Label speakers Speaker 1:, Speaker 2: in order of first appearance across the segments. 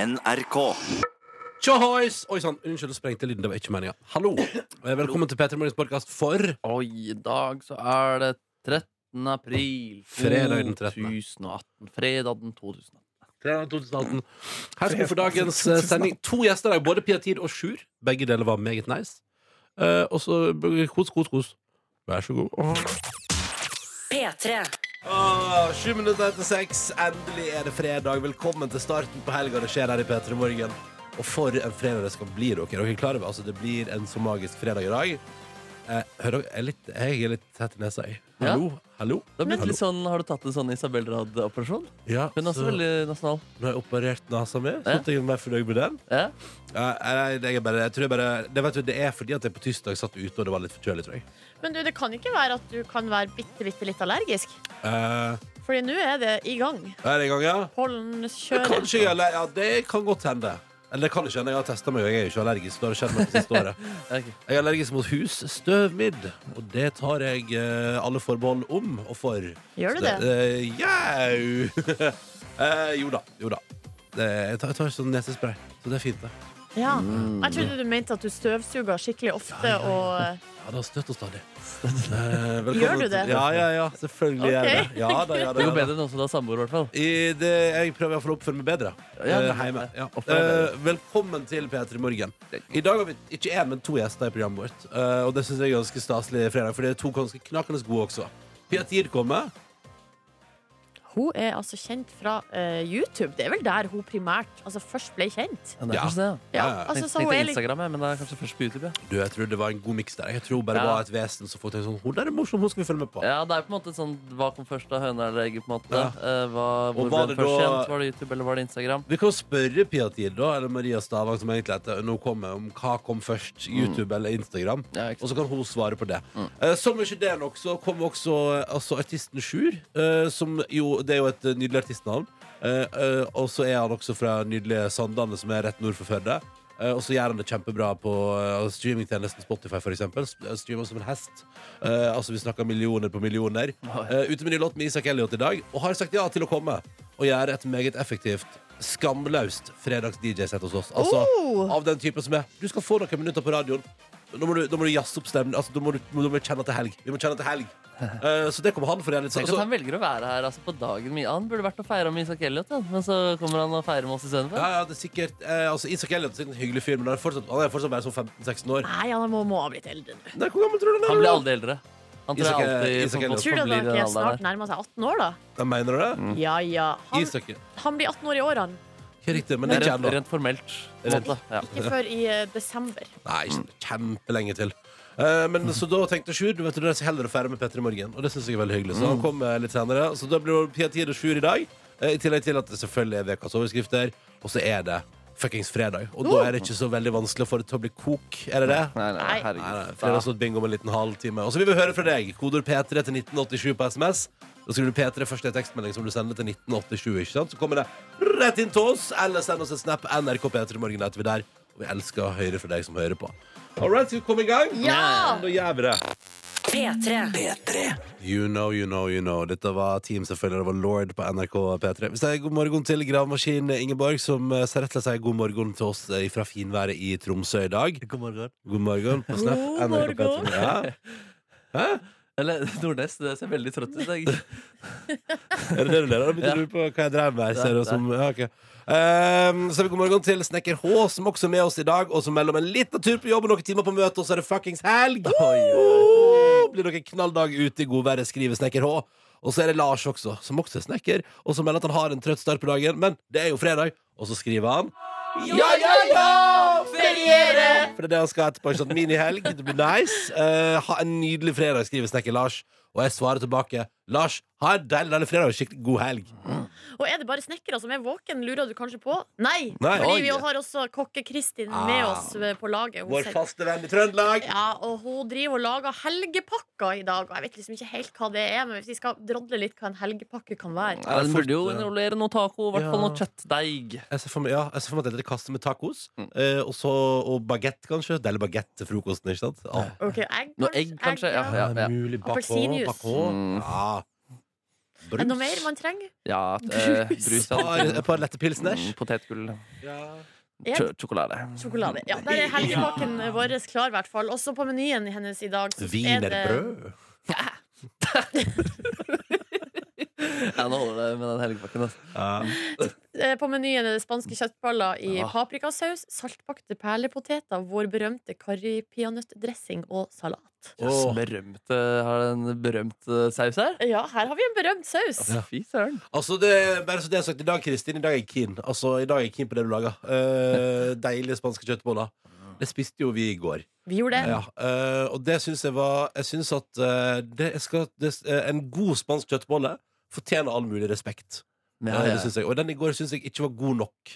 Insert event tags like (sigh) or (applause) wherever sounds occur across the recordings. Speaker 1: NRK.
Speaker 2: Tjohois! Oi sann, unnskyld, sprengte lyden. Det var ikke meninga. Hallo. Eh, Velkommen til P3 Morgens podkast for
Speaker 3: Og i dag så er det 13. april
Speaker 2: Fredag den 13..
Speaker 3: 2018. Fredag den 2018.
Speaker 2: 2018. Her skal vi for dagens eh, sending to gjester i dag, både Pia Tid og Sjur. Begge deler var meget nice. Eh, og så b- kos, kos, kos. Vær så god.
Speaker 4: P3.
Speaker 2: Åh, Sju minutter etter seks. Endelig er det fredag. Velkommen til starten på helga. Det skjer her i P3 Morgen. Og for en fredag det skal bli, dere. Dere er klar over altså, Det blir en så magisk fredag i dag. Eh, hører dere? Jeg er litt, jeg er litt tett i nesa. jeg.
Speaker 3: Ja.
Speaker 2: Hallo? Hallo?
Speaker 3: Det har, blitt
Speaker 2: Hallo?
Speaker 3: litt sånn, har du tatt en sånn Isabel Rad-operasjon?
Speaker 2: Ja,
Speaker 3: Hun er også
Speaker 2: så-
Speaker 3: altså, veldig nasjonal.
Speaker 2: Når jeg har operert nesa mi, så
Speaker 3: Ja.
Speaker 2: tenker jeg meg fornøyd med den.
Speaker 3: Ja.
Speaker 2: Ja, jeg, jeg, er bare, jeg tror jeg bare det, vet du, det er fordi at jeg på tirsdag satt ute, og det var litt forkjølig, tror jeg.
Speaker 5: Men du, det kan ikke være at du kan være bitte, bitte litt allergisk.
Speaker 2: Uh,
Speaker 5: Fordi nå er det i gang.
Speaker 2: er det i gang, ja?
Speaker 5: Pollenkjøret.
Speaker 2: Kanskje jeg er aller- Ja, det kan godt hende. Eller det kan ikke hende. Jeg har testa meg, og jeg er jo ikke allergisk. Det har skjedd meg det siste året.
Speaker 3: Ja, ok.
Speaker 2: Jeg er allergisk mot husstøvmidd, og det tar jeg eh, alle forbehold om og for.
Speaker 5: Gjør du det?
Speaker 2: eh, Jau! (laughs) Eh, jo da. Jo da. Det, jeg tar, jeg tar sånn nesespray, så det er fint, det.
Speaker 5: Ja.
Speaker 3: Mm.
Speaker 5: Jeg trodde du mente at du støvsuga skikkelig ofte og eh,
Speaker 2: Ja, det har støtt oss stadig. Eh,
Speaker 5: Gjør du det?
Speaker 2: Ja, ja, ja. Selvfølgelig gjør jeg
Speaker 5: Ok.
Speaker 2: det. Ja, da, ja,
Speaker 3: Det
Speaker 2: da, ja,
Speaker 3: er jo
Speaker 2: da.
Speaker 3: bedre enn også da samboer, i hvert fall.
Speaker 2: I det, jeg prøver iallfall å oppføre meg bedre
Speaker 3: Ja,
Speaker 2: eh,
Speaker 3: men-
Speaker 2: hjemme. Ja.
Speaker 3: oppføre deg
Speaker 2: Eh, velkommen til P3 Morgen. I dag har vi ikke én, men to gjester i programmet vårt. eh, og det syns jeg er ganske staselig fredag, for det er to ganske knakende gode også. Pia Tier kommer.
Speaker 5: Hun er altså kjent fra eh, YouTube. Det er vel der hun primært altså først ble kjent.
Speaker 3: Ja, det er
Speaker 2: Ja.
Speaker 3: kanskje det, ja.
Speaker 5: Ja,
Speaker 2: Ja, ja.
Speaker 5: altså,
Speaker 3: Tenkte-
Speaker 5: så hun
Speaker 3: tenkte
Speaker 5: er litt
Speaker 3: Instagram, jeg, men det er kanskje først på YouTube. Ja,
Speaker 2: Du, jeg tror det var en god miks der. Jeg tror bare det
Speaker 3: Ja.
Speaker 2: var et vesen som folk tenkte sånn Hun der er morsom, hun skal vi følge med på.
Speaker 3: ja det er på en måte sånn Hva kom først, da? Høna eller egget? på en måte
Speaker 2: Ja.
Speaker 3: Eh, hva, Hvor
Speaker 2: var
Speaker 3: ble den
Speaker 2: det
Speaker 3: først
Speaker 2: da-
Speaker 3: kjent? Var det YouTube, eller var det Instagram?
Speaker 2: Vi kan jo spørre Pia Tier, da, eller Maria Stavang, som egentlig heter Nå kommer om hva kom først, YouTube eller Instagram.
Speaker 3: Mm. Ja, ikke Mm.
Speaker 2: Og så kan hun svare på det. Eh, som ikke det nok, så kom også eh, altså, artisten Sjur. eh, som jo, det er jo et eh, nydelig artistnavn. Eh, eh, og så er han også fra nydelige Sandane, som er rett nord for Førde. Eh, og så gjør han det kjempebra på eh, streamingtjenesten Spotify, f.eks. Streamer som en hest. Eh, altså Vi snakker millioner på millioner.
Speaker 3: Oi.
Speaker 2: Eh, ute med ny låt med Isak Elliot i dag, og har sagt ja til å komme. Og gjøre et meget effektivt, skamløst fredags-DJ-sett hos oss. Altså
Speaker 5: Oh!
Speaker 2: av den typen som er Du skal få noen minutter på radioen. Da må du, da må du jazze opp stemmen. Altså, da må du, da må du kjenne til helg. Vi må kjenne
Speaker 5: (laughs)
Speaker 2: til helg. Eh, så det kommer han for å gjøre litt sånn.
Speaker 3: Tenk at han velger å være her altså, på dagen min. Han burde vært og feira med Isak Elliot, ja. men så kommer han og feirer med oss istedenfor.
Speaker 2: Ja, ja, det er sikkert eh, altså, Isak Elliot er en hyggelig fyr, men han er fortsatt, han er fortsatt bare sånn 15-16 år.
Speaker 5: Nei, han må, må ha blitt eldre nå.
Speaker 2: Nei, hvor gammel tror du han
Speaker 3: Han
Speaker 2: er?
Speaker 3: blir
Speaker 2: da?
Speaker 3: aldri eldre. Han tror
Speaker 2: Isak-
Speaker 3: jeg alltid
Speaker 2: Isak
Speaker 3: sånn
Speaker 2: Elliot.
Speaker 3: folk
Speaker 5: Tror du at
Speaker 3: forblir i
Speaker 5: han
Speaker 3: den
Speaker 5: ikke
Speaker 3: alderen
Speaker 5: snart
Speaker 3: der.
Speaker 5: nærmer seg 18 år, da?
Speaker 2: Ja, mener du det?
Speaker 5: Ja ja. Han,
Speaker 2: Isak ja.
Speaker 5: han blir 18 år i år, han.
Speaker 2: Ikke riktig, men det er ikke
Speaker 3: Rent,
Speaker 2: ennå.
Speaker 3: rent formelt. på en
Speaker 2: Rent-
Speaker 3: måte. Ja.
Speaker 2: (laughs)
Speaker 5: Ikke før i eh, desember.
Speaker 2: Nei, ikke kjempelenge til. Eh, men så da tenkte Sjur du vet, det er så heller å feire med Petter i morgen. Og det synes jeg er veldig hyggelig Så han kom eh, litt senere. Så da blir det Pia Tid og Sjur i dag. eh, I tillegg til at det selvfølgelig er ukas overskrifter. Og så er det fuckings fredag. Og da er det ikke så veldig vanskelig å få det til å bli kok. Er det det?
Speaker 3: Nei, nei,
Speaker 5: Nei.
Speaker 3: herregud.
Speaker 2: Nei, nei, Fredagsnytt bingo om en liten halvtime. Og så vil vi høre fra deg. Kodord P3 til 1987 på SMS. Da skriver du P3 først i en tekstmelding som du sender til 1987. ikke sant? Så kommer det rett inn til oss, eller send oss en snap. NRK P3 Morgen heter vi der. Og vi elsker å høre fra deg som hører på. All right, skal vi komme i gang?
Speaker 5: Ja!
Speaker 2: Da gjør vi det.
Speaker 4: P3.
Speaker 2: You know, you know, you know. Dette var Team selvfølgelig, det var Lord på NRK P3. Vi sier god morgen til gravemaskin Ingeborg, som eh, ser rett til å si god morgen til oss eh, fra finværet i Tromsø i dag.
Speaker 3: God morgen.
Speaker 2: God morgen på Snap.
Speaker 5: God
Speaker 2: NRK P3.
Speaker 5: morgen.
Speaker 2: Ja.
Speaker 3: Eller Nordnes, det ser veldig trøtt ut. jeg.
Speaker 2: Er det det du ler av? Da Begynte du på hva jeg drev med her? Ser du
Speaker 3: Ja,
Speaker 2: som, ja, ok. Ehm, så har vi god morgen til Snekker H, som også er med oss i dag, og som melder om en liten tur på jobb og noen timer på møte, og så er det fuckings helg! Oh, blir det en knalldag ute i godværet, skriver Snekker H. Og så er det Lars også, som også er snekker, og som melder at han har en trøtt start på dagen, men det er jo fredag. Og så skriver han Ja, ja, ja! Feriere! For det er det han skal etterpå. Ikke sant? Minihelg. Det blir nice. Eh, ha en nydelig fredag, skriver snekker Lars. Og jeg svarer tilbake. Lars, ha en deilig deilig fredag og skikkelig god helg.
Speaker 5: Og er det bare snekkere som er våken, lurer du kanskje på? Nei,
Speaker 2: Nei.
Speaker 5: fordi vi
Speaker 2: Oi.
Speaker 5: har også kokke-Kristin med
Speaker 2: Ah.
Speaker 5: oss eh, på laget. Hun
Speaker 2: Vår
Speaker 5: sier-
Speaker 2: faste venn i Trøndelag.
Speaker 5: ja, og hun driver og lager helgepakker i dag. Og jeg vet liksom ikke helt hva det er, men hvis vi skal drodle litt hva en helgepakke kan være
Speaker 3: Ja, den
Speaker 2: fort,
Speaker 3: burde jo
Speaker 2: ja.
Speaker 3: involvere noe taco, i hvert
Speaker 2: Ja.
Speaker 3: fall noe kjøttdeig.
Speaker 2: Jeg ser for meg, ja, jeg ser for meg at jeg heter kasse med tacos.
Speaker 3: Mm.
Speaker 2: eh, og så og bagett, kanskje. Deilig bagett til frokosten, ikke sant? Ah.
Speaker 5: Ok, egg,
Speaker 3: Noe egg, kanskje? Ja, ja, ja.
Speaker 2: Mulig bakå,
Speaker 5: Appelsinjuice.
Speaker 2: bakå.
Speaker 3: Mm.
Speaker 2: Ja.
Speaker 5: Er det noe mer man trenger?
Speaker 3: Ja, eh,
Speaker 5: Brus.
Speaker 3: brus.
Speaker 2: Et par,
Speaker 3: ja.
Speaker 2: et par lette pilsners.
Speaker 3: Mm, Potetgull.
Speaker 5: Ja.
Speaker 3: Sj- Sjokolade.
Speaker 5: Sjokolade. Ja,
Speaker 2: (laughs)
Speaker 5: der er helgepakken vår klar, i hvert fall. Også på menyen hennes i dag. så er det-
Speaker 2: Wienerbrød.
Speaker 3: Ja, nå holder det med den helgepakken. Altså.
Speaker 2: Ja.
Speaker 5: Eh, På menyen er det spanske kjøttballer i
Speaker 3: Ah.
Speaker 5: paprikasaus, saltbakte perlepoteter, vår berømte karripeanøttdressing og salat.
Speaker 2: Åh.
Speaker 3: Som berømt, eh, har den berømt eh, saus her?
Speaker 5: Ja, her har vi en berømt saus.
Speaker 3: Fy søren.
Speaker 2: Altså, det, er- bare så det er sagt, I dag Kristin, i dag er jeg keen. Altså, I dag er jeg keen på det du lager.
Speaker 3: (laughs)
Speaker 2: Eh, deilige spanske kjøttboller. Det spiste jo vi i går.
Speaker 5: Vi gjorde det.
Speaker 2: Ja, eh, og det syns jeg var Jeg syns at eh, det jeg skal, det, eh, en god spansk kjøttbolle fortjener all mulig respekt.
Speaker 3: Ja,
Speaker 2: Eh,
Speaker 3: ja.
Speaker 2: Det synes jeg. Og den i går syns jeg ikke var god nok.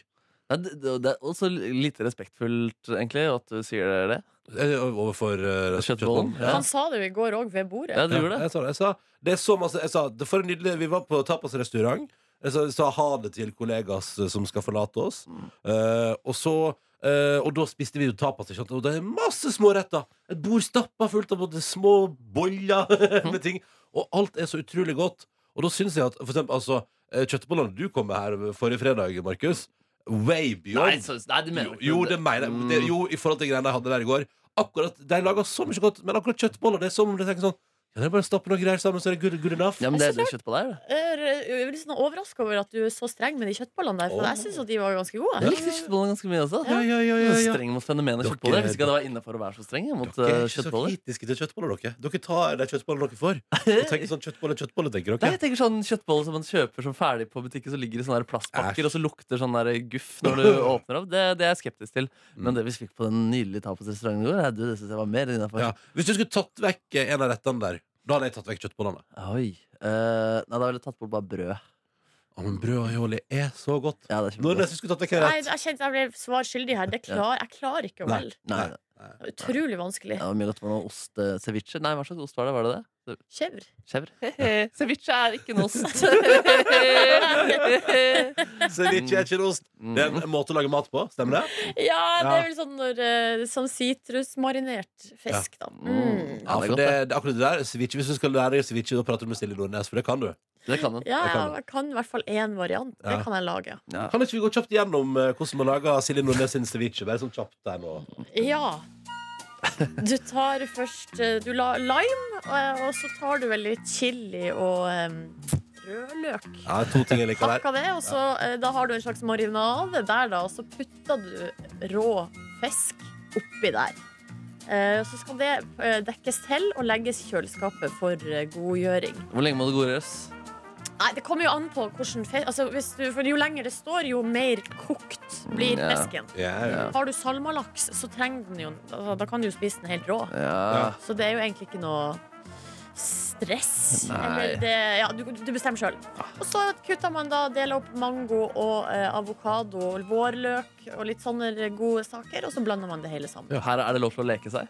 Speaker 3: Ja, det, det- det er også lite respektfullt, egentlig, at du sier det.
Speaker 2: Eh, Overfor eh,
Speaker 3: Kjøttbollen. Ja.
Speaker 5: Han sa det jo i går òg, ved bordet.
Speaker 3: Ja, du gjorde det.
Speaker 2: Jeg sa det. Jeg sa, det er så masse jeg sa, det for en nydelig, Vi var på tapasrestaurant. Jeg sa, sa ha det til kollegas eh, som skal forlate oss. Eh, og så eh, Og da spiste vi jo tapas. Ikke sant? Og det er masse småretter. Et bord stappa fullt av både små boller (laughs) med ting. Og alt er så utrolig godt. Og da syns jeg at for eksempel, altså, eh, kjøttbollene du kom med her forrige fredag, Markus Way beyond.
Speaker 3: Nei, så, nei, du mener
Speaker 2: Jo,
Speaker 3: ikke
Speaker 2: jo,
Speaker 3: det.
Speaker 2: det mener jeg.
Speaker 3: Mm.
Speaker 2: Det- Jo, i forhold til greiene jeg hadde der i går. Akkurat, De lager så mye godt, men akkurat kjøttboller Det er som om de tenker sånn Ja, det er bare å stappe noen greier sammen, så er det good, good enough.
Speaker 3: Ja, men det er det kjøtt på deg, da.
Speaker 5: Jeg er jeg er litt sånn overraska over at du er så streng med de kjøttbollene der, for
Speaker 2: Åh.
Speaker 5: jeg syns at de var ganske gode.
Speaker 3: Jeg likte kjøttboller ganske mye også.
Speaker 2: ja, ja, ja,
Speaker 3: Så
Speaker 2: ja.
Speaker 3: streng mot fenomenet
Speaker 2: Dere-
Speaker 3: kjøttboller. Jeg visste ikke at det var innafor å være så streng mot
Speaker 2: Dere er
Speaker 3: eh,
Speaker 2: ikke så
Speaker 3: kjøttboller.
Speaker 2: kritiske til kjøttboller, dere. Dere tar de kjøttbollene dere
Speaker 3: (laughs)
Speaker 2: får. Og tenker sånn kjøttbolle, kjøttbolle, tenker
Speaker 3: Nei,
Speaker 2: dere.
Speaker 3: jeg tenker sånn Kjøttboller som man kjøper som ferdig på butikken, som ligger i sånne her
Speaker 2: Æsj.
Speaker 3: plastpakker, og så lukter sånn der guff
Speaker 2: (laughs)
Speaker 3: når du åpner opp. Det, det er jeg skeptisk til.
Speaker 2: Mm.
Speaker 3: Men det vi fikk på den nydelige tapasrestauranten i går, nei, du, det syns jeg var mer innafor.
Speaker 2: Ja. Hvis du skulle tatt vekk eh, en av rettene der, da hadde jeg tatt vekk kjøttbollene.
Speaker 3: Oi. Eh, nei, da ville jeg tatt bort bare brød.
Speaker 2: Å, men brød og aioli er så godt.
Speaker 3: Ja, det
Speaker 2: Når
Speaker 3: er kjempegodt.
Speaker 2: er det jeg skulle tatt vekk en
Speaker 5: Nei,
Speaker 2: rett?
Speaker 5: jeg kjente jeg ble svar skyldig her. Det klar, jeg klarer ikke å
Speaker 2: Nei.
Speaker 5: velge.
Speaker 3: Nei,
Speaker 2: Nei.
Speaker 5: Det er Utrolig vanskelig.
Speaker 3: det var mye godt for noe ost eh, ceviche. Nei, hva slags ost var det? Var det det?
Speaker 5: Kjevr.
Speaker 3: Chèvre? (laughs) Ceviche er ikke en (laughs) ost.
Speaker 2: Ceviche er ikke en ost.
Speaker 3: Mm.
Speaker 2: Det er en måte å lage mat på, stemmer det?
Speaker 5: Ja, det
Speaker 2: Ja.
Speaker 5: er vel sånn når eh, Sånn sitrusmarinert fisk, da. Mm.
Speaker 2: Ja,
Speaker 3: Ja, det er
Speaker 2: for det,
Speaker 3: godt, det.
Speaker 2: det, er akkurat det der, ceviche, Hvis du skal lære deg ceviche, da prater du med Silje Nordnes, for det kan du.
Speaker 3: Det kan den.
Speaker 5: Ja,
Speaker 2: Det kan
Speaker 5: ja, jeg kan i hvert fall én variant. Det
Speaker 2: Ja.
Speaker 5: kan jeg lage.
Speaker 3: Ja.
Speaker 2: Kan ikke vi gå kjapt gjennom eh, hvordan man lager Silje Nordnes sin ceviche? Bare sånn kjapt der nå.
Speaker 5: Ja. Du tar først eh, Du la lime, eh, og så tar du vel litt chili og em, rødløk.
Speaker 2: Ja, to ting jeg liker der.
Speaker 5: Pakka det, og så eh, da har du en slags marinade der, da, og så putter du rå fisk oppi der. Eh, Så skal det eh, dekkes til og legges i kjøleskapet for eh, godgjøring.
Speaker 3: Hvor lenge må det godgjøres?
Speaker 5: Nei, Det kommer jo an på hvordan fe- altså, hvis du, for Jo lenger det står, jo mer kokt blir
Speaker 3: Ja.
Speaker 5: fisken.
Speaker 2: Ja, ja.
Speaker 5: Har du salmalaks, så trenger den jo altså, Da kan du jo spise den helt rå.
Speaker 3: Ja.
Speaker 5: Så det er jo egentlig ikke noe stress.
Speaker 3: Nei. Ah.
Speaker 5: Eller det, ja, du, du bestemmer sjøl. Og så kutter man da, deler opp mango og eh, avokado og vårløk og litt sånne gode saker, og så blander man det hele sammen.
Speaker 3: Her er det lov til å leke seg.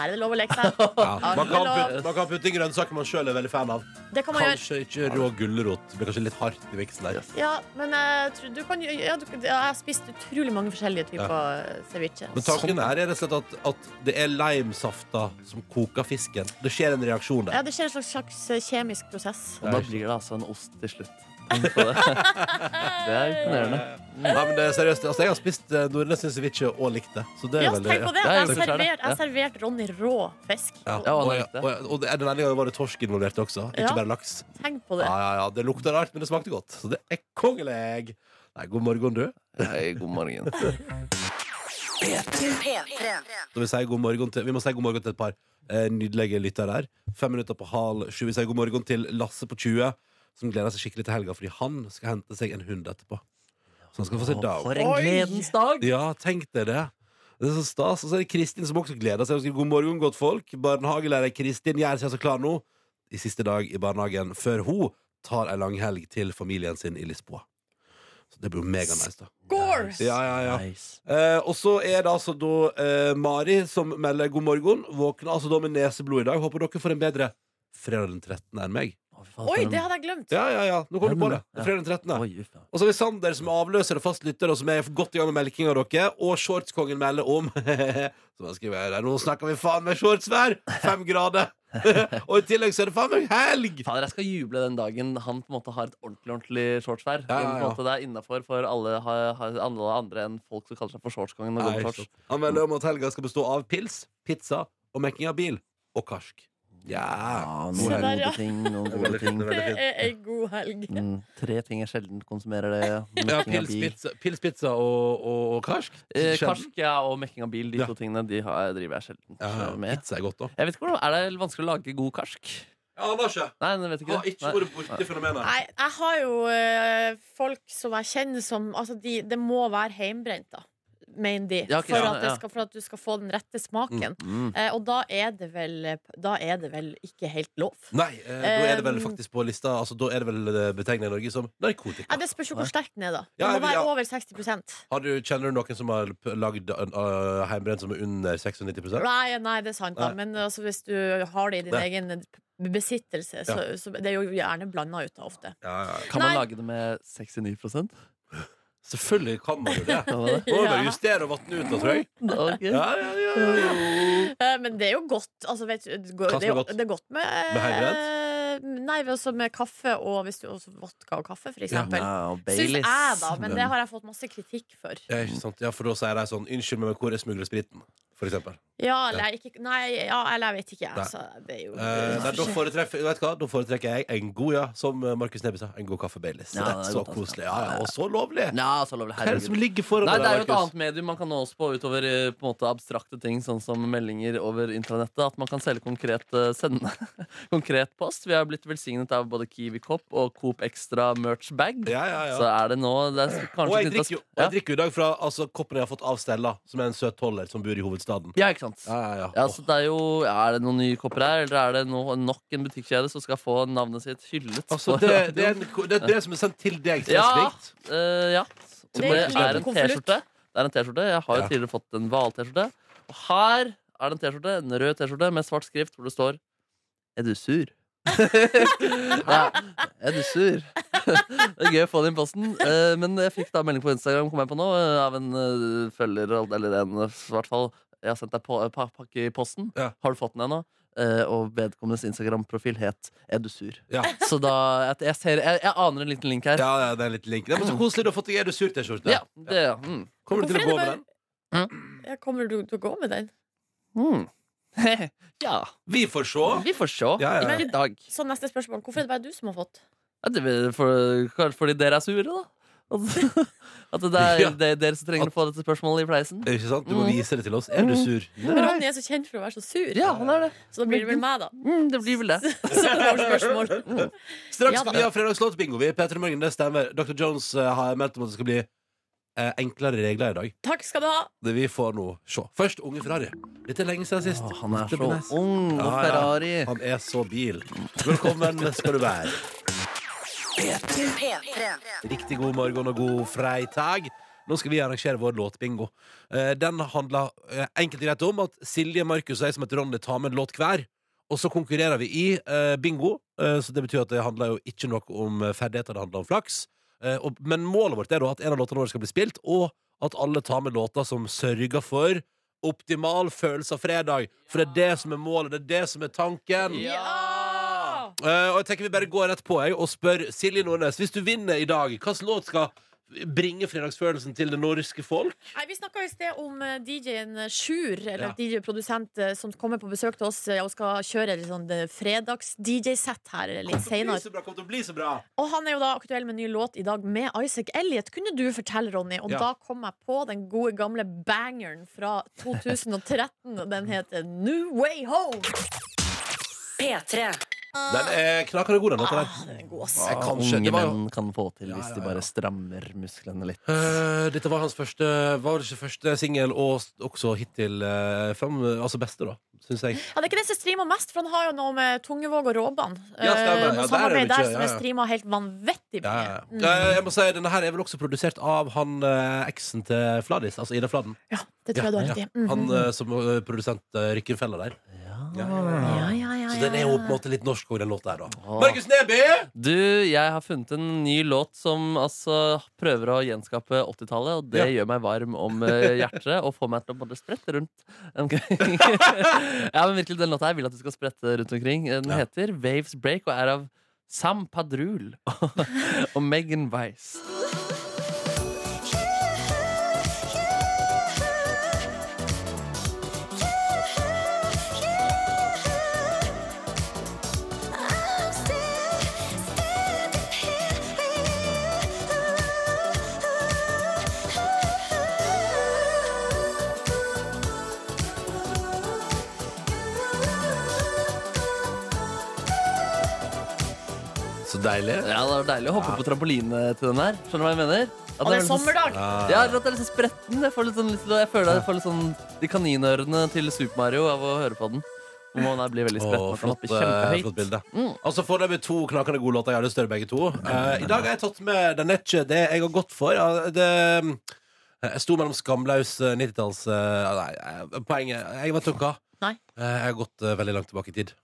Speaker 5: Her er det lov å leke seg.
Speaker 2: Man, kan putte, man kan putte inn grønnsaker man sjøl er veldig fan av.
Speaker 5: Det kan man gjøre.
Speaker 2: Kanskje ikke rå gulrot. Blir kanskje litt hardt i viksen der.
Speaker 5: Ja, men jeg tror du kan gjø- ja, du, ja, Jeg har spist utrolig mange forskjellige typer eh, ceviche.
Speaker 2: Men tanken her er rett og slett at, at det er limesafta som koker fisken. Det skjer en reaksjon
Speaker 5: Ja,
Speaker 2: der.
Speaker 5: det skjer en slags, slags eh, kjemisk prosess.
Speaker 3: Og da blir det altså en ost til slutt. Tenk
Speaker 5: (laughs)
Speaker 3: på Det Det er imponerende.
Speaker 2: Nei, men det er seriøst. Altså, jeg har spist eh, Nordnes sin ceviche og likt det. Så det
Speaker 5: Ja,
Speaker 2: er veldig
Speaker 5: tenk på det.
Speaker 3: Ja,
Speaker 5: Jeg
Speaker 3: jeg gjorde det selv,
Speaker 5: serverte
Speaker 3: ja.
Speaker 5: servert, servert Ronny rå fisk.
Speaker 2: Ja.
Speaker 5: Og-
Speaker 3: Ja,
Speaker 2: Og,
Speaker 3: han
Speaker 2: og,
Speaker 3: likte det.
Speaker 2: og, og den ene gangen var det torsk involvert også. Ikke
Speaker 5: Ja.
Speaker 2: bare laks.
Speaker 5: Tenk på det.
Speaker 2: Ja, ja, ja. Det lukta rart, men det smakte godt. Så det er kongelig. Nei, god morgen, du.
Speaker 3: Hei, god morgen.
Speaker 2: (laughs)
Speaker 4: P3.
Speaker 2: Da vi, sier god morgen til, vi må si god morgen til et par eh, nydelige lyttere her. Fem minutter på hal sju. Vi sier god morgen til Lasse på 20, som gleder seg skikkelig til helga fordi han skal hente seg en hund etterpå. Så han skal få seg
Speaker 3: Å,
Speaker 2: dog.
Speaker 3: For en gledens dag!
Speaker 2: Ja, tenk deg det. Det er så stas. Og så er det Kristin som også gleder seg. Hun skriver god morgen, godt folk. Barnehagelærer Kristin gjør seg så klar nå i siste dag i barnehagen før hun tar ei langhelg til familien sin i Lisboa. Så det blir jo meganice, da.
Speaker 5: Gore!
Speaker 2: Ja, ja, ja.
Speaker 3: Nice.
Speaker 2: Eh, og så er det altså da eh, Mari som melder god morgen. Våkna altså da med neseblod i dag. Håper dere får en bedre fredag den 13. enn meg.
Speaker 3: Å, Å, fy faen, for
Speaker 5: Oi,
Speaker 3: en-
Speaker 5: det hadde jeg glemt!
Speaker 2: Ja, ja, ja. Nå kom du på det. Det er
Speaker 3: Ja.
Speaker 2: fredag den 13.
Speaker 3: Oi, uff, ja.
Speaker 2: Og så har vi Sander som er avløser og fast lytter, og som er godt i gang med melking av dere. Og shortskongen melder om (laughs) Som han skriver her Nå snakker vi faen meg shortsvær! Fem grader! (laughs) og i tillegg så er det faen meg helg!
Speaker 3: Fader, jeg skal juble den dagen han på en måte har et ordentlig ordentlig shortsvær.
Speaker 2: Ja, ja,
Speaker 3: Men på en måte Det er innafor for alle, har- har- alle andre enn folk som kaller seg for shortskongen. og
Speaker 2: Nei,
Speaker 3: går med shorts.
Speaker 2: stopp. Han melder om at helga skal bestå av pils, pizza og mekking av bil. Og karsk. Ja.
Speaker 3: Ja,
Speaker 5: Se
Speaker 3: noen
Speaker 5: der, ja.
Speaker 3: gode ting, noen gode
Speaker 2: Veldig fint,
Speaker 3: ting.
Speaker 2: det er
Speaker 5: (laughs) Det
Speaker 2: veldig fint.
Speaker 5: er ei god helg.
Speaker 3: Mm, tre ting jeg sjelden konsumerer
Speaker 2: (laughs)
Speaker 3: det.
Speaker 2: (laughs) Ja,
Speaker 3: Mekking av
Speaker 2: pils,
Speaker 3: bil.
Speaker 2: pizza, pils, pizza og, og, og karsk.
Speaker 3: Eh,
Speaker 2: Sjelden.
Speaker 3: karsk ja, og mekking av bil, de
Speaker 2: Ja.
Speaker 3: to tingene de har, driver jeg sjelden
Speaker 2: Ja,
Speaker 3: med.
Speaker 2: pizza er godt, da.
Speaker 3: Jeg vet ikke hvordan, Er det vanskelig å lage god karsk?
Speaker 2: Ja, Lars, jeg
Speaker 3: Nei, jeg vet ikke
Speaker 2: har
Speaker 3: det.
Speaker 2: ikke vært borti fenomenet.
Speaker 5: Nei, jeg har jo eh, folk som jeg kjenner som Altså, de, det må være heimbrent, da. Mener de.
Speaker 3: Ja, ok,
Speaker 5: for,
Speaker 3: ja,
Speaker 5: at det
Speaker 3: ja.
Speaker 5: skal, for at du skal få den rette smaken.
Speaker 3: Mm.
Speaker 5: Eh, og da er, det vel, da er det vel ikke helt lov.
Speaker 2: Nei, eh, da er det vel
Speaker 5: Um,
Speaker 2: faktisk på lista Altså, Da er det vel eh, betegnet i Norge som narkotika.
Speaker 5: Nei, det spørs jo hvor sterk den er, da.
Speaker 2: Ja,
Speaker 5: Den må
Speaker 2: ja.
Speaker 5: være over 60
Speaker 2: Har du, kjenner du noen som har p- lagd uh, uh, heimbrent som er under 96
Speaker 5: Nei, nei, det er sant, da.
Speaker 2: Nei.
Speaker 5: Men altså, hvis du har det i din
Speaker 2: Nei.
Speaker 5: egen besittelse, så, så det er jo gjerne blanda ut da, ofte.
Speaker 2: ja, ja. ja.
Speaker 3: Kan man
Speaker 5: Nei.
Speaker 3: lage det med 69
Speaker 2: Selvfølgelig kan
Speaker 3: (laughs)
Speaker 2: man jo det.
Speaker 3: Kan man det?
Speaker 2: Må bare
Speaker 5: Ja.
Speaker 2: justere og vatne ut, da,
Speaker 3: (laughs)
Speaker 2: tror jeg.
Speaker 3: Ok.
Speaker 2: Ja, ja, ja, ja.
Speaker 5: (laughs) Eh, Men det er jo godt. Altså, vet, du, det, går,
Speaker 2: Hva som
Speaker 5: det, er
Speaker 2: er
Speaker 5: jo,
Speaker 2: godt?
Speaker 5: det er godt med,
Speaker 2: Med
Speaker 5: eh, Nei, men også med kaffe og hvis du også vodka og kaffe, for
Speaker 2: Ja.
Speaker 5: eksempel.
Speaker 3: Ja, og
Speaker 5: Syns jeg,
Speaker 3: Baileys.
Speaker 5: da. Men det har jeg fått masse kritikk for.
Speaker 2: Ja, ikke sant? ja, for da sier de sånn Unnskyld meg, men hvor er smuglerspriten? For eksempel.
Speaker 5: Ja, eller jeg, ikke, nei, ja, eller jeg vet ikke,
Speaker 2: Nei.
Speaker 5: jeg. Så det er jo
Speaker 2: Eh, nei, da, foretrekker, vet du hva? da foretrekker jeg en god, ja, som eh, Markus Neby sa, en god kaffe Baileys.
Speaker 3: Ja, det er
Speaker 2: så
Speaker 3: godt, altså.
Speaker 2: koselig. Ja, ja, og så lovlig!
Speaker 3: Ja, så lovlig.
Speaker 2: Hva er det som
Speaker 3: altså, Herregud.
Speaker 2: ligger foran
Speaker 3: Nei,
Speaker 2: deg,
Speaker 3: det er jo et
Speaker 2: Markus?
Speaker 3: annet medium man kan nå oss på utover eh, på en måte abstrakte ting, sånn som meldinger over internettet. At man kan selge konkret eh, sende (laughs) konkret post. Vi har blitt velsignet av både Kiwi Cop og Coop Extra merch bag.
Speaker 2: Ja, ja, ja.
Speaker 3: Så er det nå det er
Speaker 2: Og
Speaker 3: kanskje
Speaker 2: jeg
Speaker 3: litt av-
Speaker 2: drikker jo og jeg drikker jo i dag fra altså, koppen jeg har fått av Stella, som er en søt holder som bor i hovedstaden.
Speaker 3: ja. ja, ikke sant.
Speaker 2: Ja, ja, ja.
Speaker 3: Ja, så det Er jo, ja, er det noen nye kopper her, eller er det no, nok en butikkjede som skal få navnet sitt hyllet?
Speaker 2: Altså,
Speaker 3: på
Speaker 2: det,
Speaker 3: radioen?
Speaker 2: det, er en, ko- det er et brev som er sendt til deg
Speaker 3: Ja.
Speaker 2: spesifikt.
Speaker 3: Eh, ja.
Speaker 5: Det
Speaker 3: Det,
Speaker 5: er en
Speaker 3: er en
Speaker 5: liten konvolutt.
Speaker 3: T-skjorte. Det er en T-skjorte. Jeg har jo
Speaker 2: Ja.
Speaker 3: tidligere fått en hval-T-skjorte. Og her er det en T-skjorte, en rød T-skjorte med svart skrift hvor det står Er
Speaker 5: (laughs)
Speaker 3: du sur? ja, er du sur? (laughs) det er gøy å få det inn i posten. Eh, men jeg fikk da melding på Instagram kom jeg på nå, eh, av en eh, følger, eller en eh, i hvert fall. Jeg har sendt deg på, eh, pa, pakke i posten.
Speaker 2: Ja.
Speaker 3: Har du fått den ennå? Eh, og vedkommendes Instagram-profil het Er du sur?
Speaker 2: Ja.
Speaker 3: Så da, jeg, jeg, ser, jeg, jeg aner en liten link her.
Speaker 2: Ja, ja, det er litt link. Det er så koselig du har fått deg Er du sur-T-skjorte.
Speaker 3: Ja, det, ja. Mm.
Speaker 2: Kommer du til å
Speaker 5: Hvorfor
Speaker 2: gå
Speaker 5: er det
Speaker 2: med
Speaker 5: bare-
Speaker 2: den?
Speaker 5: Ja, Kommer du til å gå med den?
Speaker 3: Mm. (laughs) ja,
Speaker 2: Vi får se.
Speaker 3: vi får se.
Speaker 2: Ja, ja, ja.
Speaker 3: Ikke i dag.
Speaker 5: Så neste spørsmål. Hvorfor er det bare du som har fått?
Speaker 3: Ja, det er for, kanskje fordi dere er sure, da.
Speaker 2: (laughs)
Speaker 3: At, at det er
Speaker 2: Ja.
Speaker 3: det er dere som trenger å få dette spørsmålet i fleisen.
Speaker 2: Ikke sant? Du må
Speaker 3: Mm.
Speaker 2: vise det til oss. Er du sur?
Speaker 5: Men Ronny er så kjent for å være så sur.
Speaker 3: Ja, han er det.
Speaker 5: Så da blir det vel meg, da.
Speaker 3: Mm, det blir
Speaker 5: (laughs)
Speaker 3: vel det.
Speaker 5: Som får spørsmål. Mm.
Speaker 2: Straks
Speaker 5: Ja da.
Speaker 2: vi har fredagslåtbingo. Vi er Peter i Morgen, det stemmer. Dr. Jones eh, har meldt om at det skal bli eh, enklere regler i dag.
Speaker 5: Takk skal du ha.
Speaker 2: Det vi får nå se. Først Unge Ferrari. Dette er lenge siden sist.
Speaker 3: Å, han er
Speaker 2: Det blir
Speaker 3: så
Speaker 2: nice.
Speaker 3: ung og
Speaker 2: Ja, ja.
Speaker 3: Ferrari.
Speaker 2: Han er så bil. Velkommen skal du være.
Speaker 4: P3.
Speaker 2: Riktig god morgen og god freitag. Nå skal vi arrangere vår låtbingo. Eh, Den handler eh, enkelt og greit om at Silje, Markus og jeg som heter Ronny tar med en låt hver. Og så konkurrerer vi i eh, bingo, Eh, så det betyr at det handler jo ikke noe om eh, ferdigheter, det handler om flaks. Eh, og- Men målet vårt er da at en av låtene våre skal bli spilt, og at alle tar med låter som sørger for optimal følelse av fredag. For det er det som er målet, det er det som er tanken.
Speaker 5: Ja!
Speaker 2: Eh, og jeg tenker vi bare går rett på jeg, og spør Silje Nordnes Hvis du vinner i dag, hvilken låt skal bringe fredagsfølelsen til det norske folk?
Speaker 5: Nei, Vi snakka i sted om eh, DJ-en Sjur, eller
Speaker 2: Ja.
Speaker 5: DJ-produsent, eh, som kommer på besøk til oss eh, og skal kjøre litt sånn eh, fredags-DJ-sett her eh, litt
Speaker 2: Bli
Speaker 5: seinere.
Speaker 2: så bra, kom til å bli så bra
Speaker 5: Og han er jo da aktuell med en ny låt i dag med Isaac Elliot. Kunne du fortelle, Ronny? Og
Speaker 2: Ja.
Speaker 5: da kom jeg på den gode gamle bangeren fra 2013. og Den heter New Way Home.
Speaker 4: P3.
Speaker 2: Den er knakende god, den låta
Speaker 5: Ah,
Speaker 2: der.
Speaker 5: den er god, ass.
Speaker 2: Jeg kan ikke-
Speaker 3: Unge
Speaker 2: det var jo-
Speaker 3: menn kan få til hvis
Speaker 2: Ja, ja,
Speaker 3: de
Speaker 2: ja.
Speaker 3: bare strammer musklene litt.
Speaker 2: Eh, dette var hans første Var det ikke første singel, og s- også hittil eh, fram, eh, altså beste, da, syns jeg.
Speaker 5: Ja, det er ikke det som streamer mest, for han har jo noe med Tungevåg og Råban.
Speaker 2: Ja, stemmer. Ja,
Speaker 5: Eh, noe
Speaker 2: der er det
Speaker 5: samarbeid
Speaker 2: mye,
Speaker 5: der som
Speaker 2: ja,
Speaker 5: er
Speaker 2: ja.
Speaker 5: streama helt vanvittig mye.
Speaker 2: Ja, ja, ja.
Speaker 5: Mm.
Speaker 2: Eh, jeg må si, Denne her er vel også produsert av han eh, eksen til Fladis, altså Ida Fladen.
Speaker 5: Ja, det tror jeg du har
Speaker 2: Ja,
Speaker 5: riktig.
Speaker 2: Han
Speaker 5: Mhm.
Speaker 2: eh, som eh, produsent uh, Rykkenfella der.
Speaker 5: Ja,
Speaker 3: Ja.
Speaker 5: ja, ja,
Speaker 2: Så
Speaker 5: ja,
Speaker 2: den er jo på en
Speaker 5: ja.
Speaker 2: måte litt norsk òg, den låta her, da.
Speaker 3: Åh.
Speaker 2: Markus Neby!
Speaker 3: Du, jeg har funnet en ny låt som altså, prøver å gjenskape 80-tallet, og det gjør meg varm om eh, hjertet og får meg til å bare sprette rundt.
Speaker 2: (laughs)
Speaker 3: omkring. ja, men virkelig, den låta her vil jeg at du skal sprette rundt omkring. Den
Speaker 2: Ja.
Speaker 3: heter Waves Break og er av Sam Padrul (laughs) og Megan Weiss.
Speaker 2: Så deilig.
Speaker 3: Ja, det var deilig å hoppe på trampoline til den her. Skjønner du hva jeg mener? At
Speaker 5: Og det
Speaker 3: var
Speaker 5: er
Speaker 3: litt sånn-
Speaker 5: sommerdag!
Speaker 2: Ja.
Speaker 3: Ja, eller at det er litt sånn spretten. Jeg får litt sånn, litt, jeg føler jeg får litt sånn de kaninørene til Super Mario av å høre på den. Hvor man her blir veldig
Speaker 2: Åh,
Speaker 3: spretten. og kan
Speaker 2: flott,
Speaker 3: hoppe
Speaker 2: eh,
Speaker 3: kjempehøyt.
Speaker 2: flott
Speaker 3: (laughs)
Speaker 2: bilde.
Speaker 3: Mm.
Speaker 2: Altså Foreløpig to knakende gode låter. Jeg har lyst til å høre begge to. Eh, I dag har jeg tatt med Den er ikke det jeg har gått for. Ja, det, eh, jeg sto mellom skamlaus eh, 90-talls eh, Nei, eh, poenget Jeg vet ikke hva.
Speaker 5: Nei.
Speaker 2: Eh, jeg har gått eh, veldig langt tilbake i tid.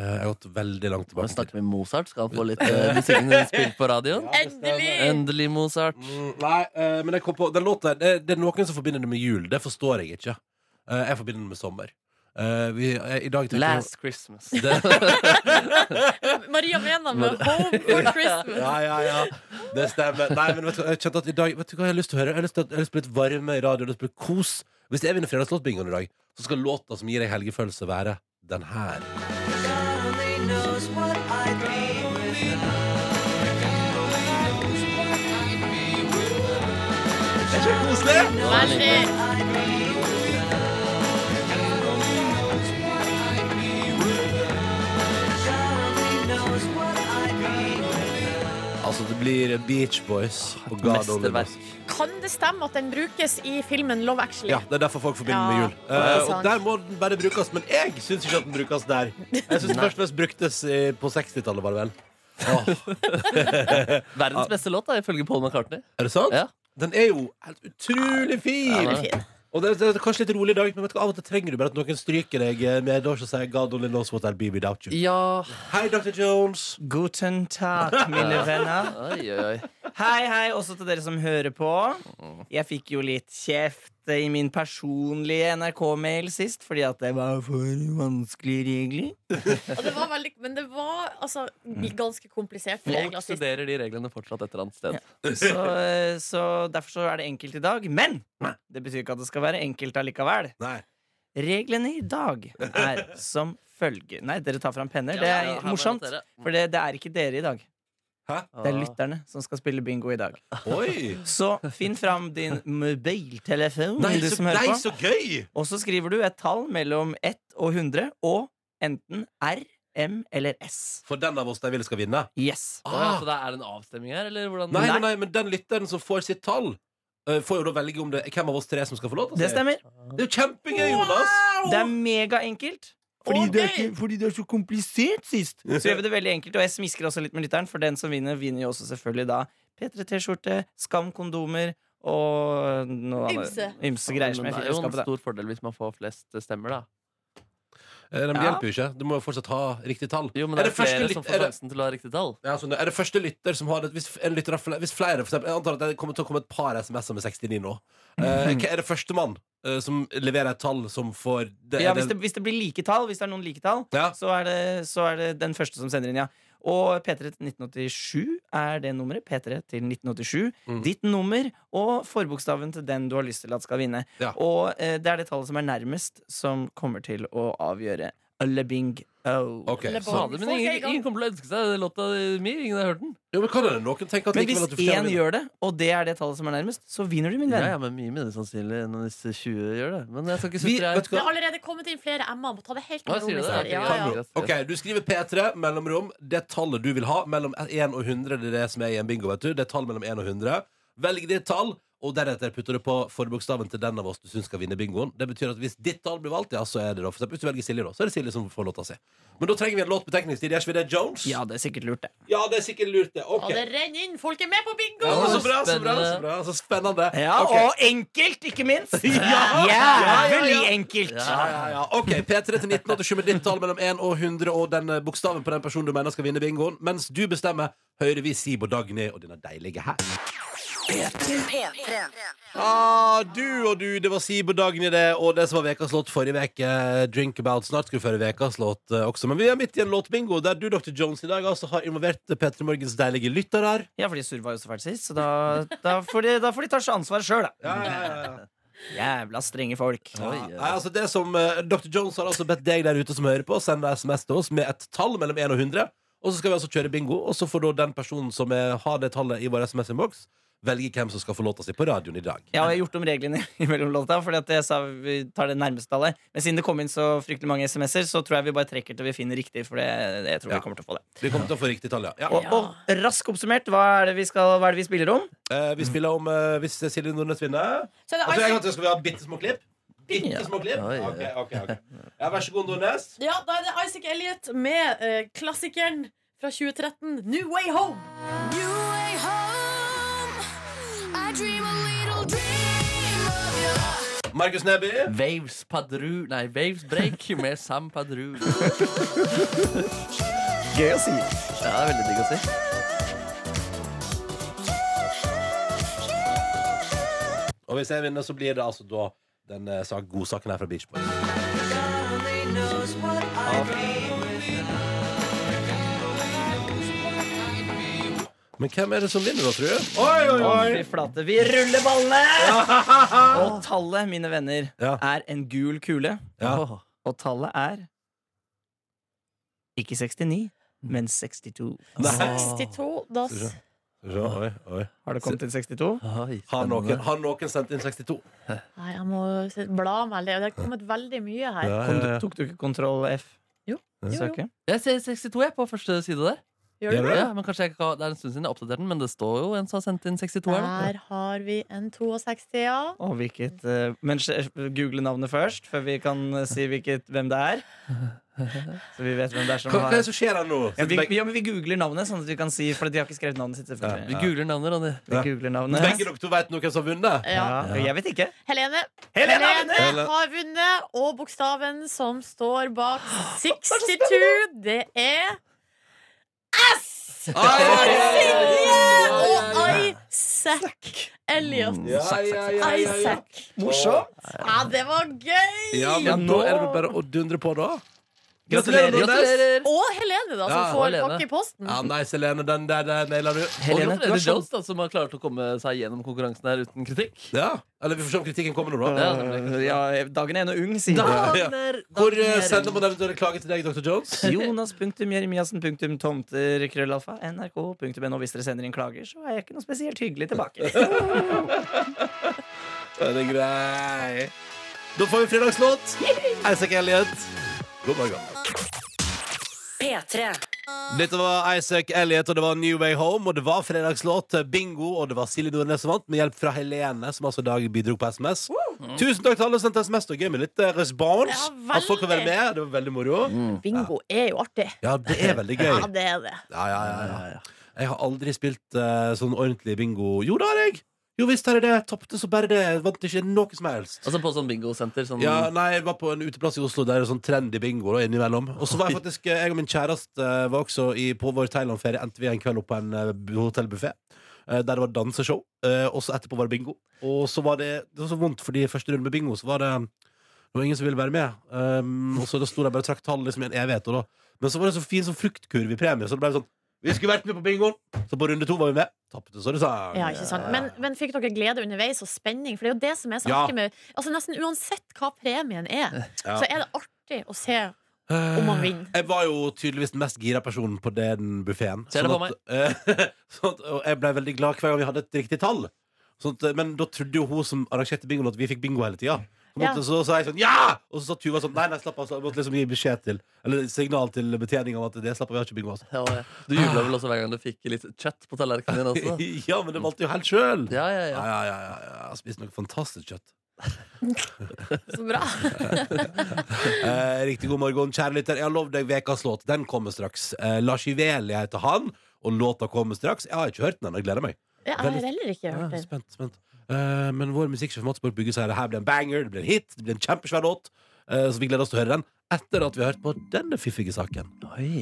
Speaker 2: Eh, jeg har gått veldig langt
Speaker 3: Nå
Speaker 2: tilbake i tid.
Speaker 3: snakker vi Mozart. Skal han få
Speaker 2: (laughs)
Speaker 3: litt uh, musikken sin spilt på radioen?
Speaker 5: Endelig!
Speaker 3: Endelig Mozart.
Speaker 2: Mm, nei, eh, men jeg kom på den låta det, det er noen som forbinder det med jul. Det forstår jeg ikke. Eh, jeg forbinder det med sommer. Eh, vi, jeg, I dag tenker jeg-
Speaker 3: Last Christmas.
Speaker 2: Det,
Speaker 5: (laughs) Maria Mena med Home
Speaker 3: (laughs)
Speaker 5: for Christmas.
Speaker 2: ja, ja, ja. Det stemmer. Nei, men vet du, hva, jeg kjente at i dag Vet du hva jeg har lyst til å høre? Jeg har lyst til, jeg har lyst til litt varme i radioen. Jeg har lyst til litt kos. Hvis jeg vinner fredagslåtbingoen i dag, så skal låta som gir deg helgefølelse, være den her. Er ikke det koselig?
Speaker 5: Veldig.
Speaker 2: Altså, det blir Beach Boys og God Only Knows.
Speaker 3: Mesterverk.
Speaker 5: Kan det stemme at den brukes i filmen Love Actually?
Speaker 2: Ja, Det er derfor folk forbinder med
Speaker 5: Ja,
Speaker 2: jul.
Speaker 5: det er
Speaker 2: Eh, og
Speaker 5: sant.
Speaker 2: der må den bare brukes, men jeg syns ikke at den brukes der. Jeg syns først og fremst bruktes i- på 60-tallet, var det vel.
Speaker 3: Verdens beste låt, da, ifølge Paul McCartney.
Speaker 2: Er det sant?
Speaker 3: Ja.
Speaker 2: Den er jo helt utrolig fin!
Speaker 3: Ja,
Speaker 5: Den er fin.
Speaker 2: og det, det er kanskje litt rolig i dag, men vet du, hva, av og til trenger du bare at noen stryker deg eh, med et år som sier God only knows what I'll be without you.
Speaker 3: Ja
Speaker 2: Hei, Dr. Jones.
Speaker 1: Guten tak, mine
Speaker 3: (laughs)
Speaker 1: venner.
Speaker 3: Oi, oi, Mm. oi.
Speaker 1: Hei, hei, også til dere som hører på. Jeg fikk jo litt kjeft i min personlige NRK-mail sist fordi at det var for vanskelige regler.
Speaker 5: Og det var veldig, men det var altså,
Speaker 2: Mm.
Speaker 5: ganske kompliserte
Speaker 3: Folk
Speaker 5: regler. sist.
Speaker 3: studerer de reglene fortsatt et eller annet sted.
Speaker 1: Så, eh, så derfor så er det enkelt i dag. Men det betyr ikke at det skal være enkelt allikevel.
Speaker 2: Nei.
Speaker 1: Reglene i dag er som følger Nei, dere tar fram penner. Det
Speaker 3: Ja, ja, ja,
Speaker 1: er
Speaker 3: her må jeg
Speaker 1: morsomt,
Speaker 3: notere.
Speaker 1: for det, det er ikke dere i dag.
Speaker 2: Hæ?
Speaker 1: Det er lytterne som skal spille bingo i dag.
Speaker 2: Oi!
Speaker 1: Så finn fram din mobiltelefon,
Speaker 2: Nei,
Speaker 1: du
Speaker 2: så,
Speaker 1: som
Speaker 2: nei,
Speaker 1: hører på.
Speaker 2: så gøy!
Speaker 1: Og så skriver du et tall mellom 1 og 100 og enten R, M eller S.
Speaker 2: For den av oss de vil skal vinne.
Speaker 1: Yes.
Speaker 3: Å, ja,
Speaker 2: Ah,
Speaker 3: så altså, det er en avstemning her, eller hvordan?
Speaker 2: nei, nei, nei, men den lytteren som får sitt tall, eh, får jo da velge om det hvem av oss tre som skal få låta
Speaker 1: Det stemmer.
Speaker 2: Det er jo kjempegøy, Jonas!
Speaker 1: Det er megaenkelt.
Speaker 5: Fordi det er ikke-
Speaker 1: så komplisert sist. Så gjør vi det veldig enkelt, og jeg smisker også litt med lytteren, for den som vinner, vinner jo også selvfølgelig da P3T-skjorte, Skam kondomer og eh, noe annet.
Speaker 5: Ymse.
Speaker 1: Ymse greier som
Speaker 3: Men
Speaker 1: jeg
Speaker 3: det
Speaker 1: fikk i
Speaker 3: er jo en
Speaker 1: skapet. da.
Speaker 3: stor fordel hvis man får flest stemmer, da.
Speaker 2: Eh, De
Speaker 1: Ja.
Speaker 2: hjelper jo ikke. Du må jo fortsatt ha riktig tall.
Speaker 3: Jo, men det er,
Speaker 2: første
Speaker 3: flere
Speaker 2: lyt-
Speaker 3: som
Speaker 2: er
Speaker 3: får
Speaker 2: det-
Speaker 3: sjansen til å ha riktig tall.
Speaker 2: Ja, sånn, er det første lytter som har det Hvis, en lytter har flere, hvis flere for eksempel, Jeg antar at det kommer til å komme et par SMS-er med 69 nå.
Speaker 3: (clears throat)
Speaker 2: Eh, hva er det førstemann uh, som leverer et tall som får det,
Speaker 1: Ja,
Speaker 2: er
Speaker 1: hvis det, hvis det blir like tall, hvis det er noen like tall,
Speaker 2: Ja.
Speaker 1: så, er det, så er det den første som sender inn, ja. Og P3 til 1987 er det nummeret. P3 til 1987.
Speaker 2: Mm.
Speaker 1: Ditt nummer og forbokstaven til den du har lyst til at skal vinne.
Speaker 2: Ja.
Speaker 1: Og eh, det er det tallet som er nærmest, som kommer til å avgjøre. Alle bing oh.
Speaker 2: Ok,
Speaker 5: Eller
Speaker 2: så,
Speaker 5: barn.
Speaker 3: Fader, men
Speaker 5: Folk er i
Speaker 3: ingen,
Speaker 5: gang.
Speaker 3: ingen kommer til å ønske seg den låta mi. Ingen har hørt den.
Speaker 2: jo, men kan det noen tenke at
Speaker 1: Men
Speaker 2: likevel
Speaker 1: hvis
Speaker 2: at du fortjener
Speaker 1: én
Speaker 2: det?
Speaker 1: gjør det, og det er det tallet som er nærmest, så vinner du, min
Speaker 3: Ja,
Speaker 1: venn.
Speaker 3: ja, men Mye mindre sannsynlig enn hvis 20 gjør det. Men jeg skal ikke
Speaker 2: Vi-
Speaker 3: sutre
Speaker 2: vet du
Speaker 3: her.
Speaker 5: Det har allerede kommet inn flere M-er. Må ta det helt
Speaker 3: Hva
Speaker 5: med ro.
Speaker 3: sier du
Speaker 5: mister.
Speaker 3: det?
Speaker 5: Ja,
Speaker 3: Kan
Speaker 5: ja.
Speaker 3: du-
Speaker 2: Ok, Du skriver P3, mellomrom, det tallet du vil ha. Mellom 1 og 100. Det er det som er i en bingo. vet du Det er tall mellom 1 og 100. Velg ditt tall, Og deretter putter du på forbokstaven til den av oss du syns skal vinne bingoen. Det betyr at hvis ditt tall blir valgt, ja, så er det da for eksempel, Hvis du velger Silje, da, så er det Silje som får låta si. Men da trenger vi en låt på tekningstid. Gjør ikke vi det, Jones?
Speaker 1: Ja, det er sikkert lurt, det.
Speaker 2: Ja,
Speaker 1: (laughs)
Speaker 2: det er sikkert lurt, det.
Speaker 5: Og
Speaker 2: Ok.
Speaker 5: det renner inn! Folk er med på bingo!
Speaker 2: Ja, så bra, så bra, så
Speaker 3: Spennende.
Speaker 2: bra. Så spennende.
Speaker 1: Ja,
Speaker 2: Ok.
Speaker 1: Og enkelt, ikke minst!
Speaker 2: Ja.
Speaker 1: Jævlig enkelt!
Speaker 2: Ja, ja, ja. Ok, P3 til 1987 med ditt tall mellom 1 og 100 og den eh, bokstaven på den personen du mener skal vinne bingoen. Mens du bestemmer, hører vi Sibo Dagny og denne deilige her.
Speaker 4: P3.
Speaker 2: Ah, du og du, det var Sibo Dagny det, og det som var ukas låt forrige uke. Drink About Snart skulle føre ukas låt eh, også. Men vi er midt i en låtbingo der du, Dr. Jones, i dag altså har involvert P3 Morgens deilige lyttere.
Speaker 1: Ja, fordi Surr var jo så fæl sist, så da, da, får de, da får de ta ansvaret sjøl, da.
Speaker 2: Ja, ja, ja, ja.
Speaker 1: Jævla strenge folk.
Speaker 2: Ja.
Speaker 3: Oi,
Speaker 2: Nei,
Speaker 3: ja.
Speaker 2: altså det som eh, Dr. Jones har altså bedt deg der ute som hører på, sende SMS til oss med et tall mellom 1 og 100. Og så skal vi altså kjøre bingo, og så får da den personen som eh, har det tallet i vår SMS-innboks, velge hvem som skal få låta si på radioen i dag.
Speaker 1: Ja, og jeg har gjort om reglene (laughs) i mellomlåta, Fordi at jeg sa vi tar det nærmeste tallet. Men siden det kom inn så fryktelig mange SMS-er, så tror jeg vi bare trekker til vi finner riktig. For det, jeg tror
Speaker 2: Ja.
Speaker 1: vi kommer til å få det
Speaker 2: Vi kommer til å få riktig tall, ja. ja.
Speaker 1: Og, og raskt oppsummert, hva er det vi, skal, hva er det vi spiller om?
Speaker 2: Eh,
Speaker 3: Mm.
Speaker 2: vi spiller om eh, hvis Silje Nordnes vinner.
Speaker 5: Så det
Speaker 2: Altså,
Speaker 5: er
Speaker 2: jeg,
Speaker 5: Ice-
Speaker 2: vet, skal vi ha bitte små klipp? Bitte små klipp?
Speaker 3: Oi, oi.
Speaker 2: Ok, ok, ok. Ja, vær så god, Nordnes.
Speaker 5: ja, da er det Isaac Elliot med eh, klassikeren fra 2013, New Way Home.
Speaker 6: New way home. I dream a little dream of your love.
Speaker 2: Markus Neby.
Speaker 3: Waves Padru Nei, Waves Break med Sam Padru.
Speaker 1: Gøy å si.
Speaker 3: Ja, det er veldig digg å si.
Speaker 2: Og hvis jeg vinner, så blir det altså da den eh, sak- godsaken her fra Beach Boys. Men hvem er det som vinner, da, tror du? Oi, oi,
Speaker 1: Fy flate. Vi ruller ballene!
Speaker 2: (laughs)
Speaker 1: Og tallet, mine venner,
Speaker 2: Ja.
Speaker 1: er en gul kule.
Speaker 2: Ja.
Speaker 3: Åh.
Speaker 1: Og tallet er ikke 69, men 62.
Speaker 3: Nei.
Speaker 5: 62, da s-
Speaker 2: Så, oi, oi.
Speaker 1: Har det kommet til 62?
Speaker 3: Oi,
Speaker 2: Har, noen,
Speaker 3: spennende.
Speaker 2: har noen sendt inn 62?
Speaker 5: Nei, jeg må se- bla meg litt. Det har kommet veldig mye her.
Speaker 1: Kom, du, tok du ikke kontroll F?
Speaker 5: Jo. Jo, jo.
Speaker 1: Søke?
Speaker 3: Jeg ser 62 jeg på første side der.
Speaker 5: Gjør
Speaker 2: Gjør
Speaker 5: du
Speaker 2: du
Speaker 5: det?
Speaker 3: Ja, men kanskje jeg ikke har, Det er en stund siden jeg oppdaterte den, men det står jo en som har sendt inn 62 her. da.
Speaker 5: Der har vi en 62, ja.
Speaker 1: Og hvilket eh, Men sj- google navnet først, før vi kan eh, si hvilket, hvem det er. Så vi vet hvem det er som
Speaker 2: Hva, hva er
Speaker 1: har
Speaker 2: det som skjer her nå?
Speaker 1: ja, vi,
Speaker 2: Sitter begge,
Speaker 1: ja, men vi googler navnet, sånn at vi kan si For de har ikke skrevet navnet sitt, selvfølgelig.
Speaker 3: Vi googler navnet, Ronny.
Speaker 1: Vi googler navnet.
Speaker 2: begge dere to vet nå hvem som har vunnet?
Speaker 5: ja.
Speaker 1: Ja, jeg vet ikke.
Speaker 5: Helene.
Speaker 1: Helene!
Speaker 2: Helene!
Speaker 5: har vunnet, og bokstaven som står bak 62, det er S!
Speaker 2: Ai, ai, ai,
Speaker 5: Silje
Speaker 2: ai,
Speaker 5: og
Speaker 2: ai, ai.
Speaker 5: Isaac Elliot.
Speaker 2: Ja, ja, ja, ja, ja.
Speaker 5: Isaac.
Speaker 1: Morsomt!
Speaker 5: Ja, det var gøy!
Speaker 2: Ja, men nå er det vel bare å dundre på, da.
Speaker 1: Gratulerer.
Speaker 2: Nordnes.
Speaker 3: Gratulerer!
Speaker 5: Og Helene, da,
Speaker 2: Ja,
Speaker 5: som får
Speaker 3: Helene.
Speaker 5: pakke i posten.
Speaker 2: Ja, nice, Helene. Den der, der naila du.
Speaker 3: Og
Speaker 1: Helene,
Speaker 3: gratulerer til
Speaker 1: gratulasjon.
Speaker 3: Jones, da, som har klart å komme seg gjennom konkurransen her uten kritikk.
Speaker 2: Ja, Eller vi får se om kritikken kommer nå, da.
Speaker 3: Ja, det blir kanskje-
Speaker 1: Ja, dagen er ennå ung, sier
Speaker 3: Da-
Speaker 1: de.
Speaker 2: Ja. Hvor eh, sender man eventuelle klager til deg, Dr. (laughs) Jones?
Speaker 1: Jonas.jeremiassen.tomter.krøllalfa nrk.no Hvis dere sender inn klager, så er jeg ikke noe spesielt hyggelig tilbake.
Speaker 2: (laughs) Er det grei? Da får vi fredagslåt. Isaac Elliot. God morgen.
Speaker 4: P3.
Speaker 2: Dette var Isaac Elliot, og det var New Way Home, og det var fredagslåt, eh, bingo, og det var Silje Nordnes som vant, med hjelp fra Helene, som altså i dag bidro på SMS. Tusen takk til alle som sendte SMS, og gøy med litt eh, respons.
Speaker 5: Ja, veldig.
Speaker 2: At folk kan være med. Det var veldig moro.
Speaker 5: Bingo er jo artig.
Speaker 2: Ja, det er veldig
Speaker 5: (laughs)
Speaker 2: gøy.
Speaker 5: Ja, det er det.
Speaker 2: Ja, ja, ja, ja, ja. Jeg har aldri spilt eh, sånn ordentlig bingo. Jo, det har jeg! Jo visst har jeg det. Tapte så bare det. Vant ikke noe som helst.
Speaker 3: Altså på sånn bingosenter. Sånn,
Speaker 2: Ja, nei, jeg var på en uteplass i Oslo der det er sånn trendy bingo da, innimellom. Og så var jeg faktisk, eh, jeg og min kjæreste eh, var også i, på vår Thailand-ferie, endte vi en kveld opp på en eh, hotellbuffé. Der det var danseshow, eh, og så etterpå var det bingo. Og så var det, det var så vondt, fordi første runde med bingo, så var det det var ingen som ville være med. Um, og så da sto de bare og trakk tall liksom, i en evighet. Og da. Men så var det så fin sånn fruktkurv i premie. Så det ble sånn Vi skulle vært med på bingoen! Så på runde to var vi med. Tapte, så det sa
Speaker 5: Ja, ikke sant? Men, men fikk dere glede underveis og spenning? For det er jo det som er så
Speaker 2: Ja.
Speaker 5: artig med Altså Nesten uansett hva premien er,
Speaker 2: Ja.
Speaker 5: så er det artig å se om man vinner.
Speaker 2: Eh, Jeg var jo tydeligvis den mest gira personen på den buffeen.
Speaker 3: Ser det på meg.
Speaker 2: (laughs) sånn at, og jeg ble veldig glad hver gang vi hadde et riktig tall. Sånn at, men da trodde jo hun som arrangerte bingoen, at vi fikk bingo hele tida. Så, måtte,
Speaker 5: Ja.
Speaker 2: så sa jeg sånn Ja! Og så sa Tuva sånn Nei, nei, slapp av. slapp av». Jeg måtte liksom gi beskjed til Eller signal til betjeningen om at det slapp av, vi har ikke altså." bygd oss.
Speaker 3: Ja, ja. Du jubla vel også hver gang du fikk litt kjøtt på tallerkenen din også?
Speaker 2: (laughs) ja, men det valgte jo helt sjøl. Ja.
Speaker 3: Ja, ja,
Speaker 2: Ja,
Speaker 3: ja.
Speaker 2: ja, ja, ja. Jeg har spist noe fantastisk kjøtt.
Speaker 5: (laughs) Så bra.
Speaker 2: (laughs) Eh, riktig god morgen, kjære lytter. Jeg har lovd deg ukas låt. Den kommer straks. Eh, Lars Iveli heter han, og låta kommer straks. Jeg har ikke hørt den ennå. Jeg Gleder meg.
Speaker 5: Ja, jeg har heller ikke
Speaker 2: Ja,
Speaker 5: hørt det.
Speaker 2: spent, spent. Eh, men vår musikksjef Mats Borg Bugge sier det her blir en banger, det blir en hit, det blir en kjempesvær låt. Eh, så vi gleder oss til å høre den etter at vi har hørt på denne fiffige saken.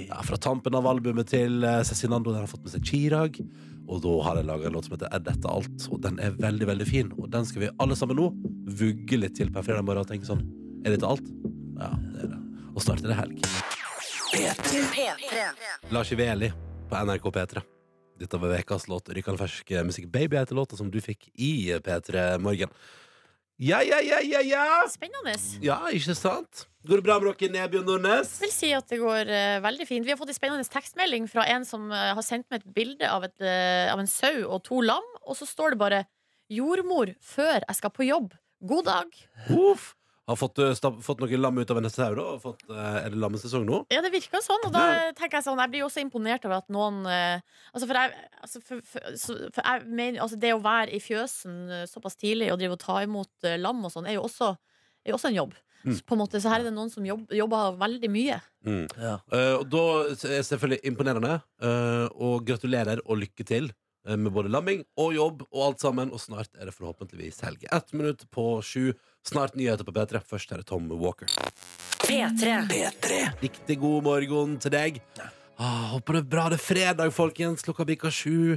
Speaker 2: Ja, fra tampen av albumet til eh, Cezinando, der han har fått med seg Chirag. Og da har jeg laga en låt som heter Er dette alt? Og den er veldig, veldig fin. Og den skal vi alle sammen nå vugge litt til på en fredag morgen og tenke sånn Er dette alt? Ja, det er det. Og snart er det helg.
Speaker 4: P3.
Speaker 2: Lars Iveli på NRK P3. Dette var ukas låt. Rykkan fersk musikk. Baby heter låta som du fikk i P3 Morgen. Ja, ja, ja, ja, ja!
Speaker 5: Spennende.
Speaker 2: Ja, ikke sant? Går det bra med dere, Nebjørn Nordnes?
Speaker 5: vil si at det går eh, veldig fint. Vi har fått en spennende tekstmelding fra en som eh, har sendt meg et bilde av, et, eh, av en sau og to lam, og så står det bare 'Jordmor før jeg skal på jobb'. God dag.
Speaker 2: Uff. Har fått, eh, stapp, fått noen lam ut av en sau, da? og Fått, eh, er det lammesesong nå?
Speaker 5: Ja, det virker jo sånn, og da tenker jeg sånn Jeg blir jo også imponert over at noen eh, Altså, for jeg, altså, for, for, så- for jeg mener altså, Det å være i fjøsen eh, såpass tidlig og drive og ta imot eh, lam og sånn, er jo også, er jo også en jobb.
Speaker 2: Mm.
Speaker 5: Så, på en måte, så her er det noen som jobb, jobber veldig (laughs) mye.
Speaker 3: ja.
Speaker 2: Eh, og da er selvfølgelig imponerende. eh, og gratulerer og lykke til eh, med både lamming og jobb og alt sammen. Og snart er det forhåpentligvis helg. Ett minutt på sju. Snart nyheter på P3. Først er det Tom Walker.
Speaker 4: P3.
Speaker 2: Riktig god morgen til deg. Ah, håper det er bra. Det er fredag, folkens. Klokka bikker sju.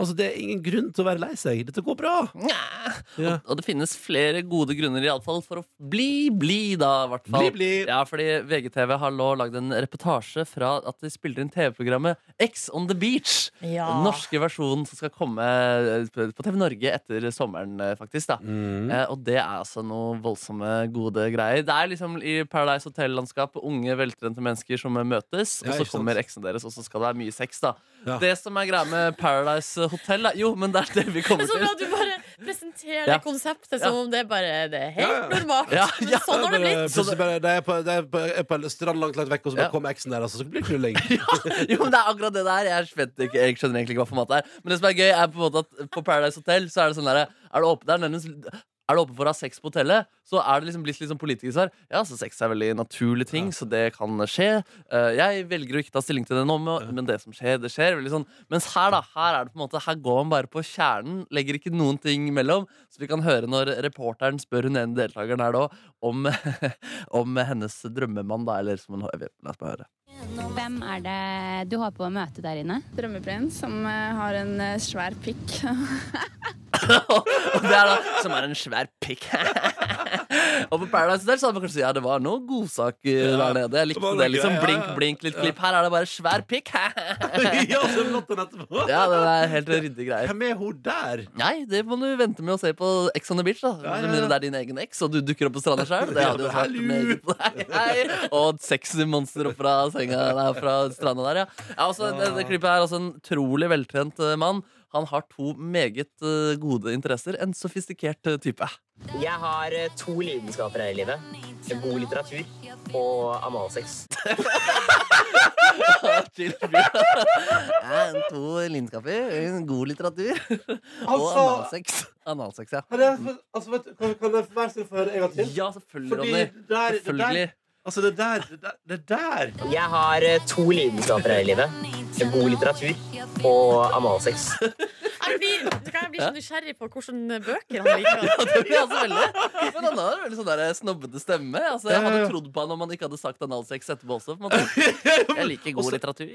Speaker 2: Altså, Det er ingen grunn til å være lei seg. Dette går bra. Ja.
Speaker 3: Og det finnes flere gode grunner i alle fall for å bli bli, da. i Hvert fall.
Speaker 2: Bli, bli.
Speaker 3: Ja, fordi VGTV har nå lagd en reportasje fra at de spilte inn TV-programmet X on the Beach. Den norske versjonen som skal komme eh, på TV Norge etter sommeren, eh, faktisk. da
Speaker 2: Mm.
Speaker 3: eh, Og det er altså noe voldsomme gode greier. Det er liksom i Paradise Hotel-landskap unge, veltrente mennesker som eh, møtes,
Speaker 2: Ja,
Speaker 3: og
Speaker 2: ikke
Speaker 3: så
Speaker 2: sant.
Speaker 3: kommer eksen deres, og så skal det være mye sex, da.
Speaker 2: Ja.
Speaker 3: Det som er greia med Paradise Hotel, da Jo, men det er det vi kommer
Speaker 5: Så
Speaker 3: til.
Speaker 5: bra at du bare presenterer
Speaker 3: Ja.
Speaker 5: det konseptet
Speaker 3: Ja.
Speaker 5: som om det bare det er helt
Speaker 2: Ja, ja.
Speaker 5: normalt.
Speaker 3: Ja, ja.
Speaker 5: Men sånn har det blitt.
Speaker 2: Plutselig bare, de er på, de er på, er på en strand langt langt vekk, og så bare
Speaker 3: Ja.
Speaker 2: kommer eksen der. Altså, så blir det knulling.
Speaker 3: (laughs) Jo, men det er akkurat det der. Jeg, vet ikke, jeg skjønner egentlig ikke hva formatet er. Men det som er gøy, er på en måte at på Paradise Hotel så er det sånn derre Er du åpen der? nærmest- Er du åpen for å ha sex på hotellet? Så er det liksom blitt litt sånn politikersvar. Ja, så sex er veldig naturlig ting, så det kan skje. Eh, Jeg velger å ikke ta stilling til det nå, men men det som skjer, det skjer. Veldig sånn. Mens her, da, her er det på en måte Her går man bare på kjernen, legger ikke noen ting mellom. Så vi kan høre når reporteren spør hun ene deltakeren her da om, (laughs) om hennes drømmemann, da, eller som hun har La oss bare høre.
Speaker 7: Hvem er det du håper på å møte der inne?
Speaker 8: drømmeprinsen som eh, har en eh, svær pikk. (laughs)
Speaker 3: Og det er da, som er en svær pikk. (laughs) og på Paradise Hotel så hadde man kanskje sagt ja, det var noen godsaker der
Speaker 2: det
Speaker 3: nede. Jeg
Speaker 2: var
Speaker 3: likte det.
Speaker 2: noe
Speaker 3: liksom
Speaker 2: greier, ja,
Speaker 3: Blink,
Speaker 2: ja.
Speaker 3: blink, litt klipp. Her er det bare svær pikk. (laughs)
Speaker 2: ja, så blått den etterpå.
Speaker 3: ja, det er helt ryddige greier.
Speaker 2: Hvem er hun der?
Speaker 3: Nei, det må du vente med å se på Ex on the Beach. da
Speaker 2: Ja, ja,
Speaker 3: Med mindre
Speaker 2: ja.
Speaker 3: det er din egen eks, og du dukker opp på stranda sjøl. Det
Speaker 2: Ja,
Speaker 3: hadde jo
Speaker 2: men
Speaker 3: vært meget Nei, nei. Og et sexy monster opp fra senga Nei, fra stranda der, ja. ja også, det,
Speaker 2: Ah.
Speaker 3: det klippet er altså en utrolig veltrent eh, mann. Han har to meget eh, gode interesser. En sofistikert eh, type.
Speaker 9: Jeg har eh, to lidenskaper her i livet. God litteratur og analsex.
Speaker 3: Chill fyr. Ja, to lidenskaper, en god litteratur og
Speaker 2: Altså-
Speaker 3: analsex. Analsex, ja. Mm. (laughs)
Speaker 2: Altså, vet, kan, kan jeg være snill få høre en gang
Speaker 3: Ja, selvfølgelig, Ronny.
Speaker 2: der,
Speaker 3: Selvfølgelig.
Speaker 2: altså, det der, det der, det der.
Speaker 9: Jeg har eh, to lidenskaper her i livet. God
Speaker 3: eh,
Speaker 9: litteratur og analsex.
Speaker 5: Jeg blir, vet du hva, jeg blir så nysgjerrig på hvilke bøker
Speaker 3: (laughs)
Speaker 5: han liker.
Speaker 3: Det blir altså veldig Men han har en veldig sånn der snobbete stemme. Altså, jeg hadde trodd på han om han ikke hadde sagt analsex etterpå også. på en måte. Jeg liker god litteratur.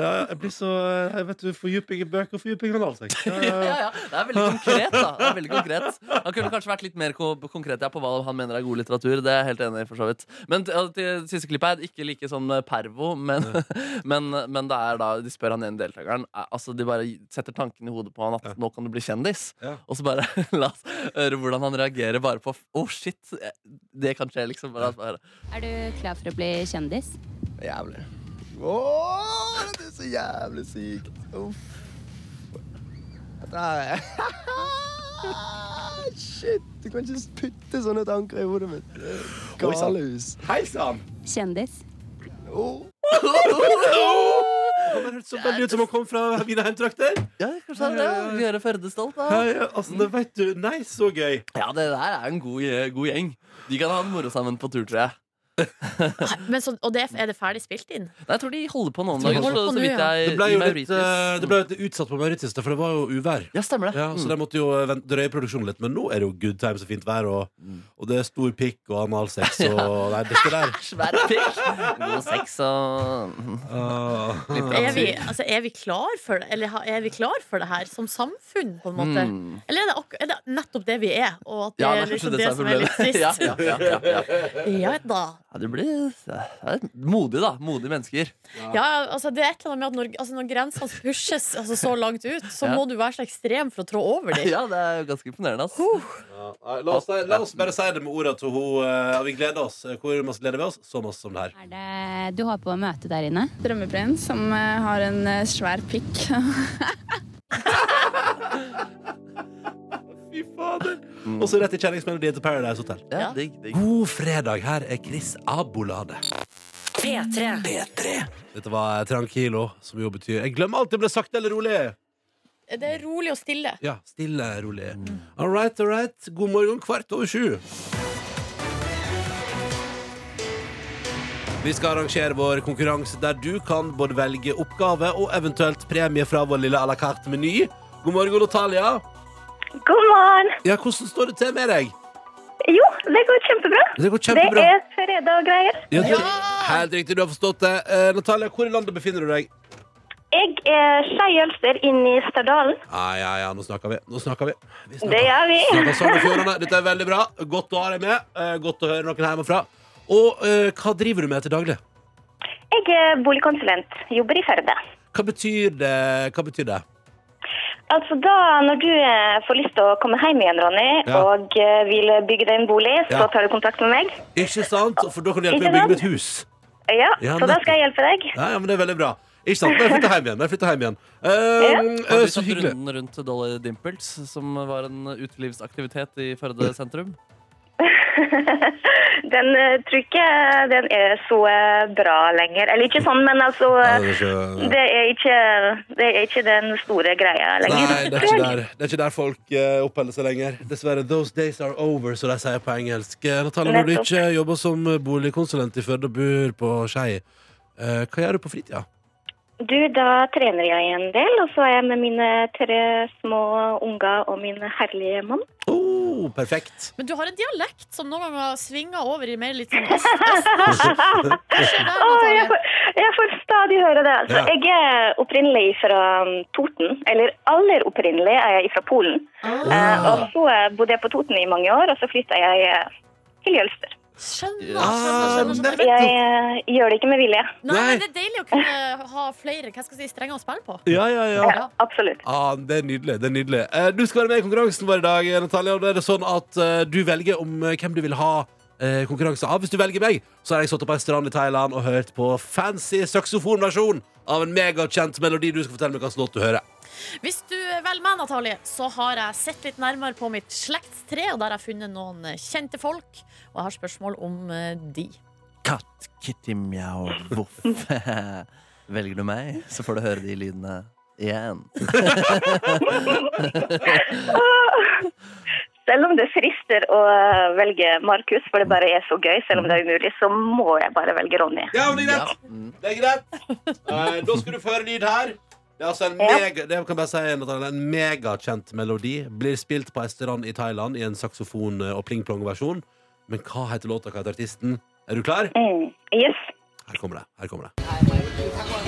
Speaker 2: Ja, jeg blir så eh, jeg vet du, Fordyping i bøker og fordyping i analsex.
Speaker 3: (laughs) Ja, ja. Det er veldig konkret, da. Det er veldig konkret. Han kunne kanskje vært litt mer ko konkret ja, på hva han mener er god litteratur. Det er jeg helt enig i, for så vidt. Men til, til siste klippet er ikke like sånn eh, pervo, men, (laughs) men, men det er da de spør han ene deltakeren eh, Altså, de bare setter tanken i hodet på han at nå kan du bli kjendis.
Speaker 2: Ja.
Speaker 3: Og så bare (laughs) la oss høre hvordan han reagerer bare på Å, shit! eh, Det kan skje, liksom. Bare, bare,
Speaker 7: Er du klar for å bli kjendis?
Speaker 3: Jævlig. det er så jævlig sykt. Uff.
Speaker 10: (laughs) Shit, du kan ikke putte sånne tanker i hodet mitt.
Speaker 2: Oi, sant.
Speaker 10: Galehus.
Speaker 2: Hei sann!
Speaker 7: Kjendis.
Speaker 2: Det hørtes så veldig ut som hun kom fra mine heimtrakter.
Speaker 3: Ja, kanskje det er det. Vi hører Førdestalt, da.
Speaker 2: Ja, ja, altså, det vet du. Nei, så gøy.
Speaker 3: Ja, det der er en god, eh, god gjeng. De kan ha det moro sammen på tur, tror jeg.
Speaker 5: Men så, og det, er det ferdig spilt inn?
Speaker 3: Nei, jeg tror de holder på nå om
Speaker 5: Tror de
Speaker 3: dagen.
Speaker 5: holder
Speaker 3: Så,
Speaker 5: på
Speaker 3: så
Speaker 5: nå,
Speaker 3: vidt
Speaker 5: ja.
Speaker 3: jeg
Speaker 2: Det ble jo
Speaker 3: i
Speaker 2: litt, eh,
Speaker 3: Mauritius.
Speaker 2: det ble jo litt utsatt på Mauritius, da, for det var jo uvær.
Speaker 3: Ja, stemmer det.
Speaker 2: Ja, så
Speaker 3: Mm.
Speaker 2: de måtte jo vent- drøye produksjonen litt, men nå er det jo good times og fint vær, og,
Speaker 3: Mm.
Speaker 2: og det er stor pikk og analsex
Speaker 3: (laughs)
Speaker 2: og Nei, det er ikke der.
Speaker 3: Svær pikk. God sex og
Speaker 2: Ah.
Speaker 5: Er vi, altså, er, vi klar for, det? eller ha- er vi klar for det her som samfunn, på en måte?
Speaker 3: Mm.
Speaker 5: Eller er det, akkur- er det nettopp det vi er, og at det
Speaker 3: Ja,
Speaker 5: er
Speaker 3: det er kanskje
Speaker 5: liksom
Speaker 3: det
Speaker 5: det
Speaker 3: som
Speaker 5: som
Speaker 3: er
Speaker 5: er litt
Speaker 3: problemet. (laughs) Ja,
Speaker 5: trist?
Speaker 3: ja, ja, ja, ja.
Speaker 5: Ja da.
Speaker 3: Ja, det blir det er modig, da. Modige mennesker.
Speaker 5: Ja, altså, det er et eller annet med at når, altså, når grensene pushes altså, så langt ut, så
Speaker 3: Ja.
Speaker 5: må du være så ekstrem for å trå over
Speaker 2: (laughs)
Speaker 5: dem.
Speaker 3: Ja, det er jo ganske imponerende, ass.
Speaker 2: Ja, nei, la, oss, la oss bare si det med ordene til hun eh, Vi gleder oss. Hvor masse gleder vi oss? Så masse som det her.
Speaker 7: Er det du håper å møte der inne?
Speaker 8: Drømmeprins som eh, har en eh, svær pikk. (laughs)
Speaker 2: Fy fader. Og så rett i kjenningsmelodien til Paradise Hotel.
Speaker 3: Mm. Ja, digg, digg.
Speaker 2: God fredag. Her er Chris Abolade.
Speaker 4: P3.
Speaker 2: Dette var Tranquilo, som jo betyr Jeg glemmer alt det ble sagt, eller rolig.
Speaker 5: Det er rolig og stille.
Speaker 2: Ja, stille, rolig. All right, all right. God morgen kvart over sju. Vi skal arrangere vår konkurranse der du kan både velge oppgave og eventuelt premie fra vår lille à la carte-meny. God morgen, Natalia.
Speaker 11: God morgen.
Speaker 2: Ja, hvordan står det til med deg?
Speaker 11: Jo, det går kjempebra.
Speaker 2: Det går
Speaker 11: Det
Speaker 2: kjempebra.
Speaker 11: er fredag og greier.
Speaker 2: Ja, det- Helt riktig, du har forstått det. Eh, Natalia, hvor i landet befinner du deg?
Speaker 11: Jeg er skeiølser inne i Sterdalen.
Speaker 2: Ja, ja, ja, nå snakker vi. Nå snakker vi. vi snakker.
Speaker 11: Det gjør vi.
Speaker 2: Snakker Sogn og Fjordane. Dette er veldig bra. Godt å ha deg med. Eh, Godt å høre noen hjemmefra. Og eh, hva driver du med til daglig?
Speaker 11: (laughs) Jeg er boligkonsulent, jobber i Førde.
Speaker 2: Hva betyr det? Hva betyr det?
Speaker 11: Altså da, når du eh, får lyst til å komme hjem igjen, Ronny,
Speaker 2: Ja.
Speaker 11: og eh, vil bygge deg en bolig, så
Speaker 2: Ja.
Speaker 11: tar du kontakt med meg.
Speaker 2: Ikke sant? For da kan du hjelpe
Speaker 11: Ikke sant?
Speaker 2: meg å bygge meg et hus.
Speaker 11: Ja,
Speaker 2: Ja,
Speaker 11: så da
Speaker 2: nettopp.
Speaker 11: skal jeg hjelpe deg.
Speaker 2: Ja, ja, men det er veldig bra. Ikke sant? Nå har jeg flyttet hjem igjen. Nå har jeg flyttet hjem igjen. Eh,
Speaker 3: Har
Speaker 2: eh,
Speaker 3: du
Speaker 2: så
Speaker 3: tatt
Speaker 2: hyggelig.
Speaker 3: runden rundt Dolly Dimples, som var en utelivsaktivitet i Førde sentrum?
Speaker 11: Den eh, tror ikke den er så eh, bra lenger. Eller ikke sånn, men altså eh,
Speaker 2: Ja, det er ikke-
Speaker 11: det, er ikke, det er ikke den store greia lenger.
Speaker 2: Nei, det er ikke der, det er ikke der folk eh, oppholder seg lenger. Dessverre. Those days are over, som de sier på engelsk. Eh, Natalia, når du
Speaker 11: Nettopp.
Speaker 2: ikke jobber som boligkonsulent i Førde og bor på Skei, eh, hva gjør du på fritida?
Speaker 11: Du, da trener jeg en del, og så er jeg med mine tre små unger og min herlige mann.
Speaker 2: Oh, perfekt.
Speaker 5: Men du har en dialekt som noen ganger svinger over i mer litt sånn øst-øst.
Speaker 11: Åh, jeg, får, jeg får stadig høre det. Altså,
Speaker 2: Ja.
Speaker 11: Jeg er opprinnelig fra um, Toten, eller aller opprinnelig er jeg fra Polen.
Speaker 2: Ah.
Speaker 11: Eh, og så eh, bodde jeg på Toten i mange år, og så flytta jeg eh, til Jølster.
Speaker 5: Skjønner, skjønner,
Speaker 2: Ah,
Speaker 5: skjønner, skjønner.
Speaker 11: Jeg
Speaker 2: nettopp.
Speaker 11: eh, gjør det ikke med
Speaker 2: (laughs)
Speaker 11: vilje.
Speaker 5: Nei,
Speaker 2: Nei.
Speaker 5: men det er deilig å kunne ha flere hva skal jeg si, strenger å spille på.
Speaker 2: Ja, ja, ja.
Speaker 5: Ja.
Speaker 11: Absolutt.
Speaker 2: Ah, det er nydelig. det er nydelig Eh, Du skal være med i konkurransen vår i dag, Natalia. Og da er det sånn at eh, du velger om eh, hvem du vil ha eh, konkurranse av. Hvis du velger meg, så har jeg sittet på en strand i Thailand og hørt på fancy saksofonversjon av en megakjent melodi. Du skal fortelle meg hvilken låt du hører.
Speaker 5: Hvis du velger meg, Natalie, så har jeg sett litt nærmere på mitt slektstre, og der har jeg funnet noen kjente folk, og jeg har spørsmål om eh, de.
Speaker 3: Katt, kitty, mjau, voff. (laughs) Velger du meg, så får du høre de lydene
Speaker 2: (laughs)
Speaker 3: igjen.
Speaker 11: Selv om det frister å eh, velge Markus, for det bare er så gøy, selv om det er umulig, så må jeg bare velge Ronny.
Speaker 2: Ja, men det er
Speaker 3: Ja.
Speaker 2: greit.
Speaker 3: Mm.
Speaker 2: Det er greit. Eh, da skal du få høre lyd her. Det er altså en
Speaker 11: Ja.
Speaker 2: mega, det kan jeg bare si, Natalia, en megakjent melodi. Blir spilt på en strand i Thailand i en saksofon- og pling-plong-versjon. Men hva heter låta, hva heter artisten? Er du klar?
Speaker 11: Mm. Yes.
Speaker 2: Her kommer det. her kommer det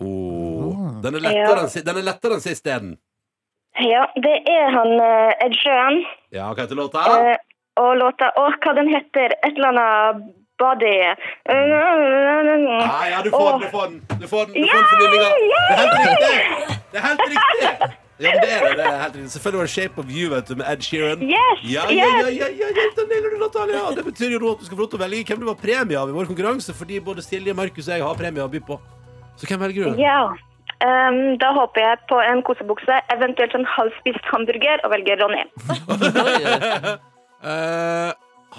Speaker 2: Åh, Den er lettere
Speaker 11: Ja.
Speaker 2: enn si- den er lettere enn sist den.
Speaker 11: Ja, det er han eh, Ed Sheeran.
Speaker 2: Ja, hva heter låta?
Speaker 11: Eh, og låta Å, hva den heter? Et eller annet body
Speaker 2: Nei, Ah, ja, du får den, du får den. Du får den, du får den fornullinga. Det er helt riktig! Det er helt
Speaker 3: (laughs)
Speaker 2: riktig! (laughs) Ja, men det er det, det er helt riktig. Selvfølgelig var det Shape of You vet du, med Ed Sheeran.
Speaker 11: Yes,
Speaker 2: ja, ja, ja,
Speaker 11: yes.
Speaker 2: ja, ja, ja, da nailer du, Natalia. Det betyr jo nå at du skal få lov til å velge hvem du har premie av i vår konkurranse, fordi både Silje, Markus og jeg har premie å by på. Så hvem velger du?
Speaker 11: Ja. Ehm, da håper jeg på en kosebukse, eventuelt en halvspist hamburger, og velger Ronny.
Speaker 2: (laughs) Eh,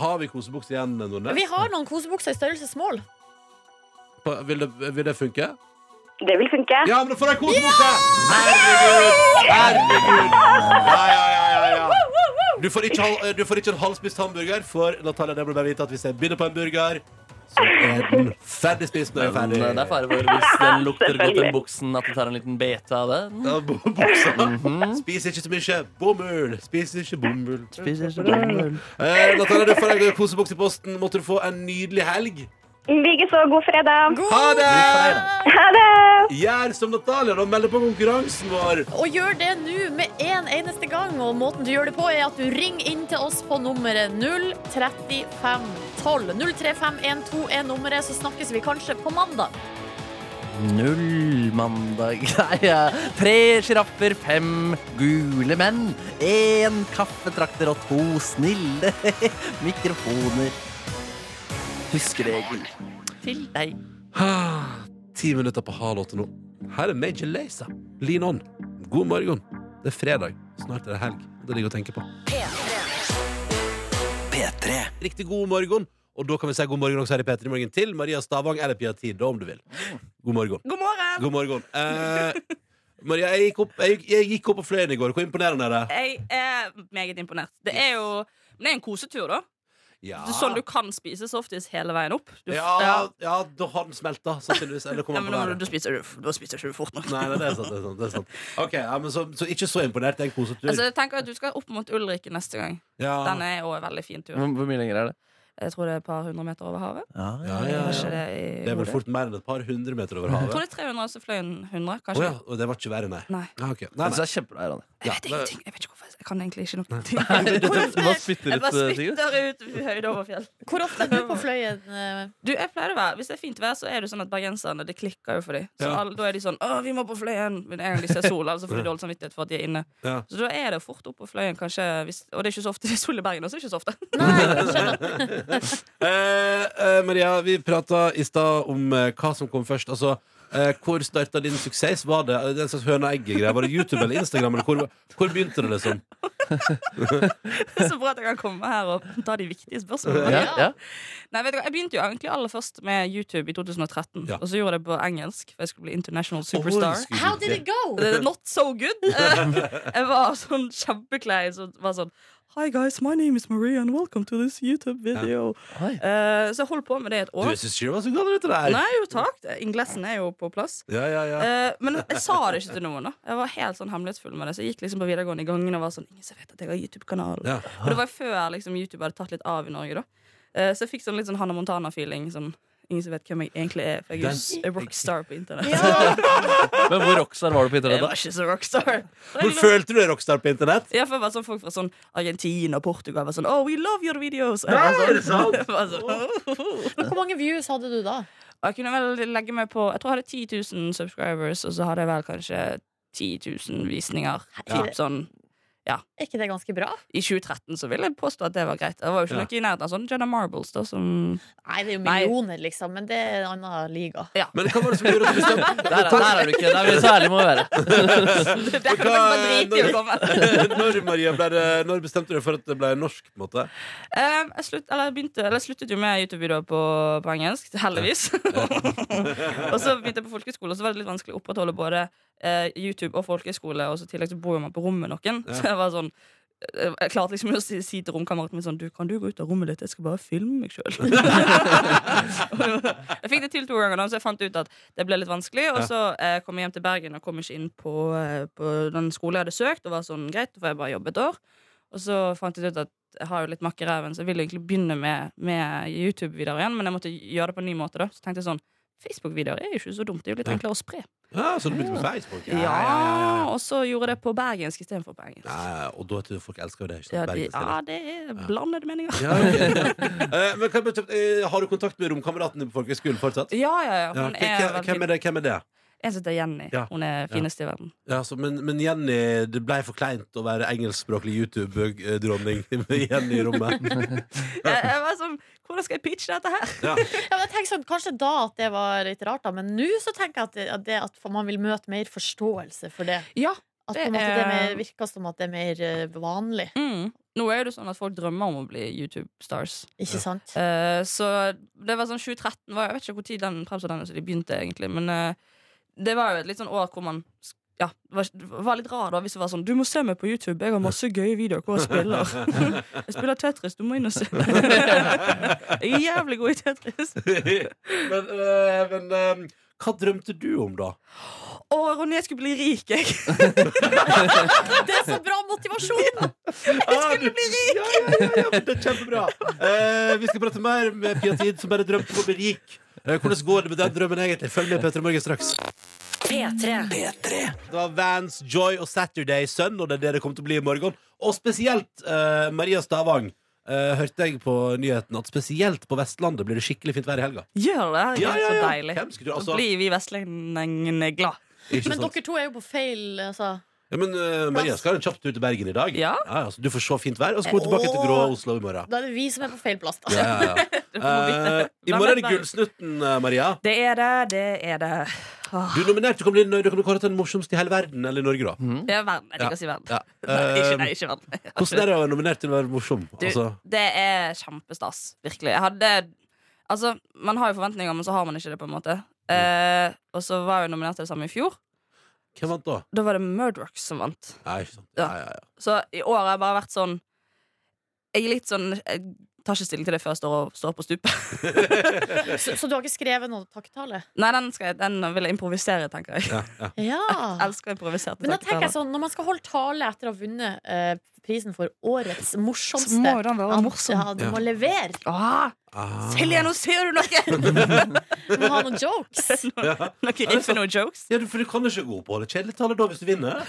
Speaker 2: har vi kosebukse igjen, Nordnes?
Speaker 5: Vi har noen kosebukser i størrelse small.
Speaker 2: På- Vil det, vil det funke?
Speaker 11: Det vil funke.
Speaker 2: Ja, men da får jeg kosebukse! Herregud! Herregud!
Speaker 11: (laughs)
Speaker 2: Ja, ja, ja, ja, ja. Du får ikke, hal- eh, du får ikke en halvspist hamburger, for Natalia det ble bare vite at hvis jeg begynner på en burger, så er den ferdig spist når jeg er
Speaker 3: Men
Speaker 2: ferdig.
Speaker 3: eh, det er fare for hvis
Speaker 11: (laughs)
Speaker 3: den lukter godt,
Speaker 2: Selvfølgelig.
Speaker 3: den buksen, at du tar en liten bete av den. Mhm.
Speaker 2: Ja, bu- buksa. Spis ikke så mye bomull. Spis ikke bomull.
Speaker 3: Spis ikke bomull.
Speaker 2: Eh, Natalia, du får en kosebukse i posten. Måtte du få en nydelig helg.
Speaker 11: Likeså. God fredag.
Speaker 2: Ha det!
Speaker 11: Ha det!
Speaker 2: Gjør som Natalia, da. Meld deg på konkurransen vår.
Speaker 5: Og gjør det nå med en eneste gang. Og måten du gjør det på, er at du ringer inn til oss på nummeret 03512. 03512 er nummeret, så snakkes vi kanskje på mandag.
Speaker 3: Null mandag. (laughs) Nei, ja. tre sjiraffer, fem gule menn, én kaffetrakter og to snille (laughs) mikrofoner. Huskeregel. Til deg.
Speaker 2: Ah, Ti minutter på halv åtte nå. Her er Major Lazer. Lean on. God morgen. Det er fredag. Snart er det helg. Det ligger å tenke på. P3. Riktig god morgen. Og da kan vi si god morgen også her i P3 Morgen til Maria Stavang eller Pia Tid, om du vil. God morgen.
Speaker 12: God morgen!
Speaker 2: God morgen. Eh, Maria, jeg gikk, opp, jeg, gikk- jeg gikk opp og fløy den i går. Hvor imponerende er det?
Speaker 12: Jeg er meget imponert. Det er jo men det er en kosetur, da.
Speaker 2: Ja,
Speaker 12: Det er Sånn du kan spise softis hele veien opp. Du,
Speaker 2: ja, ja da har den smelta, sannsynligvis. Eller
Speaker 12: Ja,
Speaker 2: kommer
Speaker 12: men
Speaker 2: på
Speaker 12: da, må
Speaker 2: været.
Speaker 12: du- da spiser du da spiser ikke du fort nok.
Speaker 2: Nei, nei, det er sant. Det er sant, det er sant. Ok, ja, men så, så ikke så imponert. Det er en kosetur.
Speaker 12: Altså, jeg tenker at Du skal opp mot Ulrikke neste gang.
Speaker 2: Ja.
Speaker 12: Den er òg en veldig fin tur.
Speaker 3: Hvor hvor mye lenger er det?
Speaker 12: Jeg tror det er et par hundre meter over havet.
Speaker 3: Ja,
Speaker 2: Ja, ja,
Speaker 12: Har
Speaker 2: ja.
Speaker 12: ikke det i
Speaker 2: Det er vel
Speaker 12: hodet.
Speaker 2: fort mer enn et par hundre meter over
Speaker 12: Jeg tror
Speaker 2: havet.
Speaker 12: det er 300, og så fløy hun 100,
Speaker 2: Å
Speaker 12: kanskje.
Speaker 2: ja, og det var ikke verre, nei.
Speaker 12: Nei.
Speaker 2: Ah, ok. nei,
Speaker 3: Jeg synes
Speaker 2: nei.
Speaker 3: Altså, det er kjempebra, Irene.
Speaker 2: Ja,
Speaker 12: Jeg vet
Speaker 2: det-
Speaker 12: ingenting. Jeg vet ikke hvorfor. Jeg kan egentlig ikke noe.
Speaker 3: Du bare spytter
Speaker 12: Jeg
Speaker 3: ut
Speaker 12: bare
Speaker 3: eh, ting.
Speaker 12: spytter ut høyde over fjell.
Speaker 5: Hvor ofte er du
Speaker 12: (laughs)
Speaker 5: på fløyen? eh?
Speaker 12: Du, jeg pleier å være Hvis det er fint vær, så er det sånn at bergenserne Det klikker jo for dem. Så
Speaker 5: Ja.
Speaker 12: alle, da er de sånn 'Å, vi må på Fløyen!' Med en gang de ser sol. Altså får de dårlig samvittighet for at de er inne.
Speaker 2: Ja.
Speaker 12: Så da er det fort opp på Fløyen, kanskje. Hvis, og det er ikke så ofte det er sol i Bergen også. Ikke så ofte. (laughs)
Speaker 2: Eh, eh, Maria, vi prata i stad om eh, hva som kom først. Altså, eh, hvor starta din suksess? Var det eh, det er en slags høna-egg-greie? Var det YouTube eller Instagram? Eller hvor, hvor begynte det,
Speaker 3: (laughs)
Speaker 2: liksom?
Speaker 12: så bra at jeg kan komme her og ta de viktige spørsmålene.
Speaker 2: Ja, ja.
Speaker 12: Nei, vet du hva, Jeg begynte jo egentlig aller først med YouTube i 2013. Og så gjorde jeg det på engelsk, for jeg skulle bli international superstar.
Speaker 5: skulle du How did it go?
Speaker 12: Det er Not so
Speaker 2: (laughs)
Speaker 12: good. Eh, jeg var sånn kjempeklein. Så var sånn Hi guys, my name is Maria and welcome to this YouTube video. Eh, så jeg holdt på med det i et
Speaker 2: Du
Speaker 12: år.
Speaker 2: syns ikke det var så galt, dette der?
Speaker 12: Nei, jo takk. Inglessen er jo på plass.
Speaker 2: Ja, ja, ja.
Speaker 12: Eh, men jeg sa det ikke til noen. da Jeg var helt sånn hemmelighetsfull med det. Så jeg gikk liksom på videregående i gangen og var sånn Ingen som vet at jeg har YouTube-kanal.
Speaker 2: Ja.
Speaker 12: Og det var før liksom, YouTube hadde tatt litt av i Norge. da Eh, Så jeg fikk sånn litt sånn Hannah Montana-feeling. Sånn, ingen som vet hvem jeg egentlig er, for jeg er jo
Speaker 2: Den-
Speaker 12: s- rockstar på internett.
Speaker 2: (laughs)
Speaker 3: Men hvor rockstar var du på internett,
Speaker 12: Jeg var
Speaker 3: da?
Speaker 12: ikke så rockstar.
Speaker 2: Hvor følte du deg rockstar på internett?
Speaker 12: Ja, for jeg var sånn Folk fra sånn Argentina og Portugal var sånn Oh, we love your videos! Jeg
Speaker 2: Nei,
Speaker 12: var sånn-
Speaker 2: er det sant?
Speaker 12: (laughs) Jeg var sånn,
Speaker 5: Hvor mange views hadde du da?
Speaker 12: Og Jeg kunne vel legge meg på Jeg tror jeg hadde 10 000 subscribers, og så hadde jeg vel kanskje 10 000 visninger.
Speaker 5: Ja.
Speaker 12: Typ sånn ja.
Speaker 5: Er ikke det ganske bra?
Speaker 12: I 2013 så vil jeg påstå at det var greit. Det var jo ikke
Speaker 5: Ja.
Speaker 12: noe i nærheten av sånn Jenna Marbles, da, som
Speaker 5: Nei, det er jo millioner, liksom, men det er en annen liga.
Speaker 2: Men hva var det som gjorde at du bestemte
Speaker 12: (laughs)
Speaker 3: Der, er- der er du ikke. Der er
Speaker 2: (laughs)
Speaker 3: vi så ærlige må vi være.
Speaker 12: Der kan man drite i å komme.
Speaker 2: (laughs) når, Maria, ble det, når bestemte du deg for at det ble norsk? på en måte?
Speaker 12: Eh, jeg, slutt, eller jeg, begynte, eller jeg sluttet jo med YouTube-videoer på, på engelsk, heldigvis. (laughs) og så begynte jeg på folkehøyskole, og så var det litt vanskelig å opprettholde både eh, YouTube og folkehøyskole. Og så i tillegg så bor jo man på rom med noen.
Speaker 3: Ja.
Speaker 12: Så jeg var sånn eh, jeg klarte liksom å si, si til romkameraten min sånn du, 'Kan du gå ut av rommet ditt? Jeg skal bare filme meg (laughs) sjøl.' jeg fikk det til to ganger, da, så jeg fant ut at det ble litt vanskelig. Og
Speaker 3: Ja.
Speaker 12: så eh, kom jeg hjem til Bergen og kom ikke inn på, eh, på den skolen jeg hadde søkt. Og var sånn, greit, da får jeg bare jobbe et år Og så fant jeg ut at jeg har jo litt makk i ræven, så jeg ville egentlig begynne med, med YouTube-videoer igjen, men jeg måtte gjøre det på en ny måte. da Så tenkte jeg sånn Facebook-videoer er jo ikke så dumt. Det er jo litt enklere å spre.
Speaker 2: Ja, så du begynte på Facebook?
Speaker 12: Ja, og så gjorde jeg det på bergensk istedenfor på engelsk.
Speaker 2: Nei, og da vet du folk elsker jo det. Ikke sant?
Speaker 12: Ja, de,
Speaker 2: Bergensk,
Speaker 12: ja, det er blandede meninger.
Speaker 2: Ja, ok. Eh, Men kan jeg bare kjapt, eh, Har du kontakt med romkameraten din på folkehøyskolen fortsatt?
Speaker 12: Ja, ja, ja. Hun
Speaker 2: hvem-
Speaker 12: er
Speaker 2: hvem- hvem, er
Speaker 12: veldig fin.
Speaker 2: det, hvem er det?
Speaker 12: (laughs) Jeg heter Jenny.
Speaker 2: Ja.
Speaker 12: Hun er finest i verden.
Speaker 2: Ja, så, men, men Jenny, det blei for kleint å være engelskspråklig YouTube-dronning med Jenny i rommet.
Speaker 12: Jeg, jeg var sånn, Hvordan skal jeg pitche dette her?
Speaker 2: Ja.
Speaker 5: Ja, men jeg tenker sånn, Kanskje da at det var litt rart, da, men nå så tenker jeg at, det, at, det at man vil møte mer forståelse for det. at på en måte det mer,
Speaker 12: er-
Speaker 5: virker som at det er mer eh, vanlig.
Speaker 12: Eh, Nå er det jo sånn at folk drømmer om å bli YouTube-stars.
Speaker 5: Ikke sant?
Speaker 12: Eh, så det var sånn 2013 var, Jeg vet ikke hvor tid den Premsodane så de begynte, egentlig. Men eh, det var jo et litt sånn år hvor man sk- ja, var, var litt rar da hvis det var sånn Du må se meg på YouTube, jeg har masse gøye videoer hvor jeg
Speaker 2: (laughs)
Speaker 12: spiller. jeg spiller Tetris, du må inn og se. jeg er (laughs) jævlig god i Tetris.
Speaker 2: (laughs) men eh, men eh, hva drømte du om, da?
Speaker 12: Å, Ronny, jeg skulle bli
Speaker 2: (laughs)
Speaker 12: rik, jeg.
Speaker 5: det er så bra motivasjon!
Speaker 2: Jeg skulle bli rik! Ah, Ja, ja, ja, ja, men det er kjempebra. Eh, vi skal prate mer med Pia Tid, som bare drømte om å bli rik. Eh, hvordan går det med den drømmen, egentlig? Følg med Petra Morgen straks.
Speaker 4: P3.
Speaker 2: Det var Vans, Joy og Saturday Sun, og det er det det kommer til å bli i morgen. Og spesielt eh, Maria Stavang. eh, hørte jeg på nyheten at spesielt på Vestlandet blir det skikkelig fint vær i helga.
Speaker 12: Gjør det. Det er
Speaker 2: Ja, ja,
Speaker 12: så
Speaker 2: ja.
Speaker 12: deilig.
Speaker 2: Hvem skulle tro, altså-
Speaker 12: Da blir vi vestlendingene glad.
Speaker 2: Ikke
Speaker 5: Men
Speaker 2: sant?
Speaker 5: dere to er jo på feil altså.
Speaker 2: Ja, men eh, Maria skal en kjapp tur til Bergen i dag.
Speaker 12: Ja.
Speaker 2: så du får se fint vær, og så kommer vi tilbake til grå Oslo i morgen.
Speaker 5: Da er det vi som er på feil plass, da.
Speaker 2: Ja, ja, ja. Eh, I morgen er det Gullsnutten, eh, Maria.
Speaker 12: Det er det, det er det. Åh.
Speaker 2: Du er nominert. Du kan bli du kan bli kåret til den morsomste i hele verden, eller i Norge, da.
Speaker 12: Det er verden. Jeg
Speaker 2: Ja,
Speaker 12: liker å si verden.
Speaker 2: ja.
Speaker 12: (laughs) Nei, ikke, nei,
Speaker 2: Eh,
Speaker 12: ikke verden.
Speaker 2: (laughs) Hvordan er det å være nominert til å være morsom?
Speaker 12: Du,
Speaker 2: Altså,
Speaker 12: det er kjempestas. Virkelig. Jeg hadde Altså, man har jo forventninger, men så har man ikke det, på en måte.
Speaker 2: Mm.
Speaker 12: Eh, og så var jeg jo nominert til det samme i fjor.
Speaker 2: hvem vant da?
Speaker 12: Da var det Murdrocks som vant.
Speaker 2: Nei, ikke sant.
Speaker 12: Ja.
Speaker 2: Ja, ja, ja.
Speaker 12: Så i år har jeg bare vært sånn Jeg er litt sånn Jeg tar ikke stilling til det før jeg står, og, står på
Speaker 3: (laughs)
Speaker 12: stupet.
Speaker 5: Så, så du har ikke skrevet noen takktale?
Speaker 12: Nei, den, skal jeg, den vil jeg improvisere, tenker jeg.
Speaker 5: (laughs) Ja.
Speaker 12: Jeg elsker improviserte
Speaker 5: Men da tenker jeg
Speaker 12: taktaler.
Speaker 5: sånn, Når man skal holde tale etter å ha vunnet eh, prisen for årets morsomste
Speaker 12: Så må jo den være
Speaker 5: at-
Speaker 12: morsom.
Speaker 5: Ja, du
Speaker 12: Ja.
Speaker 5: må levere.
Speaker 12: Ah, Silje, nå ser du noe!
Speaker 5: (laughs) Du må ha noen
Speaker 2: (laughs)
Speaker 5: jokes.
Speaker 12: Noen riff og noen jokes.
Speaker 2: Ja, du- for du kan ikke gå på det kjedelig tale da hvis du
Speaker 12: (laughs)
Speaker 2: vinner.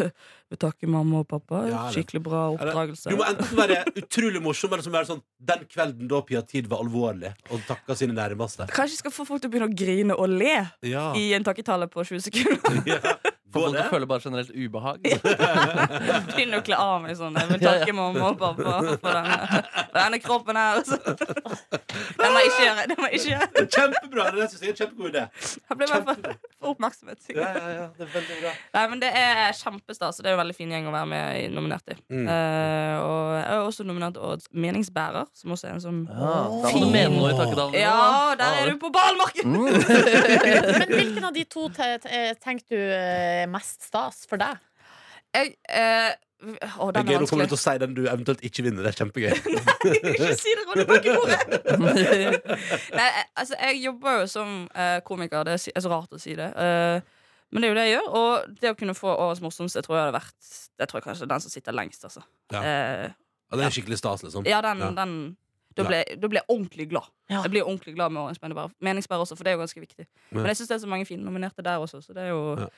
Speaker 12: Vi takker mamma og pappa.
Speaker 2: Ja, det-
Speaker 12: Skikkelig bra oppdragelse.
Speaker 2: Du må enten være utrolig morsom, eller så må du være sånn den kvelden da Pia Tid var alvorlig og takka sine nærmeste.
Speaker 12: Kanskje jeg skal få folk til å begynne å grine og le
Speaker 2: Ja.
Speaker 12: i en takketale på 20 sekunder.
Speaker 3: For folk føler bare generelt ubehag.
Speaker 12: Begynne å kle av meg sånn.
Speaker 3: (laughs)
Speaker 12: Jeg vil takke mamma og pappa for denne, for denne kroppen her. altså. Det må jeg ikke gjøre. Det må jeg ikke gjøre.
Speaker 2: Kjempebra! Det synes jeg er en kjempegod idé.
Speaker 12: Jeg ble bare for, for oppmerksomhet.
Speaker 2: Ja, ja, ja, det er veldig bra.
Speaker 12: Nei, men Det er kjempestas, og det er en veldig fin gjeng å være med i nominert i.
Speaker 3: Mm.
Speaker 12: Eh, og jeg er også nominert til Årets meningsbærer, som også er en sånn
Speaker 3: Ah, da må du mene noe i takketalen.
Speaker 12: Ja, Ah, der er du på ballmarken! (laughs)
Speaker 5: Men hvilken av de to te- te- eh, tenker du eh, er mest stas for deg?
Speaker 12: Jeg, eh, å,
Speaker 2: Det er
Speaker 12: den
Speaker 2: gøy,
Speaker 12: er
Speaker 2: Nå kommer du
Speaker 12: vanskelig.
Speaker 2: til å si den du eventuelt ikke vinner. Det er
Speaker 12: (laughs)
Speaker 2: kjempegøy.
Speaker 12: Ikke si det, Ronny, bak i bordet! Nei, jeg- altså, jeg jobber jo som eh, komiker. Det er si- er så rart å si det. Eh, men det er jo det jeg gjør. Og det å kunne få Årets morsomste tror jeg hadde vært Det tror jeg kanskje er den som sitter lengst, altså.
Speaker 2: Ja.
Speaker 12: Eh,
Speaker 2: (laughs) Ja, det er skikkelig stas, liksom.
Speaker 12: ja, den, den da ble, da ble jeg ordentlig glad.
Speaker 5: Jeg
Speaker 12: blir ordentlig glad med Årets meningsbærer, meningsbærer også, for det er jo ganske viktig. Men jeg syns det er så mange fine nominerte der også, så det er jo Nei,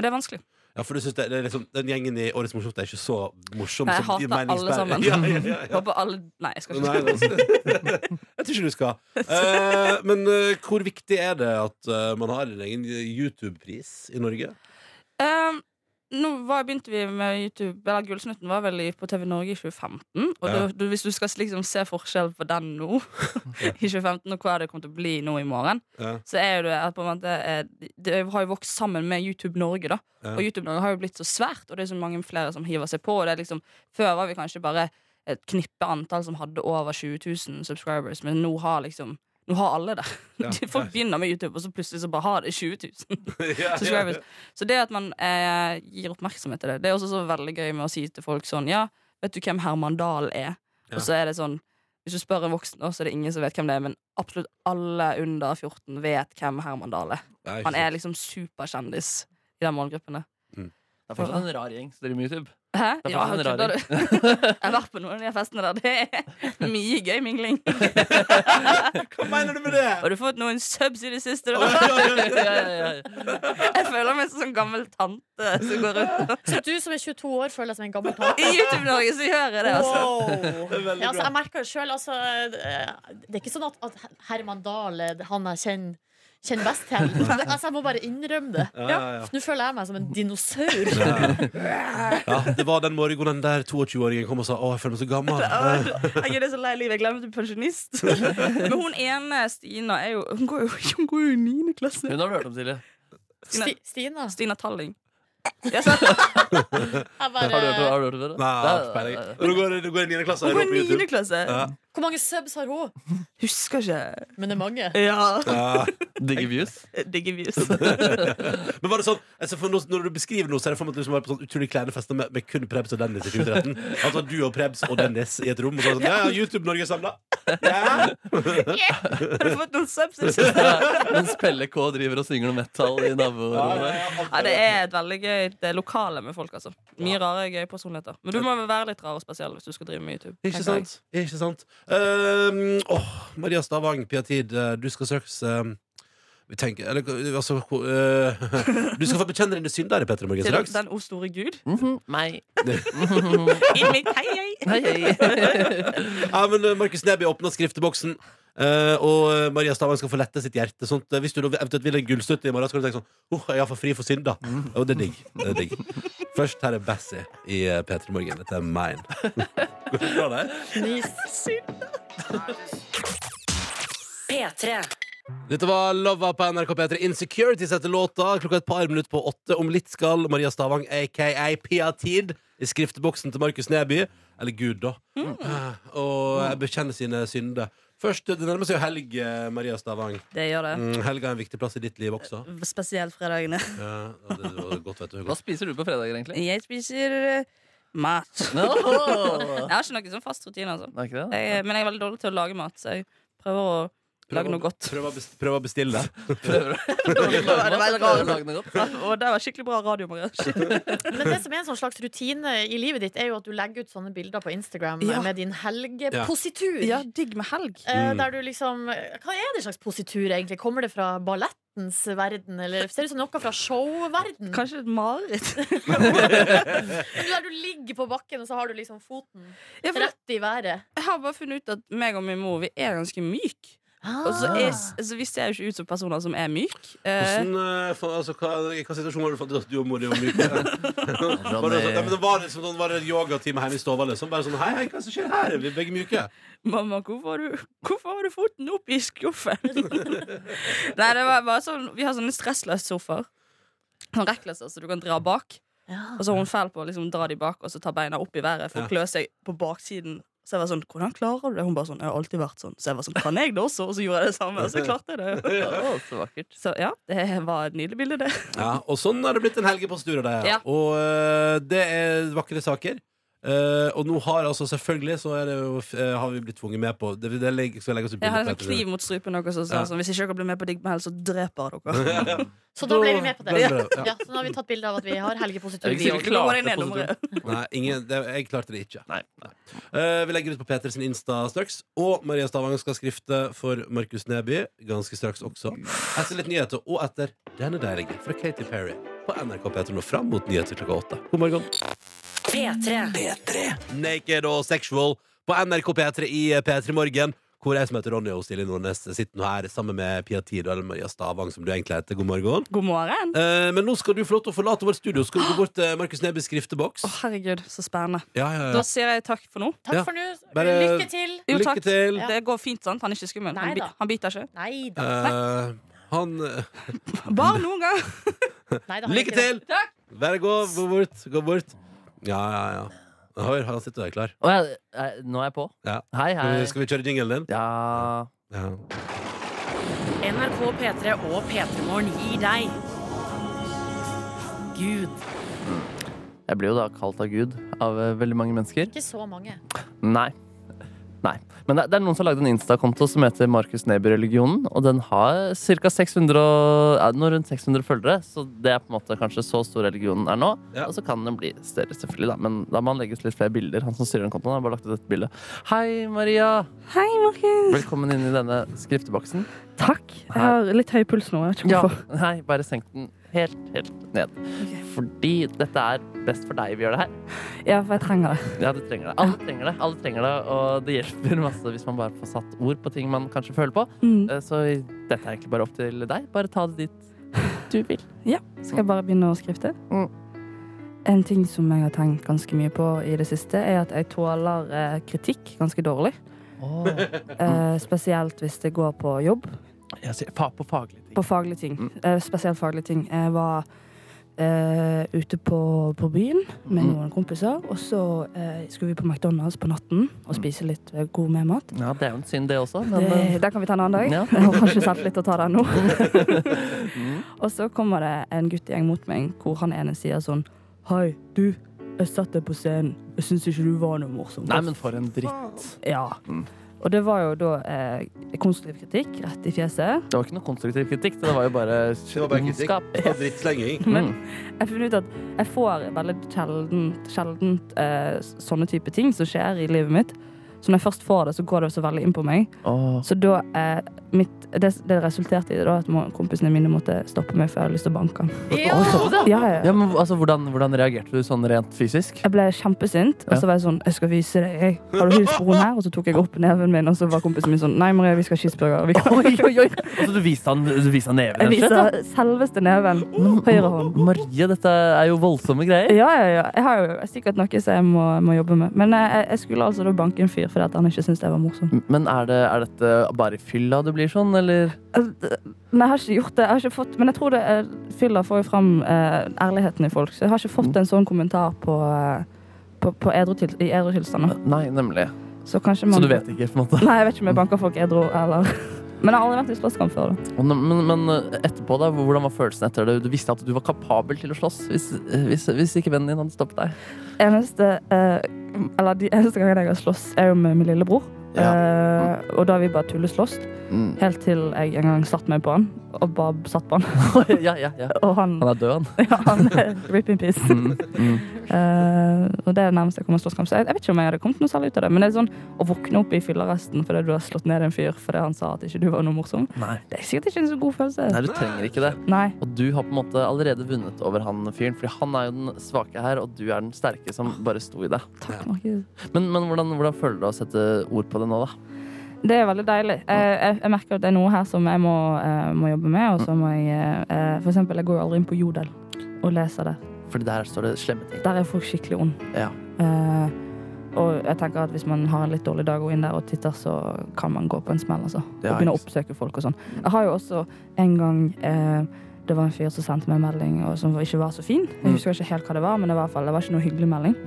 Speaker 12: det er vanskelig.
Speaker 2: Ja, for du synes det, det er liksom, Den gjengen i Årets morsomste er ikke så morsom.
Speaker 12: Nei,
Speaker 2: som
Speaker 12: jeg
Speaker 2: de
Speaker 12: hater alle
Speaker 2: meningsbærere.
Speaker 12: sammen.
Speaker 2: (laughs) Ja, ja, ja, ja.
Speaker 12: Håper alle Nei, jeg skal ikke
Speaker 2: Nei, det er Jeg tror ikke du skal. Eh, men eh, hvor viktig er det at eh, man har en egen YouTube-pris i Norge?
Speaker 12: (laughs) Ehm, nå var, begynte vi med YouTube Eller Gullsnutten var vel i- på TV Norge i 2015. Og
Speaker 2: Ja.
Speaker 12: da- du, hvis du skal liksom se forskjell på den nå, (laughs) i 2015, og hva det kommer til å bli nå i morgen,
Speaker 2: Ja.
Speaker 12: så er jo det at på en måte eh, Det har jo vokst sammen med YouTube Norge, da.
Speaker 2: Ja.
Speaker 12: Og YouTube Norge har jo blitt så svært, og det er så mange flere som hiver seg på. Og det er liksom, før var vi kanskje bare et knippe antall som hadde over 20 000 subscribers, men nå har liksom nå har alle det. (laughs) Folk begynner med YouTube, og så plutselig så bare har det 20 000
Speaker 2: ja.
Speaker 12: subscribers. Så det at man eh, gir oppmerksomhet til det, det er også så veldig gøy med å si til folk sånn Ja, vet du hvem Herman Dahl er?
Speaker 2: Ja.
Speaker 12: Og så er det sånn Hvis du spør en voksen nå, så er det ingen som vet hvem det er, men absolutt alle under 14 vet hvem Herman Dahl er.
Speaker 2: Ja, ikke
Speaker 12: Han er
Speaker 2: sant.
Speaker 3: Mm.
Speaker 12: liksom superkjendis i den målgruppen. der.
Speaker 3: Det er fortsatt en rar gjeng som driver med YouTube.
Speaker 12: Hæ?
Speaker 3: Det er
Speaker 12: Ja,
Speaker 3: fortsatt en rar
Speaker 12: kødder du?
Speaker 3: gjeng.
Speaker 12: (laughs) Jeg har vært på noen av de festene der. Det er mye gøy
Speaker 2: (laughs)
Speaker 12: mingling. Hva
Speaker 2: mener du med det?
Speaker 12: Har du fått noen subs i det siste? da?
Speaker 3: ja, ja,
Speaker 12: Jeg føler meg som en sånn gammel tante som går rundt.
Speaker 5: Så du som er 22 år, føler deg som en gammel tante?
Speaker 12: I YouTube-Norge så gjør jeg det, altså.
Speaker 5: Ja, altså, jeg merker det sjøl. Altså, eh, det er ikke sånn at, at Herman Dahl er han jeg kjenner, kjenner best til.
Speaker 12: (laughs)
Speaker 5: Men, altså, jeg må bare innrømme det.
Speaker 2: Ja, ja, ja.
Speaker 5: Nå føler jeg meg som en dinosaur.
Speaker 2: Ja, det var den morgenen der 22-åringen kom og sa 'Å, jeg føler meg så
Speaker 12: (laughs)
Speaker 2: gammel'.
Speaker 12: Jeg er så lei livet. Jeg glemmer at du er pensjonist. Men hun ene, Stina, er jo Hun går jo, hun går jo i 9.
Speaker 3: (laughs)
Speaker 12: klasse.
Speaker 3: Hun har du hørt om, Silje.
Speaker 12: Stina,
Speaker 5: Stina?
Speaker 12: Talling.
Speaker 5: bare-
Speaker 3: Har du hørt har du hørt om det?
Speaker 2: Nei, jeg har ikke peiling. Nå går det- det går i 9. klasse. og er
Speaker 12: Hun går i
Speaker 2: det på YouTube.
Speaker 12: 9. klasse.
Speaker 2: Ja.
Speaker 5: Hvor mange subs har hun?
Speaker 12: Husker ikke.
Speaker 5: Men det er mange.
Speaker 2: Ja.
Speaker 3: (laughs) Digger views.
Speaker 12: (laughs) Digger views.
Speaker 2: (laughs) Men var det sånn altså for når, når du beskriver noe, så er det for meg at du liksom var på sånn utrolig kleine fester med, med kun Prebz og Dennis i 2013. Altså du og Prebz og Dennis i et rom. Og så var det sånn, ja, ja, YouTube-Norge samla.
Speaker 12: (laughs) Har du fått noen subs? i det siste?
Speaker 3: Ja, Mens Pelle K driver og synger noe metal i naborommet.
Speaker 12: Ja, det er et veldig gøy det er lokale med folk. altså Mye rare, gøye personligheter. Men du må vel være litt rar og spesiell hvis du skal drive med YouTube.
Speaker 2: Ikke
Speaker 12: tenker
Speaker 2: sant? Ikke sant? Um, åh, Maria Stavang, Pia Tid, eh, du skal søkes um, Vi tenker Eller eh, altså ho- eh, (laughs) Du skal få bekjenne dine synder i Petter i
Speaker 12: jeg.
Speaker 2: morgen
Speaker 12: Til
Speaker 2: straks.
Speaker 12: den o store gud.
Speaker 3: Mhm,
Speaker 12: (laughs)
Speaker 3: Meg.
Speaker 2: (laughs)
Speaker 12: I mitt hei, hei.
Speaker 2: ja, men eh, Markus Neby åpna skrifteboksen. eh, og eh, Maria Stavang skal få lette sitt hjerte. Sånt. eh, Hvis du da eventuelt vil en gullstøtte i morgen, så kan du tenke sånn Åh, jeg er for fri for synd, da. Og det er digg. Det er digg. Først her er Bassie i eh, P3 Morgen. Dette er mine. Går det bra der?
Speaker 12: (laughs)
Speaker 4: P3.
Speaker 2: Dette var Lova på NRK P3. Insecurities etter låta. Klokka et par minutter på åtte. Om litt skal Maria Stavang, aka Pia Tid, i skrifteboksen til Markus Neby. Eller Gud, da. Mm.
Speaker 12: Mm.
Speaker 2: Og bekjenne sine synder. Først, Det nærmer seg jo helg, eh, Maria Stavang.
Speaker 12: Det gjør det. Mm.
Speaker 2: Mm, helga er en viktig plass i ditt liv også.
Speaker 12: Spesielt fredagene.
Speaker 2: Ja, det var godt, vet du.
Speaker 3: Hva
Speaker 2: Godt.
Speaker 3: spiser du på fredager, egentlig?
Speaker 12: Jeg spiser eh,
Speaker 2: (laughs)
Speaker 12: mat. (laughs)
Speaker 3: No.
Speaker 12: Jeg har ikke noen sånn fast rutine, altså.
Speaker 3: Det er ikke det?
Speaker 12: Jeg, men jeg er veldig dårlig til å lage mat, så jeg prøver å
Speaker 2: Prøv å-
Speaker 3: (laughs)
Speaker 12: lage noe godt.
Speaker 2: Prøv å bes- prøv å bestille
Speaker 12: (laughs)
Speaker 2: det.
Speaker 12: Det var veldig
Speaker 3: Prøver å
Speaker 12: rart.
Speaker 3: lage noe godt.
Speaker 12: (laughs) Og det var skikkelig bra radio, Maria.
Speaker 3: (laughs)
Speaker 5: Men det som er en sånn slags rutine i livet ditt, er jo at du legger ut sånne bilder på Instagram
Speaker 12: Ja.
Speaker 5: med din helgepositur.
Speaker 12: Ja, digg med helg.
Speaker 5: Eh,
Speaker 12: Mm.
Speaker 5: Der du liksom Hva er det slags positur, egentlig? Kommer det fra ballettens verden, eller ser det ut som noe fra showverden?
Speaker 12: Kanskje et mareritt.
Speaker 5: (laughs)
Speaker 12: (laughs)
Speaker 5: Der du ligger på bakken, og så har du liksom foten
Speaker 12: Ja, for-
Speaker 5: rett i været.
Speaker 12: Jeg har bare funnet ut at meg og min mor Vi er ganske myk Og så er,
Speaker 5: Ah.
Speaker 12: altså, vi ser jo ikke ut som personer som er myk Eh,
Speaker 2: (laughs) Hvordan, eh, fa- altså, hva, I hvilken situasjon var det du fant ut at du og mor di var
Speaker 12: (laughs)
Speaker 2: myke? Var det sånn- ja, men det var liksom sånn- var det en yogatime hjemme i stua? Liksom. Bare sånn Hei, hei, hva er det som skjer her? Vi er begge myke.
Speaker 12: Mamma, hvorfor har, du, hvorfor har du foten opp i
Speaker 5: (laughs)
Speaker 12: skuffen? Nei, det var bare sånn Vi har sånne stressløse sofaer Sånn rekkløser, så du kan dra bak Og så er hun feil på å liksom, dra de bak Og så ta beina opp i været for
Speaker 3: Ja.
Speaker 12: å klø seg på baksiden Så jeg var sånn, hvordan klarer du det? Hun bare sånn, jeg har alltid vært sånn Så jeg var sånn, kan jeg det også? Og så gjorde jeg det
Speaker 2: (laughs)
Speaker 12: samme, og så klarte jeg det
Speaker 3: Å, så vakkert.
Speaker 12: Så ja, det var et nydelig bilde det
Speaker 2: Ja, og sånn har det blitt en helg på Stura. det, Ja.
Speaker 12: Ja.
Speaker 2: Og eh, det er vakre saker. Eh, og nå har altså selvfølgelig så er det jo, eh, har vi blitt tvunget med på Det, det legger- skal legge oss ut
Speaker 12: Jeg har en
Speaker 2: bilder
Speaker 12: sånn
Speaker 2: på (laughs)
Speaker 12: kniv mot strupen og sånn, sånn,
Speaker 2: Ja.
Speaker 12: Hvis ikke dere blir med på Digg med hell, så dreper jeg dere.
Speaker 2: (laughs) etterpå.
Speaker 5: Så da ble vi med på det.
Speaker 2: ble
Speaker 5: Ja.
Speaker 2: det bra, ja.
Speaker 5: så nå har vi tatt bilde av at vi har helgepositur.
Speaker 2: Jeg vil ikke si vi
Speaker 5: også. Nå
Speaker 2: klarte
Speaker 5: går jeg ned,
Speaker 2: på
Speaker 5: nå må jeg-
Speaker 2: Nei, ingen, det, jeg klarte det ikke. Eh, vi legger ut på Peter sin Insta straks. Og Maria Stavang skal skrifte for Markus Neby ganske straks også. Etter litt nyheter, og etter denne deilige fra Katy Perry på NRK P3 nå fram mot nyheter klokka åtte. God morgen.
Speaker 4: P3.
Speaker 2: Naked og Sexual på NRK P3 i P3 Morgen. Hvor jeg som heter Ronny og Silje Nordnes sitter nå her sammen med Pia Tid og Maria Stavang, som du egentlig heter. God morgen.
Speaker 12: God morgen.
Speaker 2: Eh, men nå skal du få lov til å forlate vårt studio. Skal du gå bort til Markus Nebys skrifteboks?
Speaker 12: Herregud, så spennende.
Speaker 2: Ja, ja, ja.
Speaker 12: Da sier jeg takk for nå.
Speaker 2: Takk Ja. for nå. Bare Lykke til.
Speaker 12: Jo,
Speaker 2: lykke
Speaker 12: takk.
Speaker 2: til.
Speaker 12: Det går fint, sant? Han er ikke skummel.
Speaker 5: Nei
Speaker 12: Han, bi
Speaker 5: da.
Speaker 12: han biter ikke.
Speaker 5: Nei da.
Speaker 2: Eh,
Speaker 12: (laughs)
Speaker 2: han eh,
Speaker 12: Bare noen gang.
Speaker 5: Nei, det har jeg
Speaker 2: Lykke
Speaker 5: ikke.
Speaker 2: til!
Speaker 12: Takk.
Speaker 2: Vær gå, gå bort. Gå bort. Ja, ja, ja. Hør, han sitter der klar.
Speaker 3: Å, jeg, jeg, nå er jeg på.
Speaker 2: Ja.
Speaker 3: Hei, hei.
Speaker 2: Skal vi- Skal vi kjøre jingelen din?
Speaker 3: Ja.
Speaker 2: ja.
Speaker 4: NRK P3 og P3 Morgen gir deg Gud.
Speaker 3: Jeg blir jo da kalt av Gud av eh, veldig mange mennesker.
Speaker 5: Ikke så mange.
Speaker 3: Nei. Nei. Men det, det er noen som har lagd en Insta-konto som heter Markus Neby-religionen, og den har ca. 600 og, er det noe rundt 600 følgere, så det er på en måte kanskje så stor religionen er nå. Og så kan den bli større, selvfølgelig, da, men da må han legge ut litt flere bilder. Han som styrer den kontoen, har bare lagt ut et bilde. Hei, Maria!
Speaker 12: Hei, Markus.
Speaker 3: Velkommen inn i denne skrifteboksen.
Speaker 12: Takk. Jeg har litt høy puls nå. Jeg vet ikke
Speaker 3: Ja,
Speaker 12: hvorfor.
Speaker 3: nei, bare senk den helt, helt ned. Fordi dette er best for deg vi gjør det her.
Speaker 12: Ja, for jeg trenger det.
Speaker 3: Ja, du trenger det. Alle trenger det, alle trenger det og det hjelper masse hvis man bare får satt ord på ting man kanskje føler på.
Speaker 12: Mm.
Speaker 3: Eh, Så dette er egentlig bare opp til deg. Bare ta det dit du vil.
Speaker 12: Ja, skal jeg bare begynne å skrifte? En ting som jeg har tenkt ganske mye på i det siste, er at jeg tåler eh, kritikk ganske dårlig. (laughs) Eh, spesielt hvis det går på jobb,
Speaker 3: Jeg sier fa på faglig.
Speaker 12: på faglige ting. Eh, spesielt faglige ting. Jeg var eh, ute på, på byen med
Speaker 3: Mm.
Speaker 12: noen kompiser, og så eh, skulle vi på McDonald's på natten og spise litt eh, god medmat.
Speaker 3: Ja, det er jo en synd, det også. Men, eh,
Speaker 12: Det, det kan vi ta en annen dag.
Speaker 3: Ja.
Speaker 12: (laughs)
Speaker 3: Mm.
Speaker 12: Jeg har ikke selvtillit til å ta den
Speaker 3: (laughs)
Speaker 12: nå. og så kommer det en guttegjeng mot meg hvor han ene sier sånn Hei, du. Jeg satt deg på scenen. Jeg syns ikke du var noe morsom.
Speaker 3: Nei, men for en dritt. Mm.
Speaker 12: Ja. Og det var jo da eh, konstruktiv kritikk rett i fjeset.
Speaker 3: Det var ikke noe konstruktiv kritikk. Det var jo bare Mm. ondskap.
Speaker 2: og drittslenging.
Speaker 12: (laughs) Men jeg har funnet ut at jeg får veldig sjeldent, sjeldent eh, sånne type ting som skjer i livet mitt. Så når jeg først får det, så går det så veldig inn på meg. Så da eh, mitt, det, det resulterte i da at må- kompisene mine måtte stoppe meg, for jeg hadde lyst til å banke han.
Speaker 3: Oi, såpass,
Speaker 12: Ja, ja, ja.
Speaker 3: ja, men altså, hvordan, hvordan reagerte du sånn rent fysisk?
Speaker 12: eh, Jeg ble kjempesint, og
Speaker 3: Ja.
Speaker 12: så var jeg sånn Jeg skal vise deg, jeg. Har du hilst broren her? Og så tok jeg opp neven min, og så var kompisen min sånn Nei, Maria, vi skal ha cheeseburger. Vi kan...
Speaker 3: Altså, du viste han, du viste han neven?
Speaker 12: Jeg
Speaker 3: rett og slett, da?
Speaker 12: viser selveste neven. Høyre hånd.
Speaker 3: Marie, dette er jo voldsomme greier.
Speaker 12: Ja, ja, ja. Jeg har jo sikkert noe som jeg må, må jobbe med. Men eh, jeg, jeg skulle altså da banke en fyr fordi at han ikke syntes jeg var morsom.
Speaker 3: Men er, det, er dette bare i fylla du blir sånn, eller?
Speaker 12: Men jeg har ikke gjort det. Jeg har ikke fått, men jeg tror det eh, fyller får jo fram eh, ærligheten i folk. Så jeg har ikke
Speaker 3: Mm.
Speaker 12: fått en sånn kommentar på, eh, på, på edru til, i edru tilstander.
Speaker 3: Eh, Nei, nemlig.
Speaker 12: Så kanskje man
Speaker 3: Så du vet ikke, på en måte?
Speaker 12: Nei, jeg vet ikke om jeg banker folk edru eller (laughs) Men jeg har aldri vært i slåsskamp før. da.
Speaker 3: Men, men, men eh, etterpå, da? Hvordan var følelsen etter det? Du visste at du var kapabel til å slåss hvis, eh, hvis, hvis ikke vennen din hadde stoppet deg?
Speaker 12: (laughs) Eneste, eh, eller de eneste gangene jeg har slåss, er jo med min lillebror. Eh, og da har vi bare tulleslåss.
Speaker 3: Mm.
Speaker 12: Helt til jeg en gang satt meg på han, og bare satt på han.
Speaker 3: (laughs) ja, ja, ja.
Speaker 12: Og han,
Speaker 3: Han er død, han.
Speaker 12: (laughs) ja, han er Rip in peace.
Speaker 3: Mm.
Speaker 12: (laughs) Eh, og det er nærmest jeg kommer slåsskamp. Så jeg, jeg vet ikke om jeg hadde kommet noe særlig ut av det. Men det er sånn å våkne opp i fyllearresten fordi du har slått ned en fyr fordi han sa at ikke du var noe morsom,
Speaker 3: Nei.
Speaker 12: det er sikkert ikke en så god følelse.
Speaker 3: Nei, du trenger ikke det.
Speaker 12: Nei.
Speaker 3: Og du har på en måte allerede vunnet over han fyren, fordi han er jo den svake her, og du er den sterke som bare sto i det.
Speaker 12: Markus.
Speaker 3: Men, men hvordan, hvordan føler du å sette ord på det nå, da?
Speaker 12: Det er veldig deilig. Jeg, jeg, jeg merker at det er noe her som jeg må, eh, må jobbe med. Og så må jeg eh, For eksempel, jeg går jo aldri inn på Jodel og leser det.
Speaker 3: Fordi der står det slemme ting.
Speaker 12: Der er folk skikkelig ond.
Speaker 3: Ja.
Speaker 12: Eh, og jeg tenker at hvis man har en litt dårlig dag og går inn der og titter, så kan man gå på en smell, altså.
Speaker 3: Ja,
Speaker 12: og begynne å
Speaker 3: ikke
Speaker 12: oppsøke folk og sånn. Jeg har jo også en gang eh, det var en fyr som sendte meg en melding og som ikke var så fin.
Speaker 3: Mm.
Speaker 12: Jeg husker ikke helt hva det var, men det var, i hvert fall, det var ikke noe hyggelig melding.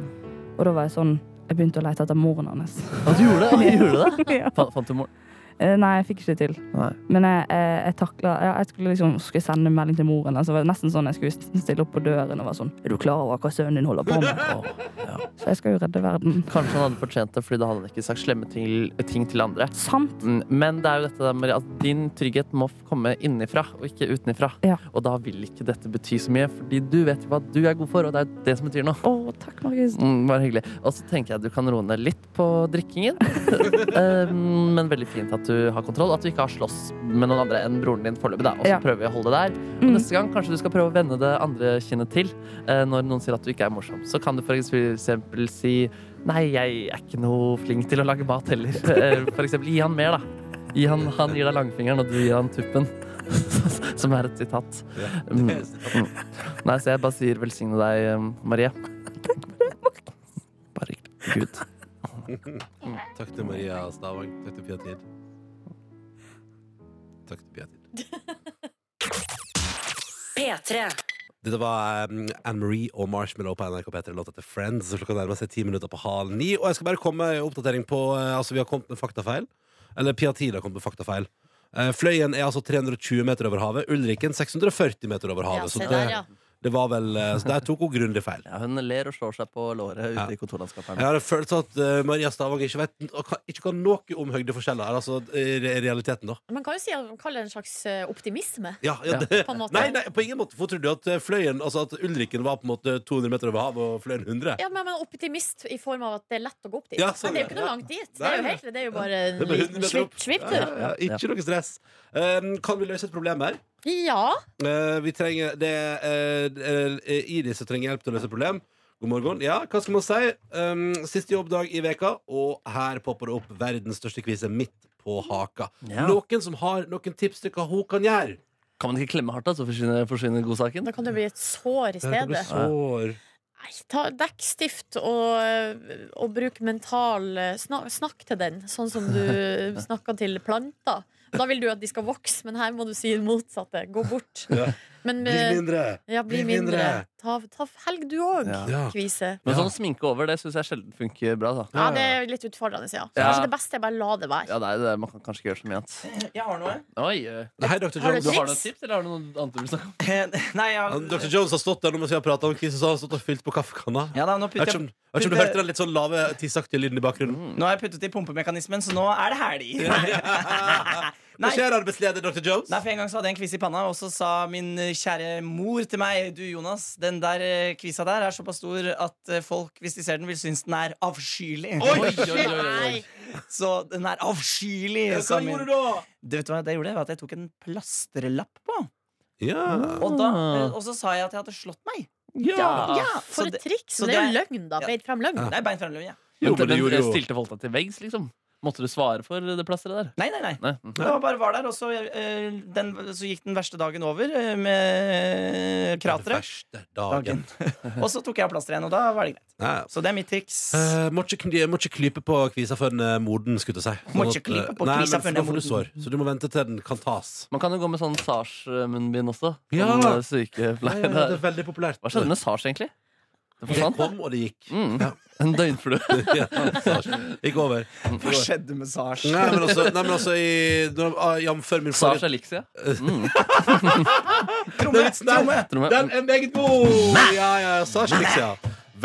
Speaker 12: Og da var jeg sånn Jeg begynte å lete etter moren hans.
Speaker 3: Og du gjorde det? Å, Gjorde du det?
Speaker 12: (laughs) Ja.
Speaker 3: Fa- Fant du moren?
Speaker 12: Eh, Nei, jeg fikk ikke det til.
Speaker 3: Nei.
Speaker 12: Men jeg, jeg, jeg takla ja, Jeg skulle liksom skulle sende en melding til moren. Altså, det var nesten sånn jeg skulle stille opp på døren og være sånn Er du klar over hva sønnen din holder på med? Så jeg skal jo redde verden.
Speaker 3: Kanskje han hadde fortjent det, fordi da hadde han ikke sagt slemme ting, ting til andre. Mm,
Speaker 12: Sant.
Speaker 3: Men det er jo dette der, Maria, at din trygghet må komme innenfra og ikke utenfra.
Speaker 12: Ja.
Speaker 3: Og da vil ikke dette bety så mye, fordi du vet jo hva du er god for, og det er jo det som betyr noe.
Speaker 12: Å, takk, Markus.
Speaker 3: Mm, bare hyggelig. Og så tenker jeg at du kan roe ned litt på
Speaker 12: (laughs)
Speaker 3: drikkingen. Eh, Men veldig fint at du har kontroll, at du ikke har slåss med noen andre enn broren din foreløpig. da. Og så
Speaker 12: Ja.
Speaker 3: prøver vi å holde det der. Og neste gang kanskje du skal prøve å vende det andre kinnet til. Eh, Når noen sier at du ikke er morsom, så kan du for eksempel si Nei, jeg er ikke noe flink til å lage mat heller. (laughs) Eh, For eksempel, gi han mer, da. Gi han, han gir deg langfingeren, og du gir han tuppen. (laughs) Som er et sitat. Mm. Mm. Nei, så jeg bare sier velsigne deg, eh, Marie. (laughs) Bare Gud.
Speaker 2: Takk til Maria Stavang. Takk til Pia Tid. Takk til Pia Tid.
Speaker 4: P3.
Speaker 2: Dette var um, Anne-Marie og Marshmallow på NRK P3 låta til Friends. Klokka nærmer seg ti minutter på halv ni. Og jeg skal bare komme med en oppdatering på eh, Altså, vi har kommet med faktafeil. Eller Pia Tid har kommet med faktafeil. Eh, Fløyen er altså 320 meter over havet. Ulriken 640 meter over havet.
Speaker 13: Ja,
Speaker 2: så
Speaker 13: se
Speaker 2: det,
Speaker 13: der, ja.
Speaker 2: Det var vel, eh, så Der tok hun grundig feil.
Speaker 3: Ja, hun ler og slår seg på låret ute i kontorlandskapet. her
Speaker 2: Jeg
Speaker 3: nå.
Speaker 2: har en følelse av at eh, Maria Stavang ikke, vet, og kan- ikke kan noe om høydeforskjeller. her, Altså i re- realiteten, da.
Speaker 5: Man kan jo si at man kaller det en slags eh, optimisme.
Speaker 2: Ja, ja, det,
Speaker 5: På en måte.
Speaker 2: Nei, nei, på ingen måte. Hvorfor trodde du at eh, fløyen Altså at Ulriken var på en måte 200 meter over havet og fløyen 100?
Speaker 5: Ja, men man er optimist i form av at det er lett å gå opp dit.
Speaker 2: Ja, sånn,
Speaker 5: men det er jo ikke
Speaker 2: ja.
Speaker 5: noe langt dit. Det
Speaker 2: Nei,
Speaker 5: er jo,
Speaker 2: nei.
Speaker 5: helt, det er jo bare en
Speaker 2: Det er bare
Speaker 5: liten
Speaker 2: 100 meter opp.
Speaker 5: svipp, svipp,
Speaker 2: Ja, ja, ja.
Speaker 5: du.
Speaker 2: Ikke noe stress. Um, kan vi løse et problem her?
Speaker 5: Ja.
Speaker 2: Eh, vi trenger det eh, eh, Iris som trenger hjelp til å løse et problem. God morgen. Ja, hva skal man si? Um, siste jobbdag i veka, og her popper det opp verdens største kvise midt på haka.
Speaker 3: Ja.
Speaker 2: Noen som har noen tips til hva hun kan gjøre?
Speaker 3: Kan man ikke klemme hardt, da, så forsvinner, forsvinner godsaken?
Speaker 5: Da kan det bli et sår i stedet. Nei, ta dekkstift og, og bruk mental snak, Snakk til den, sånn som
Speaker 2: (laughs)
Speaker 5: du snakker til planter. Da vil du at de skal vokse, men her må du si det motsatte. Gå bort.
Speaker 2: Ja.
Speaker 5: Men, eh,
Speaker 2: Bli mindre.
Speaker 5: Ja, bli,
Speaker 2: Bli mindre.
Speaker 5: mindre. Ta, ta helg, du òg,
Speaker 3: Ja.
Speaker 5: kvise.
Speaker 3: Men sånn sminke over, det syns jeg sjelden funker bra. Da.
Speaker 5: Ja, det er litt utfordrende, ja. Så
Speaker 3: Ja.
Speaker 5: kanskje det beste er bare la det være.
Speaker 3: Ja, nei, det, man kan kanskje ikke gjøre så mye annet.
Speaker 1: Jeg har noe.
Speaker 3: Oi, eh.
Speaker 2: Hei, Dr.
Speaker 3: Har du
Speaker 2: Jones.
Speaker 3: noen tips, eller har du noe annet du vil snakke om?
Speaker 1: Eh, Nei, ja.
Speaker 2: Han- Dr. Jones har stått der nå mens vi har pratet om kvise, så har han stått og fylt på kaffekanna.
Speaker 1: Ja, da, nå putter
Speaker 2: jeg vet ikke om, jeg
Speaker 1: jeg-
Speaker 2: vet ikke om du
Speaker 1: putter-
Speaker 2: hørte den litt sånn lave, tissaktige lyden i bakgrunnen?
Speaker 1: Nå har jeg puttet i pumpemekanismen, så nå er det helg.
Speaker 2: (laughs) Hva skjer, arbeidsleder Dr. Jones?
Speaker 1: Nei, for En gang så hadde jeg en quiz i panna, og så sa min eh, kjære mor til meg Du, Jonas, den der eh, quiza der er såpass stor at eh, folk, hvis de ser den, vil synes den er avskyelig.
Speaker 2: Oi, oi, oi, oi, oi.
Speaker 1: (laughs) Så den er avskyelig.
Speaker 2: Ja, hva
Speaker 1: sa min-
Speaker 2: gjorde du da?
Speaker 1: Det, vet du hva det gjorde? Det var at jeg tok en plastrelapp på.
Speaker 2: Ja.
Speaker 1: Og, da,
Speaker 10: Ah.
Speaker 1: eh, og så sa jeg at jeg hadde slått meg.
Speaker 5: Ja, ja,
Speaker 1: Så
Speaker 5: for et
Speaker 1: det-
Speaker 5: triks!
Speaker 1: så
Speaker 5: Det er jo
Speaker 1: det
Speaker 5: løgn, da.
Speaker 1: Ja.
Speaker 5: Beint fram løgn.
Speaker 1: Det er beint frem løgn, ja.
Speaker 2: Jo, men
Speaker 3: men
Speaker 2: det gjorde jo-
Speaker 3: Stilte folk deg til veggs, liksom? Måtte du svare for det plasteret der?
Speaker 1: Nei, nei, nei.
Speaker 3: mhm.
Speaker 1: Det var bare var der, og så, eh, den, så gikk den verste dagen over eh, med krateret.
Speaker 2: Dagen.
Speaker 1: Og så tok jeg av plasteret igjen, og da var det greit. Så det er mitt triks.
Speaker 2: (laughs) Eh, må, ikke, kny- må ikke klype på kvisa før den er moden, skulle jeg si.
Speaker 1: Må
Speaker 2: Sånn at,
Speaker 1: ikke
Speaker 2: eh,
Speaker 1: klype på
Speaker 2: nei,
Speaker 1: kvisa
Speaker 2: men
Speaker 1: før den
Speaker 2: da
Speaker 1: er
Speaker 2: får du
Speaker 1: moden.
Speaker 2: sår, Så du må vente til den kan tas.
Speaker 3: Man kan jo gå med sånn Sars-munnbind også. Sånn
Speaker 2: Ja.
Speaker 3: eh, sykepleie.
Speaker 2: Ja, ja, ja, det er veldig populært.
Speaker 3: Hva skjedde med Sars, egentlig? Det
Speaker 2: Det
Speaker 3: forsvant.
Speaker 2: kom, og det gikk.
Speaker 3: Mm. En døgnflue.
Speaker 2: (laughs) Ja, Sars. Gikk over.
Speaker 1: Hva skjedde med Sars?
Speaker 2: Nei, men altså, nei, men altså i, når- ah, Jamfør min
Speaker 3: Sars
Speaker 2: forrige
Speaker 3: Elixia.
Speaker 2: (laughs)
Speaker 1: Mm.
Speaker 2: Den er litt snau.
Speaker 3: Tromme.
Speaker 2: Den er meget god! Ja, ja, ja, Sars Elixia.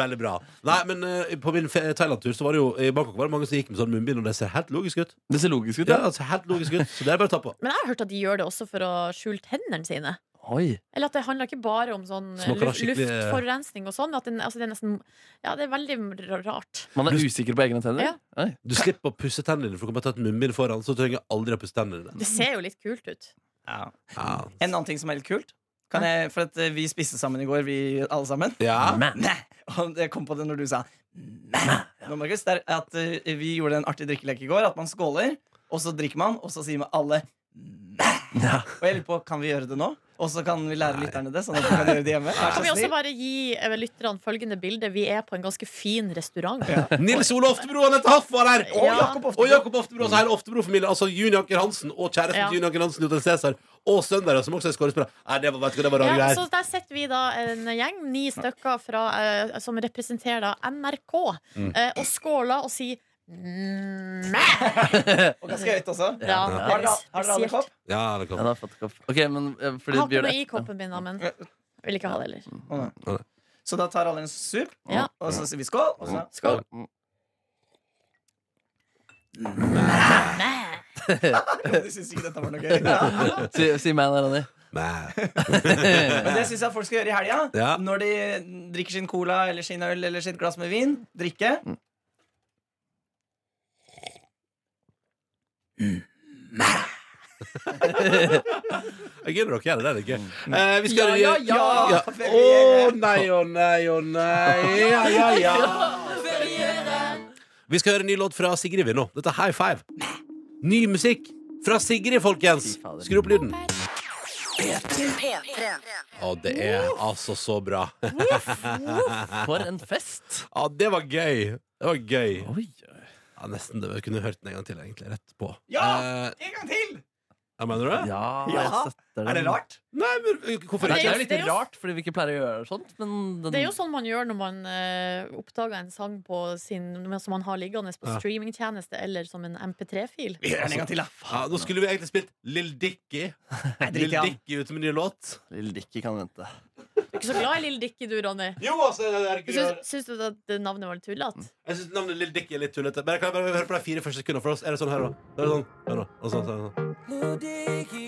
Speaker 2: Veldig bra. Nei, men eh, på min fe- Thailand-tur så var det jo i Bangkok var det mange som gikk med sånn munnbind, og det ser helt logisk ut.
Speaker 3: Det ser logisk ut,
Speaker 2: ja. det ser helt logisk ut Så det er bare å ta på.
Speaker 5: Men jeg har hørt at de gjør det også for å skjule tennene sine.
Speaker 3: Oi.
Speaker 5: Eller at det handler ikke bare om sånn
Speaker 3: Så man kan ha
Speaker 5: luft,
Speaker 3: skikkelig-
Speaker 5: luftforurensning og sånn. At den, altså det er nesten Ja, det er veldig r- rart.
Speaker 3: Man er usikker på egne tenner?
Speaker 5: Ja.
Speaker 3: Oi.
Speaker 2: Du slipper å pusse tennene dine, for du kan bare ta et munnbind foran, så du trenger aldri å pusse tennene dine.
Speaker 5: Det ser jo litt kult ut.
Speaker 1: Ja.
Speaker 2: Ja.
Speaker 1: En annen ting som er litt kult kan jeg, For at eh, vi spiste sammen i går, vi alle sammen.
Speaker 2: Ja.
Speaker 1: Mæ. Og jeg kom på det når du sa mæ. Nå, Markus, det er at eh, Vi gjorde en artig drikkelek i går. At man skåler, og så drikker man, og så sier man alle mæ. Og jeg lurer på, Kan vi gjøre det nå? Og så kan vi lære lytterne det. Sånn at de kan gjøre det hjemme
Speaker 5: Kan
Speaker 1: Vær så
Speaker 5: vi også
Speaker 1: snill.
Speaker 5: bare gi eh, lytterne følgende bilde? Vi er på en ganske fin restaurant.
Speaker 2: Nils Ole Oftebro og Anette Haff var der! Og
Speaker 5: Ja.
Speaker 2: Jakob Oftebro. Og Jakob Oftebro altså hele Oftebro-familien. Altså Juni Anker Hansen og kjæresten
Speaker 5: Ja.
Speaker 2: til Juni Anker Hansen Jotel Cæsar. Og søndere, som også er skuespillere. Nei, det var, vet du hva, det var
Speaker 5: Ja,
Speaker 2: rare
Speaker 5: så
Speaker 2: greier.
Speaker 5: Der sitter vi da en gjeng, ni stykker fra, eh, som representerer da NRK,
Speaker 2: Mm.
Speaker 5: eh, og skåler og
Speaker 1: (laughs)
Speaker 5: sier Mæ!
Speaker 1: Og ganske høyt også.
Speaker 5: Ja, det er
Speaker 1: Har dere har dere alle
Speaker 5: spesielt.
Speaker 1: kopp?
Speaker 2: Ja, det kom.
Speaker 3: da har jeg fått kopp. Ok, men eh, fordi
Speaker 5: Jeg har ikke
Speaker 3: Bjørn-
Speaker 5: noe i koppen min, da, men jeg vil ikke ha det heller.
Speaker 2: Å, nei.
Speaker 1: Så da tar alle en sup,
Speaker 5: Ja.
Speaker 1: og så sier vi skål. Og
Speaker 5: (laughs)
Speaker 1: så (laughs)
Speaker 3: Skål.
Speaker 1: (laughs) De syns ikke dette var noe gøy.
Speaker 3: (laughs)
Speaker 5: (laughs)
Speaker 3: si, si meg da, Ronny.
Speaker 1: (laughs) Men
Speaker 2: (laughs)
Speaker 3: (laughs)
Speaker 1: det syns jeg folk skal gjøre i helga.
Speaker 3: Ja.
Speaker 1: Når de drikker sin cola eller sin øl eller sitt glass med vin. Drikke.
Speaker 2: Mm. Jeg gidder dere gjøre det, det er gøy. Eh, vi skal
Speaker 1: Ja, ja, ja.
Speaker 2: Å nei, å nei, å nei. Ja, ja, ja. Vi skal høre en ny låt fra Sigrid vi nå. Dette er High Five. Ny musikk fra Sigrid, folkens. Skru opp lyden. Og det er altså så bra.
Speaker 3: For en fest!
Speaker 2: Ja, det var gøy. Det var gøy. Ja, nesten. det. Jeg kunne hørt den en gang til, egentlig. Rett på.
Speaker 1: Ja!
Speaker 2: Eh,
Speaker 1: En gang
Speaker 3: (laughs)
Speaker 1: til!
Speaker 2: ja, mener du det?
Speaker 3: Ja,
Speaker 1: jeg støtter den. Er det rart?
Speaker 2: Nei, men eh, hvorfor
Speaker 3: Nei, øh, det
Speaker 2: ikke?
Speaker 3: er jo litt
Speaker 5: det er jo-
Speaker 3: rart, fordi vi ikke pleier å gjøre sånt. Men den,
Speaker 5: Det er jo sånn man gjør når man eh, oppdager en sang på sin, som man har liggende på
Speaker 2: Ja.
Speaker 5: streamingtjeneste eller som en MP3-fil.
Speaker 1: Vi gjør den en gang til, da.
Speaker 2: Altså, Ja, nå skulle vi egentlig spilt Lill Dicky.
Speaker 1: (laughs) driter i
Speaker 2: Lill
Speaker 1: han.
Speaker 2: Dicky ute med ny låt.
Speaker 3: Lille Dickie kan vente.
Speaker 1: Det
Speaker 5: ikke så glad i Lille Dickie, du, Ronny?
Speaker 2: Jo, altså, herregud.
Speaker 5: Syns, syns du at det navnet var litt tullete?
Speaker 2: Jeg syns navnet Lille Dick er litt tullete. Men jeg kan bare høre på de fire første sekundene for oss. Er det sånn her, da? Er det sånn, hør nå. Og sånn, sånn, sånn.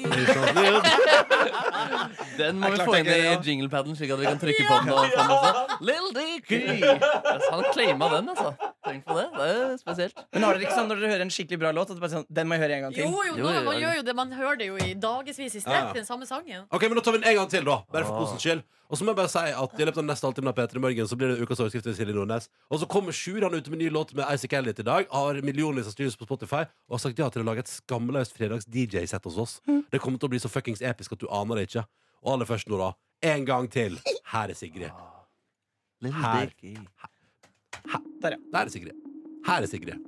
Speaker 3: Den må
Speaker 2: Jeg
Speaker 3: vi
Speaker 2: klarte
Speaker 3: få inn
Speaker 2: ikke
Speaker 3: i
Speaker 2: det, ja.
Speaker 3: jinglepaden, slik at vi kan trykke på den. Og sånn også. Lil Dicky! Altså, Han claima den, altså. Tenk på det. Det er spesielt.
Speaker 1: Men har dere ikke sånn når dere hører en skikkelig bra låt? At det bare er sånn, den må jeg høre en gang
Speaker 5: Jo,
Speaker 1: til?
Speaker 5: jo, nå, man gjør jo det. Man hører det jo i dagevis i
Speaker 2: Ja, ja.
Speaker 5: strekk, den samme sangen.
Speaker 2: Ok, men Nå tar vi den en gang til, da. Bare for kosens skyld. Og så må jeg bare si at I løpet av neste halvtime av P3 Morgen så blir det ukas overskrift ved Silje Nordnes. Og så kommer Sjur han er ute med ny låt med Isaac Elliot i dag. Har millionvis av streams på Spotify og har sagt ja til å lage et skamløst fredags-DJ-sett hos oss. Det kommer til å bli så fuckings episk at du aner det ikke. Og aller først nå, da. En gang til. Her er Sigrid. Her. Her. Der, er Sigrid. Her er Sigrid.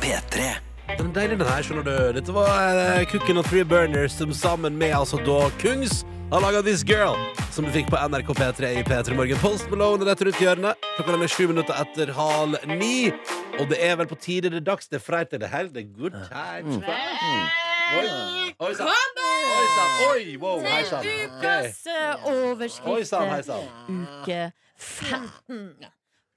Speaker 2: P3. Den deilige den her, skjønner du. Dette var eh, Kukken og Three Burners som sammen med altså da Kungs har laga This Girl, som du fikk på NRK P3 i P3 Morgen. Post Malone er dette rundt hjørnet. Klokka den er sju minutter etter halv ni. Og det er vel på tide det er dags, det er freitid, det er helg, det er good times. Oi sann! Oi sann! Oi, wow, hei sann. Ok.
Speaker 5: Ukas eh, overskrift.
Speaker 2: Oi sann, hei sann.
Speaker 5: Uke 15.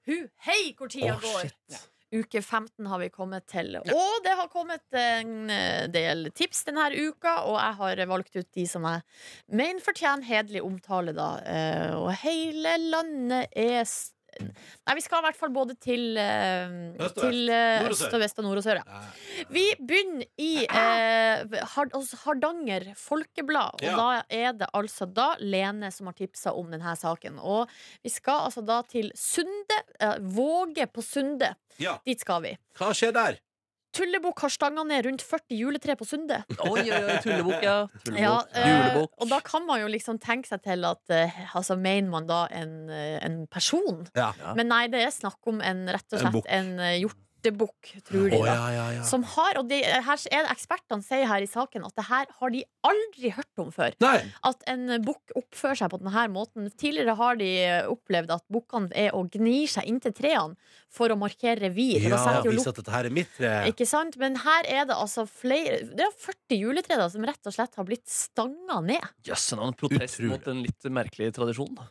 Speaker 5: Hu, hei, hvor tida
Speaker 2: Åh,
Speaker 5: går.
Speaker 2: shit.
Speaker 5: Uke 15 har vi kommet til. Og det har kommet en eh, del tips denne uka, og jeg har valgt ut de som jeg mener fortjener hederlig omtale, da. Eh, Og hele landet er s- Nei, vi skal i hvert fall både til, eh,
Speaker 14: Øst og
Speaker 5: til
Speaker 14: vest.
Speaker 5: eh,
Speaker 14: Nord og
Speaker 5: øst
Speaker 14: sør.
Speaker 5: og vest og nord og sør. Ja. Vi begynner i eh, Hard- altså Hardanger Folkeblad, og
Speaker 14: Ja.
Speaker 5: da er det altså da Lene som har tipsa om denne saken. Og vi skal altså da til Sunde, eh, Våge på Sunde.
Speaker 2: Ja.
Speaker 5: Dit skal vi.
Speaker 2: Hva skjer der?
Speaker 5: Tullebukk har stanga ned rundt 40 juletre på Sunde.
Speaker 3: (laughs) Oi, oi, oi, tullebukk, ja. Tullebukk.
Speaker 5: Ja, eh,
Speaker 3: Julebukk.
Speaker 5: og da kan man jo liksom tenke seg til at eh, altså, Mener man da en, eh, en person?
Speaker 2: Ja.
Speaker 5: Men nei, det er snakk om en, rett og
Speaker 14: En
Speaker 5: slett
Speaker 14: bukk.
Speaker 5: en, eh, hjortebukk, tror de.
Speaker 14: Å,
Speaker 5: da.
Speaker 14: ja,
Speaker 2: Ah,
Speaker 14: ja, ja.
Speaker 5: Som har, og de, eh, her er det ekspertene sier her i saken at det her har de aldri hørt om før. At en bukk oppfører seg på denne måten. Tidligere har de eh, opplevd at bukkene er og gnir seg inntil trærne for å markere revir. Og da
Speaker 2: Ja,
Speaker 5: setter jo
Speaker 2: vis
Speaker 5: lukten-
Speaker 2: at dette her er mitt eh, tre.
Speaker 5: ikke sant? Men her er det altså flere Det er 40 juletre da, som rett og slett har blitt stanga ned.
Speaker 3: Jøss, en annen protest mot en litt merkelig tradisjon. da.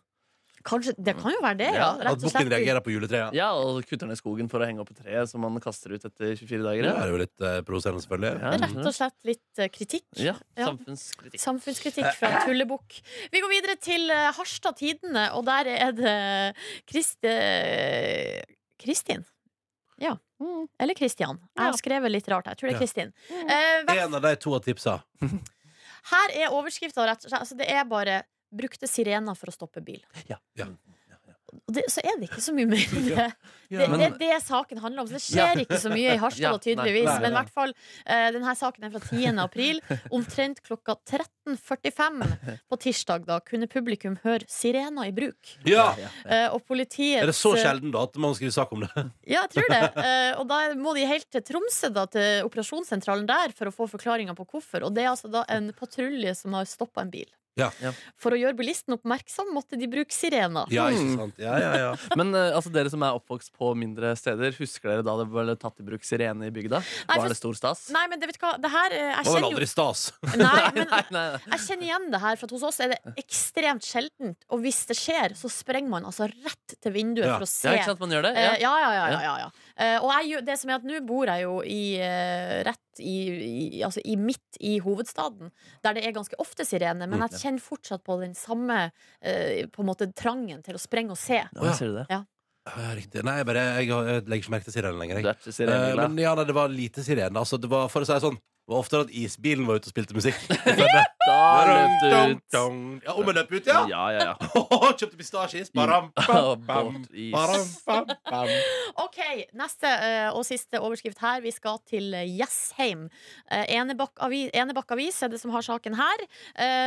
Speaker 5: Kanskje, det
Speaker 2: Mm.
Speaker 5: kan jo være det, ja. Rett og slett.
Speaker 2: på juletreet.
Speaker 3: Ja, og kutter ned skogen for å henge opp et tre som man kaster ut etter 24 dager.
Speaker 2: Det er jo litt eh, provoserende, selvfølgelig.
Speaker 5: Rett og slett litt eh, kritikk.
Speaker 3: Ja,
Speaker 5: Ja.
Speaker 3: samfunnskritikk.
Speaker 5: Samfunnskritikk fra Tullebukk. Vi går videre til eh, Harstad Tidende, og der er det Krist, eh, Kristin. Ja. Eller Kristian. Jeg har skrevet litt rart. her. Jeg tror det
Speaker 2: Ja.
Speaker 5: er Kristin. Eh, hver-
Speaker 2: En av de to har tipsa.
Speaker 5: her er overskrifta, rett og slett. Altså, det er bare 'Brukte sirener for å stoppe bil'. Og det, så er det ikke så mye mer
Speaker 14: (laughs)
Speaker 5: enn det.
Speaker 14: Ja.
Speaker 5: Det
Speaker 14: Men-
Speaker 5: det er det saken handler om. Så det
Speaker 14: Ja.
Speaker 5: skjer ikke så mye i Harstad,
Speaker 14: (laughs) Ja,
Speaker 5: da, tydeligvis.
Speaker 14: nei, nei, nei.
Speaker 5: Men i hvert fall, eh, denne saken er fra 10. april. Omtrent klokka 13.45 på tirsdag da kunne publikum høre sirener i bruk.
Speaker 2: Ja!
Speaker 5: Eh, og politiets
Speaker 2: Er det så sjelden da at man skriver sak om det?
Speaker 5: (laughs) Ja, jeg tror det.
Speaker 2: (laughs)
Speaker 5: Eh, og da må de helt til Tromsø, da, til operasjonssentralen der, for å få forklaringa på hvorfor. Og det er altså da en patrulje som har stoppa en bil.
Speaker 2: Ja.
Speaker 5: For å gjøre bilisten oppmerksom måtte de bruke sirener.
Speaker 3: Hmm. (laughs) Men eh, altså, dere som er oppvokst på mindre steder, husker dere da det ble tatt i bruk sirene i bygda?
Speaker 5: for-
Speaker 3: Var det stor stas?
Speaker 5: Nei, men det, vet du hva, det her eh, jeg
Speaker 3: Var vel
Speaker 5: kjenner jo-
Speaker 3: aldri
Speaker 2: stas.
Speaker 5: (laughs) Nei, men jeg kjenner igjen det her, for at hos oss er det ekstremt sjeldent. Og hvis det skjer, så sprenger man altså rett til vinduet
Speaker 3: Ja.
Speaker 5: for å se.
Speaker 3: Ja, ikke sant? Man gjør det, ja.
Speaker 5: Eh, ja, ja, ja, ja, ja,
Speaker 3: Ja.
Speaker 5: ja. Eh, og jeg, gjør- det som er at nå bor jeg jo i eh, rett i, i, altså i midt i hovedstaden, der det er ganske ofte sirene, men
Speaker 3: Mm.
Speaker 5: jeg kjenner fortsatt på den samme eh, på en måte trangen til å sprenge og se.
Speaker 2: Ja, ser du det?
Speaker 5: Ja.
Speaker 2: Ja, riktig. Nei, bare, jeg, har- jeg legger ikke merke til sirenen lenger. jeg.
Speaker 3: Du er ikke sireneglad.
Speaker 2: Eh, men ja, nei, det var lite sirene. Altså, det var, for å si det sånn, det var oftere at isbilen var ute og spilte musikk.
Speaker 3: (laughs) Da
Speaker 2: Dong,
Speaker 3: løp du
Speaker 2: dong,
Speaker 3: ut.
Speaker 2: dong. Ja, om jeg løp ut, ja?
Speaker 3: Ja,
Speaker 2: (laughs)
Speaker 3: ja, ja.
Speaker 2: Kjøpte pistasjeis. Baram, bam, bam.
Speaker 3: Båtis.
Speaker 2: Baram, bam, bam.
Speaker 5: Ok, neste eh, og siste overskrift her. Vi skal til eh, Jessheim. Eh, Enebakk Avi- Enebakk Avis Ehm, er det som har saken her.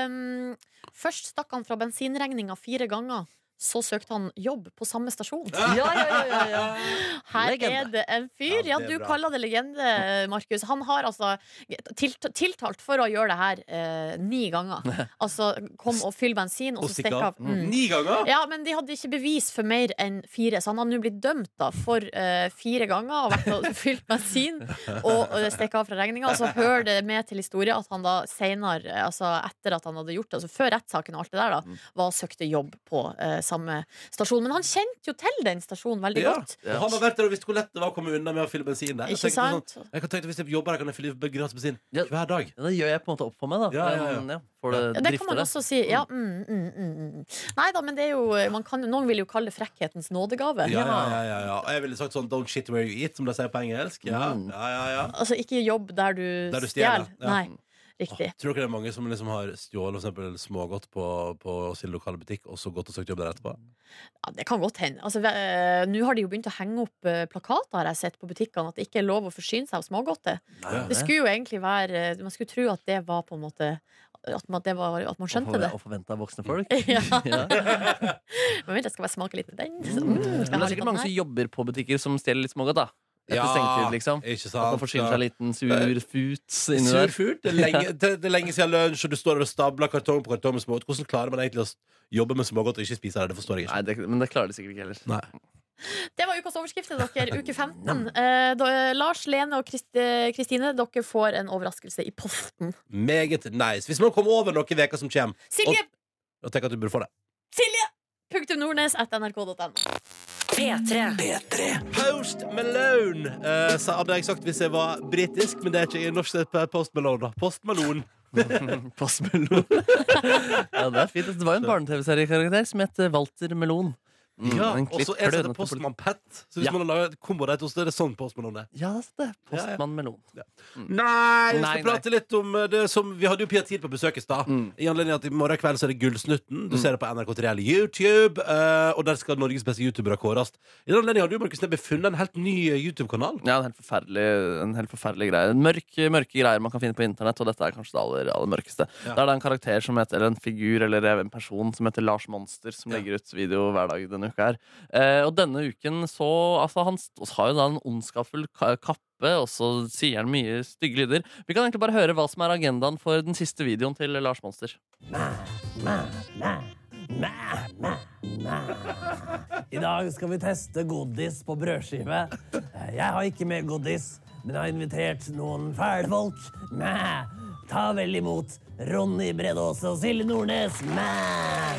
Speaker 5: Um, først stakk han fra bensinregninga fire ganger. så søkte han jobb på samme stasjon.
Speaker 6: Ja, ja, ja, ja, ja.
Speaker 5: (laughs) Her
Speaker 6: Legende.
Speaker 5: er det en
Speaker 6: Ja,
Speaker 5: fyr.
Speaker 6: det
Speaker 5: Ja,
Speaker 6: er
Speaker 5: du
Speaker 6: bra.
Speaker 5: kaller det legende, Markus. Han har altså tilt, tiltalt for å gjøre det her eh, ni
Speaker 6: (laughs)
Speaker 5: ganger. Altså kom og fyll bensin, og
Speaker 6: Og
Speaker 5: så
Speaker 6: stikk
Speaker 5: stikk
Speaker 6: av.
Speaker 5: av. Mm.
Speaker 6: Ni ganger?
Speaker 5: Ja, men de hadde ikke bevis for mer enn fire, så han har nå blitt dømt da for eh, fire ganger og (laughs) vært og fylt bensin og eh, stikk av fra regninga. Så hører det med til historien at han da senere, eh, altså etter at han hadde gjort det, altså før rettssaken og alt det der,
Speaker 2: Mm.
Speaker 5: da, var og søkte jobb på eh, samme stasjon. Men han kjente jo til den stasjonen veldig
Speaker 2: Ja.
Speaker 5: godt.
Speaker 2: Og han har vært der og visst hvor lett det var å komme unna med å fylle bensin der.
Speaker 5: Ikke
Speaker 2: jeg tenkte
Speaker 5: sant?
Speaker 2: Sånn, jeg kan tenke Hvis jeg jobber her, kan jeg fylle gratis bensin hver dag.
Speaker 3: Det gjør jeg på en måte opp for meg, da.
Speaker 2: Ja, ja, ja.
Speaker 3: Men, får det
Speaker 5: Det kan
Speaker 3: drifter
Speaker 5: man
Speaker 3: det.
Speaker 5: også si. Ja, mm, mm, mm, mm. Nei da, men det er jo man kan, Noen vil jo kalle det frekkhetens nådegave.
Speaker 2: Ja, ja, ja, ja, ja. Og jeg ville sagt sånn 'don't shit where you eat', som de sier på engelsk. Ja,
Speaker 3: Mm.
Speaker 2: ja, ja, ja.
Speaker 5: Altså ikke jobb der du,
Speaker 2: Der du
Speaker 5: stjeler.
Speaker 2: stjeler, ja. Mm.
Speaker 5: Nei. Riktig.
Speaker 2: Tror dere det er mange som liksom har stjålet for eksempel smågodt på, på sin lokale butikk, og så gått og søkt jobb der etterpå?
Speaker 5: Ja, det kan godt hende. Altså, ve- eh, Nå har de jo begynt å henge opp eh, plakater, har jeg sett på butikkene, at det ikke er lov å forsyne seg av smågodte.
Speaker 3: Nei.
Speaker 5: Det skulle jo egentlig være eh, Man skulle tro at det var på en måte At man, det var, at man skjønte det.
Speaker 3: Og forventa voksne folk.
Speaker 5: (laughs) Ja.
Speaker 3: Ja. Hmm.
Speaker 5: Men vent, jeg skal bare smake litt på den. Så,
Speaker 3: Men
Speaker 5: mm, skal jeg
Speaker 3: det
Speaker 5: ha
Speaker 3: er
Speaker 5: litt
Speaker 3: sikkert
Speaker 5: av den
Speaker 3: mange
Speaker 5: her?
Speaker 3: som jobber på butikker som stjeler litt smågodt, da. Etter
Speaker 2: Ja,
Speaker 3: sengetid, liksom.
Speaker 2: ikke sant,
Speaker 3: At man forsyner seg en
Speaker 2: ja.
Speaker 3: liten sur futs inni der.
Speaker 2: Sur furt. Det er
Speaker 3: (laughs)
Speaker 2: lenge, det det er lenge siden lunsj, og du står der og stabler kartong på kartong med smågodt. Hvordan klarer man egentlig å s- jobbe med smågodt og ikke spise det? Det forstår jeg ikke.
Speaker 3: men det klarer de sikkert ikke heller.
Speaker 5: Det var ukas overskrift til dere, uke 15. Eh, da, eh, Lars, Lene og Krist- eh, Kristine, dere får en overraskelse i posten.
Speaker 2: Meget nice. Hvis man kommer over noe i veka som kommer,
Speaker 5: Silje!
Speaker 2: og, og tenker at du burde få det.
Speaker 5: Silje! Punktum Nordnes at nrk.no. P3.
Speaker 2: Post Malone eh, sa, hadde jeg sagt hvis jeg var britisk, men det er ikke i norsk. det er Post Malone, da. Post Malone.
Speaker 3: Post Malone. (laughs) Ja, det er fint. Det var jo en barne-TV-seriekarakter som het eh, Walter Melon. Mm,
Speaker 2: Ja,
Speaker 3: en
Speaker 2: og så
Speaker 3: klipp
Speaker 2: er det
Speaker 3: klønete
Speaker 2: Postmann
Speaker 3: politi-
Speaker 2: Pat. Så hvis
Speaker 3: Ja.
Speaker 2: man har laget et kombo der, så er det sånn Postmann Malone er.
Speaker 3: Ja, det er det.
Speaker 2: Ja, ja.
Speaker 3: Postmann Mm. Melon.
Speaker 2: Nei, vi
Speaker 3: Nei,
Speaker 2: skal
Speaker 3: nei.
Speaker 2: prate litt om eh, det som Vi hadde jo Pia Tid på besøk i stad. I anledning at i morgen kveld så er det Gullsnutten. Du ser det på NRK3 eller YouTube. eh, og der skal Norges beste youtubere kåres. I den anledning har du Markus Neby funnet en helt ny eh, YouTube-kanal.
Speaker 3: Ja, en helt forferdelig, en helt forferdelig greie. Mørke, mørke greier man kan finne på internett, og dette er kanskje det aller, aller mørkeste.
Speaker 2: Ja.
Speaker 3: Da er det en karakter som heter, eller en figur eller en person som heter Lars Monster, som legger ut video hver dag denne uka her. Eh, og denne uken så Altså, han st- har jo da en ondskapsfull ka- kappe, og så sier han mye stygge lyder. Vi kan egentlig bare høre hva som er agendaen for den siste videoen til Lars Monster.
Speaker 14: I dag skal vi teste godis på brødskive. Jeg har ikke med godis, men jeg har invitert noen fæle folk. Mæ. Ta vel imot Ronny Bredåse og Silje Nordnes. Mæ.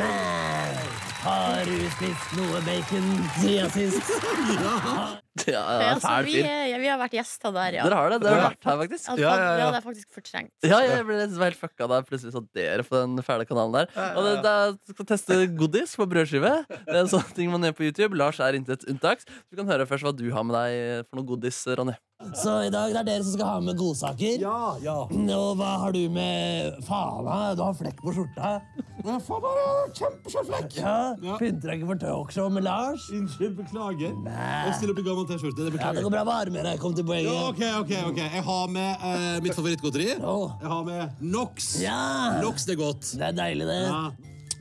Speaker 14: Mæ. Har du spist noe bacon siden sist?
Speaker 3: Ja,
Speaker 5: Ja, altså, vi, er- vi har vært gjester der, ja.
Speaker 3: Dere har det, dere har vært her, faktisk.
Speaker 5: Ja,
Speaker 3: Ja, ja, ja.
Speaker 5: Det hadde jeg faktisk fortrengt.
Speaker 3: Ja, ja, jeg ble litt helt fucka da jeg plutselig satt dere på den fæle kanalen der. Og det, da skal jeg teste godis på brødskive. Det er en sånn ting man gjør på YouTube. Lars er intet unntak. Så vi kan høre først hva du har med deg for noe godis, Ronny.
Speaker 14: Så i dag det er dere som skal ha med godsaker. Ja, ja. Og hva har du med Faen, da, du har flekk på skjorta. Ja, faen, jeg har kjempeskjønn flekk. Ja, Pynter deg ikke for talkshow med Lars? Unnskyld, beklager.
Speaker 13: Jeg stiller opp i gammel T-skjorte. Det
Speaker 14: Ja, det går bra. Hva har du med deg? Kom til poenget.
Speaker 13: Ja, ok, ok, ok. Jeg har med eh, mitt favorittgodteri. Jeg har med NOx.
Speaker 14: Ja.
Speaker 13: NOx det er godt.
Speaker 14: Det er deilig, det.
Speaker 13: Og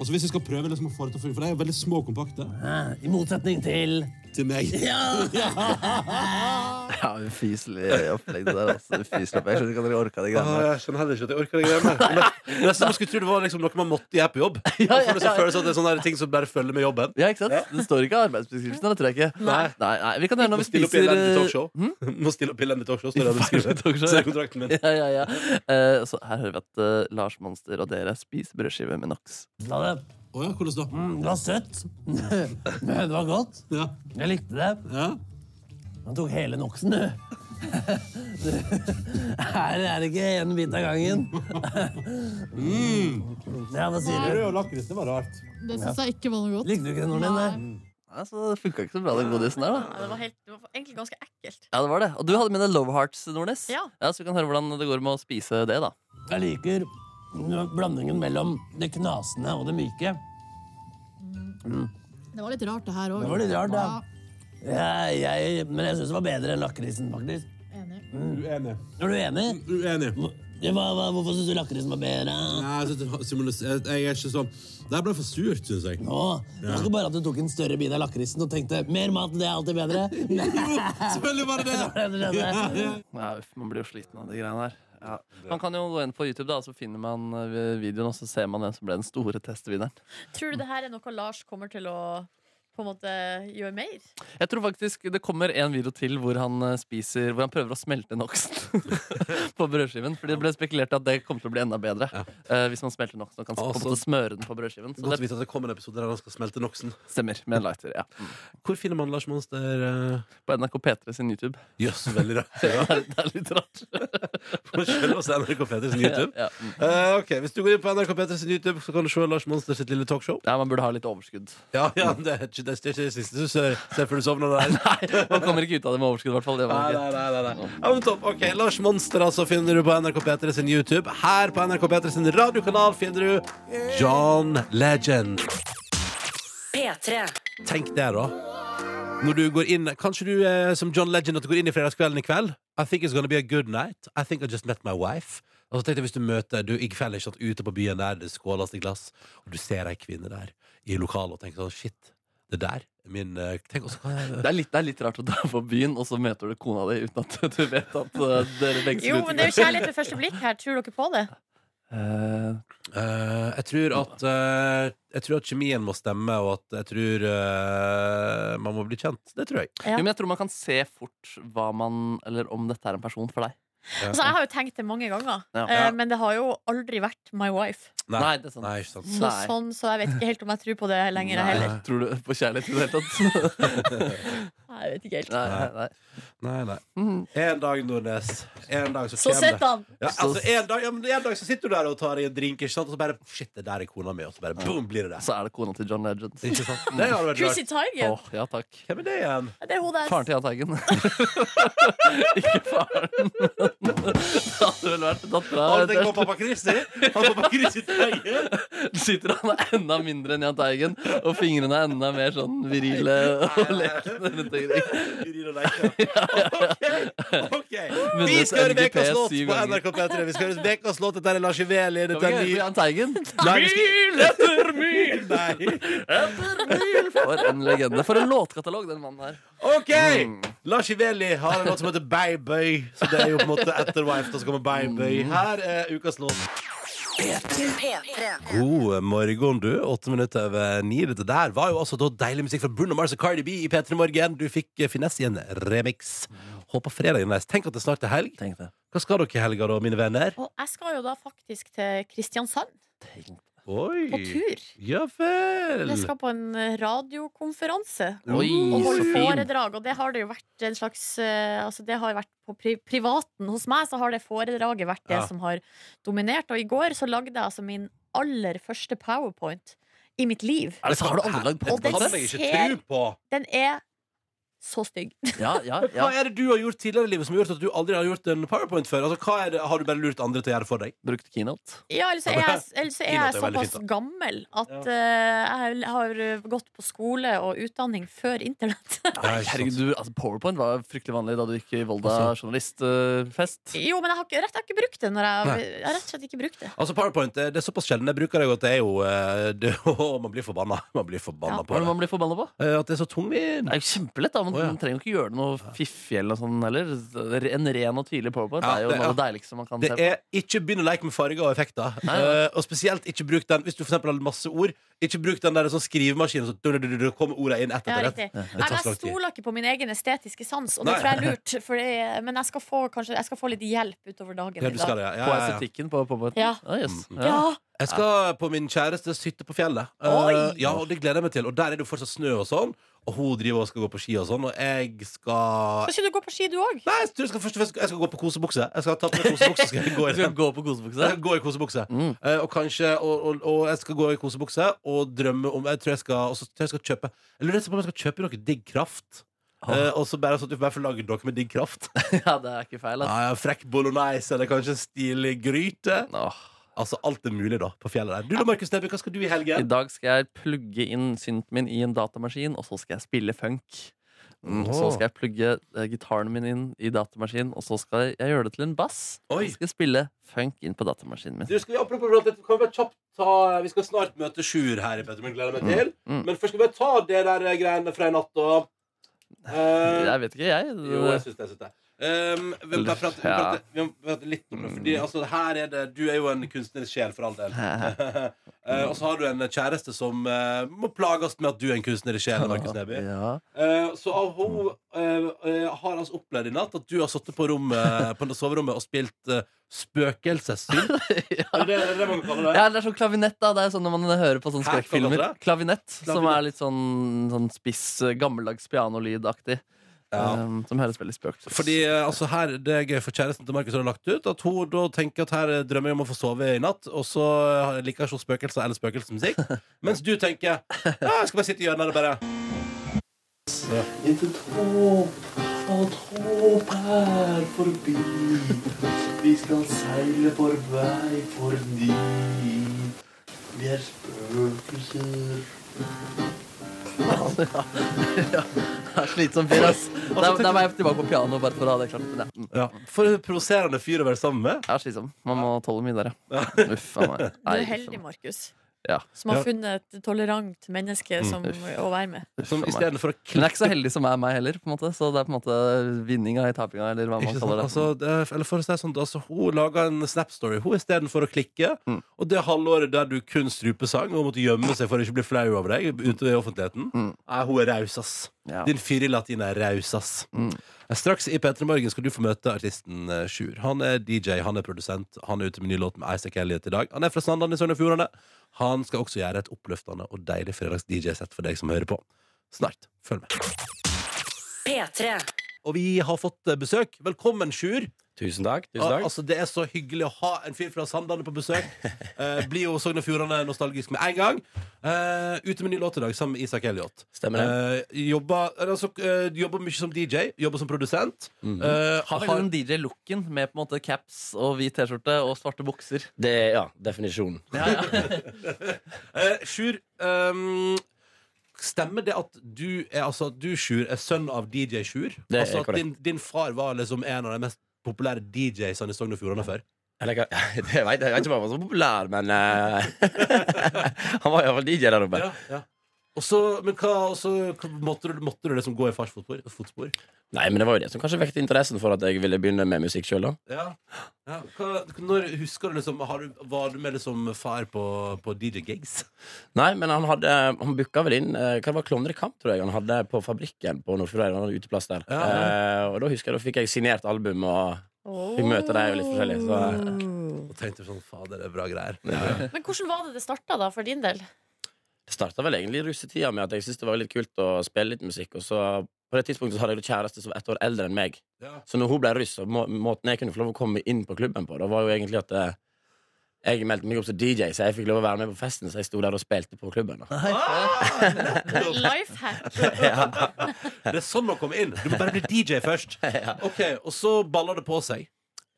Speaker 2: Altså,
Speaker 13: så hvis jeg skal prøve liksom, å få det til å funke, for de er veldig små og kompakte.
Speaker 14: I motsetning til
Speaker 13: Til
Speaker 14: (laughs)
Speaker 13: meg.
Speaker 3: Ja, Ufyselig opplegg det der. altså Ufyselig opplegg. Jeg skjønner ikke at dere orka det
Speaker 2: Ah, jeg skjønner heller ikke at jeg orker det greiene der.
Speaker 3: (laughs)
Speaker 2: Men Nesten man skulle tro det var liksom noe man måtte gjøre på jobb.
Speaker 3: ja, ja.
Speaker 2: For det så føles at det er sånne der ting som bare følger med jobben.
Speaker 3: Ja, ikke sant? Det står ikke i arbeidsbeskrivelsen. Det tror jeg ikke. Nei. Nei, Vi kan høre når vi
Speaker 2: Må stille opp i
Speaker 3: spiser eh, hm?
Speaker 2: elendig talkshow. Må stille opp i elendig talkshow,
Speaker 3: (laughs)
Speaker 2: står det jeg
Speaker 13: (laughs)
Speaker 2: beskriver. Så er kontrakten min.
Speaker 3: Ja, ja, ja. Eh, så her hører vi at eh, Lars Monster og dere spiser brødskive med NOx.
Speaker 14: La det.
Speaker 13: Oh, ja, hvordan da?
Speaker 14: Mm, det var søtt. (laughs) Men det var godt. Jeg likte det. Han tok hele noksen, du. (laughs) Du, Her er det ikke en bit av
Speaker 13: (laughs)
Speaker 14: gangen. Mm. Ja, hva sier du?
Speaker 13: Brød og lakris, det var rart.
Speaker 14: Det
Speaker 13: synes
Speaker 14: jeg ikke var noe godt. Likte du ikke det, Nordlien? Nei.
Speaker 3: Nei, så det funka ikke så bra, den godisen der, da.
Speaker 5: Ja, det, var helt, det var egentlig ganske ekkelt.
Speaker 3: Ja, det var det. Og du hadde med deg Love Hearts, Nordnes.
Speaker 5: Ja.
Speaker 3: Så vi kan høre hvordan det går med å spise det, da.
Speaker 14: Jeg liker blandingen mellom det knasende og det myke. Mm.
Speaker 15: Det var litt rart, det her òg.
Speaker 14: Det var litt rart, ja. Jeg, jeg, men jeg syns det var bedre enn lakrisen, faktisk.
Speaker 15: Enig.
Speaker 14: Mm.
Speaker 13: Uenig.
Speaker 14: Er du enig?
Speaker 13: Uenig.
Speaker 14: Ja, hva, hva, hvorfor syns du lakris var bedre?
Speaker 13: Nei, jeg, synes det symbolis- jeg, jeg er ikke sånn Det ble for surt, syns jeg.
Speaker 14: Nå, det var ikke bare at du tok en større bit av lakrisen og tenkte mer mat, det er
Speaker 13: (laughs)
Speaker 14: alltid bedre.
Speaker 13: selvfølgelig var det
Speaker 14: var (laughs) det. som skjedde.
Speaker 3: Ja, uff, man blir jo sliten av de greiene her. Ja. Man kan jo gå inn på YouTube, da, så finner man eh, videoen, og så ser man hvem som ble den store testvinneren.
Speaker 5: Tror du det her er noe Lars kommer til å på en måte gjøre mer?
Speaker 3: Jeg tror faktisk det kommer en video til hvor han eh, spiser Hvor han prøver å smelte en oksen (laughs) på brødskiven. Fordi det ble spekulert at det kommer til å bli enda bedre eh, hvis man smelter en oksen og
Speaker 2: Ah,
Speaker 3: kan komme
Speaker 2: så-
Speaker 3: til å smøre den på brødskiven. Så
Speaker 2: Godt å
Speaker 3: det
Speaker 2: vite at det kommer en episode der han skal smelte noksen.
Speaker 3: stemmer. Med en lighter, ja.
Speaker 2: Hvor finner man Lars Monster? eh?
Speaker 3: På NRK P3 sin YouTube.
Speaker 2: Jøss, veldig
Speaker 3: (laughs)
Speaker 2: rart.
Speaker 3: det, er, det er litt rart.
Speaker 2: (laughs)
Speaker 3: (laughs)
Speaker 2: På selveste NRK Petersen YouTube.
Speaker 3: Ja, mm. ja.
Speaker 2: Eh, ok, Hvis du går inn på NRK Petersen YouTube, så kan du se Lars Monster sitt lille talkshow.
Speaker 3: Ja, Man burde ha litt overskudd.
Speaker 2: Ja, ja (laughs) det er ikke det, er ikke det siste du ser, ser før du sovner
Speaker 3: (laughs)
Speaker 2: der. nei,
Speaker 3: Man kommer ikke ut av det med overskudd, i hvert fall. Det
Speaker 2: Nei,
Speaker 3: var det
Speaker 2: nei, nei, nei. Ja, men topp. Ok, Lars Monster altså finner du på NRK Petersen YouTube. Her på NRK Petersen radiokanal finner du John Legend.
Speaker 4: P3.
Speaker 2: Tenk det, da. Når du går inn Kanskje du eh, som John Legend at du går inn i fredagskvelden i kveld? I think it's gonna be a good night. I think I just met my wife. Og så tenkte jeg hvis du møter du i kveld ikke sant, ute på byen der det skåles i glass, og du ser ei kvinne der i lokalet og tenker sånn shit, det der er min eh, Tenk også hva
Speaker 3: Det er, litt, det er litt rart å dra på byen, og så møter du kona di uten at du vet at eh, dere begge
Speaker 5: Jo, men det er jo kjærlighet
Speaker 2: (laughs)
Speaker 5: ved første blikk her. Tror dere på det?
Speaker 2: Eh, jeg, tror at, eh, jeg tror at kjemien må stemme, og at jeg tror eh, man må bli kjent. Det tror jeg.
Speaker 5: Ja.
Speaker 3: Jo, men jeg tror man kan se fort hva man Eller om dette er en person for deg.
Speaker 5: Altså, jeg har jo tenkt det mange ganger,
Speaker 3: Ja.
Speaker 5: eh,
Speaker 3: Ja.
Speaker 5: men det har jo aldri vært my wife.
Speaker 3: Nei, det er sant.
Speaker 5: Så, sånn, så jeg vet ikke helt om jeg tror på det lenger, jeg heller.
Speaker 3: Tror du på kjærlighet i det hele
Speaker 2: (laughs)
Speaker 3: tatt?
Speaker 5: Nei, jeg vet ikke helt. Mhm.
Speaker 3: Nei, nei,
Speaker 2: Nei, nei. En dag, Nordnes. En dag så,
Speaker 5: Så
Speaker 2: kommer
Speaker 5: sett
Speaker 2: det.
Speaker 5: han.
Speaker 2: Ja, altså, en, dag, ja, men en dag så sitter du der og tar i en drink, ikke sant? og så bare Shit, det der er kona mi. Og så bare boom, blir det det.
Speaker 3: Så er det kona til John Legend. Mm.
Speaker 2: Ikke sant? Det hadde vært
Speaker 5: Chrissy
Speaker 2: rart.
Speaker 5: Teigen.
Speaker 3: Åh, ja takk.
Speaker 2: Hvem er det igjen?
Speaker 5: Det er hun der.
Speaker 3: Faren til Jahn Teigen. (laughs) ikke faren, men det hadde vel vært dattera.
Speaker 2: Har du tenkt på pappa Chrissy? Har pappa Chrissy Teigen?
Speaker 3: Sitter han er enda mindre enn Jahn Teigen, og fingrene er enda mer sånn virile og lekne rundt omkring. (laughs)
Speaker 2: Vi
Speaker 3: Vunnet
Speaker 2: skal høre
Speaker 3: MGP
Speaker 2: Vekas låt
Speaker 3: syv
Speaker 2: på
Speaker 3: ganger.
Speaker 2: NRK P3. Vi skal høre Vekas låt. Dette er Lars Iveli.
Speaker 3: Kan vi
Speaker 2: Dette er
Speaker 3: ikke høre på
Speaker 2: ny
Speaker 3: Jahn Teigen?
Speaker 2: (laughs) Nei, vi skal-
Speaker 3: Mil etter mil!
Speaker 2: (laughs) Nei.
Speaker 3: For en Mm. legende. For en låtkatalog, den mannen her.
Speaker 2: OK! Lars Iveli har en låt som heter Baby. Så det er jo på en måte etter Wife. Da så kommer
Speaker 3: Mm.
Speaker 2: Baby. Her er ukas låt. God morgen, du. Åtte minutter over ni. Dette der var jo altså da deilig musikk fra Bruno Mars og Cardi B i P3 Morgen. Du fikk eh, finesse i en remix. Håper fredagen er nice. Tenk at det snart er helg. Hva skal dere i helga, da, mine venner?
Speaker 5: Og jeg skal jo da faktisk til Kristiansand.
Speaker 2: Oi.
Speaker 5: På tur.
Speaker 2: Ja vel.
Speaker 5: Jeg skal på en eh, radiokonferanse
Speaker 2: Oi,
Speaker 5: og holde
Speaker 2: så fin.
Speaker 5: foredrag. Og det har det jo vært en slags eh, Altså det har jo vært på pri privaten. Hos meg så har det foredraget vært det
Speaker 15: Ja.
Speaker 5: som har dominert. Og i går så lagde jeg altså min aller første powerpoint i mitt liv.
Speaker 3: Er det sant? Har du aldri lagd
Speaker 5: Og den
Speaker 3: powerpoint?
Speaker 2: Kan jeg ikke tro
Speaker 5: ser
Speaker 2: på.
Speaker 5: Den er så stygg.
Speaker 2: Hva er det du har gjort tidligere i livet som har gjort at du aldri har gjort en powerpoint før? Altså, hva er det, har du bare lurt andre til å gjøre for deg?
Speaker 3: Brukt keynote?
Speaker 5: (laughs) Ja, eller så er jeg, eller så er jeg
Speaker 2: Keynote er veldig
Speaker 5: såpass
Speaker 2: fint, da.
Speaker 5: gammel at eh, jeg har eh, gått på skole og utdanning før internett.
Speaker 3: Nei, herregud, du, altså, Powerpoint var jo fryktelig vanlig da du gikk i Volda journalistfest.
Speaker 5: Jo, men jeg har, ikke, rett, jeg har ikke brukt det. Når jeg,
Speaker 2: Nei.
Speaker 5: jeg har rett og slett ikke brukt det
Speaker 2: Altså Powerpoint det, det er såpass sjelden jeg bruker det, og at det er jo eh, det, (laughs) Man blir forbanna. Man blir forbanna
Speaker 3: Hva
Speaker 2: på
Speaker 3: er det
Speaker 2: det.
Speaker 3: man blir forbanna på?
Speaker 2: Eh, At det er så tungvint.
Speaker 3: Det er jo kjempelett, da. Man, man trenger jo ikke gjøre noe fiffig eller noe sånt heller. En ren og tydelig powerpoint
Speaker 2: Ja,
Speaker 3: er jo
Speaker 2: det-
Speaker 3: noe av det
Speaker 2: ja.
Speaker 3: deiligste man kan
Speaker 2: Det
Speaker 3: se på.
Speaker 2: er ikke begynn å leke med farger og effekter. Eh, og spesielt ikke bruk den hvis du for eksempel har masse ord. Ikke bruk den der sånn skrivemaskinen så du, du, du, du, kommer ordene inn ett
Speaker 5: Ja,
Speaker 2: etter ett.
Speaker 5: riktig.
Speaker 2: Det
Speaker 5: Nei,
Speaker 2: tar
Speaker 5: men
Speaker 2: så
Speaker 5: jeg
Speaker 2: lang tid.
Speaker 5: stoler ikke på min egen estetiske sans, og det
Speaker 2: Nei.
Speaker 5: tror jeg
Speaker 2: (laughs)
Speaker 5: er lurt. For det, er- men jeg skal, få, kanskje, jeg skal få litt hjelp utover dagen. i
Speaker 2: Ja, du
Speaker 5: dag.
Speaker 2: skal det, ja. Ja,
Speaker 3: På
Speaker 2: ja, ja.
Speaker 3: estetikken på powerpointen?
Speaker 5: Ja.
Speaker 3: Ah, yes.
Speaker 5: Ja.
Speaker 2: Jeg skal på min kjærestes hytte på fjellet. Eh, ja, og Det gleder jeg meg til. Og der er det jo fortsatt snø og sånn. Og hun driver og skal gå på ski og sånn, og jeg skal
Speaker 5: Skal ikke du gå på ski, du òg?
Speaker 2: Nei, jeg tror jeg skal, først og fremst, jeg skal gå på kosebukse. Jeg skal ta på meg kosebukse skal jeg gå i
Speaker 3: (laughs) Du skal
Speaker 2: den.
Speaker 3: gå på kosebukse? Mm.
Speaker 2: Jeg skal gå i kosebukse. Eh, og kanskje og, og, og jeg skal gå i kosebukse og drømme om Jeg tror jeg skal, og så tror jeg jeg skal kjøpe Jeg lurer nesten på om jeg skal kjøpe noe digg kraft. Eh, og så bare sånn at du bare får lagd noe med digg kraft.
Speaker 3: Ah. (laughs) ja, det er ikke feil.
Speaker 2: Ja,
Speaker 3: ass.
Speaker 2: ja, frekk bolognese eller kanskje en stilig gryte. Altså, alt er mulig, da, på fjellet der. Du da, Markus Neby, hva skal du i
Speaker 3: I
Speaker 2: helgen?
Speaker 3: dag skal jeg plugge inn synten min i en datamaskin, og så skal jeg spille funk. Mm, Så skal jeg plugge eh, gitaren min inn i datamaskinen, og så skal jeg, jeg gjøre det til en bass. Og skal jeg spille funk inn på datamaskinen min.
Speaker 2: Du, skal vi, apropos, kan vi, bare kjapt ta, vi skal snart møte Sjur her i Petermann, gleder jeg meg til.
Speaker 3: Mm, mm.
Speaker 2: Men først skal vi bare ta det der eh, greiene fra i natt og eh,
Speaker 3: Jeg vet ikke, jeg.
Speaker 2: Jo, jeg syns det. Jeg syns det. Um, vi må bare prate, vi må
Speaker 3: Ja. Mm.
Speaker 2: prate, vi må prate litt om det. Fordi, altså, her er det, du er jo en kunstnerisk sjel, for all del. (laughs) Eh, og så har du en kjæreste som eh, må plages med at du er en kunstnerisk sjel. Markus Neby.
Speaker 3: Ja.
Speaker 2: Eh, så av hun eh, eh, har altså opplevd i natt at du har sittet på, rommet- på soverommet og spilt uh, spøkelsessyl. Er det er det det man kaller det?
Speaker 3: Ja, det er sånn klavinett, da. Det er sånn når man hører på sånne
Speaker 2: Hæ?
Speaker 3: skrekkfilmer.
Speaker 2: Hva kaller du det?
Speaker 3: Klavinett, som
Speaker 2: Klavinett.
Speaker 3: er litt sånn, sånn spiss, eh, gammeldags pianolydaktig. Um, som høres veldig spøkt ut.
Speaker 2: Fordi eh, altså her, Det er gøy for kjæresten til Markus har lagt ut at hun da tenker at her eh, drømmer jeg om å få sove i natt, og så eh, liker ikke hun spøkelser eller spøkelsesmusikk. Mens du tenker ja, jeg skal bare sitte i hjørnet og bare Så.
Speaker 10: er forbi. Vi skal seile for vei forbi. Vi er spøkelser.
Speaker 3: Det er slitsom fyr, ass. Da da var jeg tilbake på pianoet bare for å ha det klart. Men ja.
Speaker 2: Ja, for en provoserende fyr å være sammen med.
Speaker 3: Ja, slitsom. Man må tåle mye der, ja. Uff a meg.
Speaker 5: Du er
Speaker 3: Nei,
Speaker 5: heldig, Markus,
Speaker 3: ja.
Speaker 5: som har funnet et tolerant menneske
Speaker 3: Mm.
Speaker 5: som,
Speaker 3: Uff.
Speaker 5: å være med.
Speaker 2: Som i stedet for å
Speaker 3: Men jeg er ikke så heldig som er meg heller, på en måte. så det er på en måte vinninga i tapinga, eller hva man
Speaker 2: Ikke sant?
Speaker 3: kaller det.
Speaker 2: Altså, det er, eller for å si det sånn, altså, hun laga en Snap-story Hun istedenfor å klikke.
Speaker 3: Mm.
Speaker 2: Og det halvåret der du kun strupesang og måtte gjemme seg for å ikke bli flau over deg ute i offentligheten, Nei, hun er raus, ass. Din fyr i latin er raus, ass. Eh, Straks i P3 Morgen skal du få møte artisten eh, Sjur. Han er DJ, han er produsent, han er ute med ny låt med Isaac Elliot i dag. Han er fra Sandane i Sogn og Fjordane. Han skal også gjøre et oppløftende og deilig fredags-DJ-sett for deg som hører på. Snart. Følg med.
Speaker 4: P3.
Speaker 2: Og vi har fått eh, besøk. Velkommen, Sjur. Tusen takk.
Speaker 15: tusen takk.
Speaker 2: Altså, det er så hyggelig å ha en fyr fra Sandane på
Speaker 15: (laughs)
Speaker 2: besøk. Eh, blir jo Sogn og Fjordane nostalgisk med en gang. Eh, ute med ny låt i dag sammen med Isak Elliot.
Speaker 15: Stemmer det.
Speaker 2: Eh, jobber, altså, eh, jobber mye som DJ, jobber som produsent.
Speaker 3: Mhm.
Speaker 2: Eh,
Speaker 3: Har vel den DJ-looken med på en måte caps og hvit T-skjorte og svarte bukser.
Speaker 15: Det, ja, definisjonen.
Speaker 2: (laughs)
Speaker 3: (laughs)
Speaker 2: Eh, Sjur, ehm, stemmer det at du, er, altså, at du Sjur, er sønn av DJ Sjur?
Speaker 15: Det er
Speaker 2: altså, at
Speaker 15: korrekt.
Speaker 2: din, din far var liksom en av de mest populære DJ-ene i Sogn og Fjordane før?
Speaker 15: Eller, hva- (laughs) det vet jeg, jeg vet ikke om han var så populær, men eh, (laughs) Han var iallfall DJ der oppe.
Speaker 2: Ja, ja. Og så- men hva, og så måtte, du, måtte du liksom gå i fars fotspor? fotspor?
Speaker 15: Nei, men det var jo det som kanskje vekket interessen for at jeg ville begynne med musikk sjøl, da.
Speaker 2: Ja. ja. Hva, når husker du liksom har du, Var du med liksom far på, på DJ-gigs?
Speaker 15: Nei, men han hadde Han booka vel inn eh, Hva det var Klovner i kamp, tror jeg han hadde på Fabrikken på Nordfjordeid. Han hadde uteplass der.
Speaker 2: Ja,
Speaker 15: Eh, og da husker jeg da fikk jeg signert album, og fikk møte deg og litt forskjellig. Så
Speaker 2: Og tenkte sånn Fader, det er bra greier.
Speaker 5: Men hvordan var det det starta, da, for
Speaker 2: (laughs)
Speaker 5: din del?
Speaker 15: Det starta vel egentlig i russetida med at jeg syntes det var litt kult å spille litt musikk. Og så på det tidspunktet så hadde jeg en kjæreste som var ett år eldre enn meg. Så når hun ble russ, så må, måten jeg kunne få lov å komme inn på klubben på, da var jo egentlig at eh, jeg meldte meg opp som DJ, så jeg fikk lov å være med på festen. Så jeg sto der og spilte på klubben. Da.
Speaker 5: Life
Speaker 2: (laughs)
Speaker 5: hack.
Speaker 2: Det er sånn man kommer inn. Du må bare bli DJ
Speaker 15: (laughs)
Speaker 2: først. Ok, Og så baller det på seg.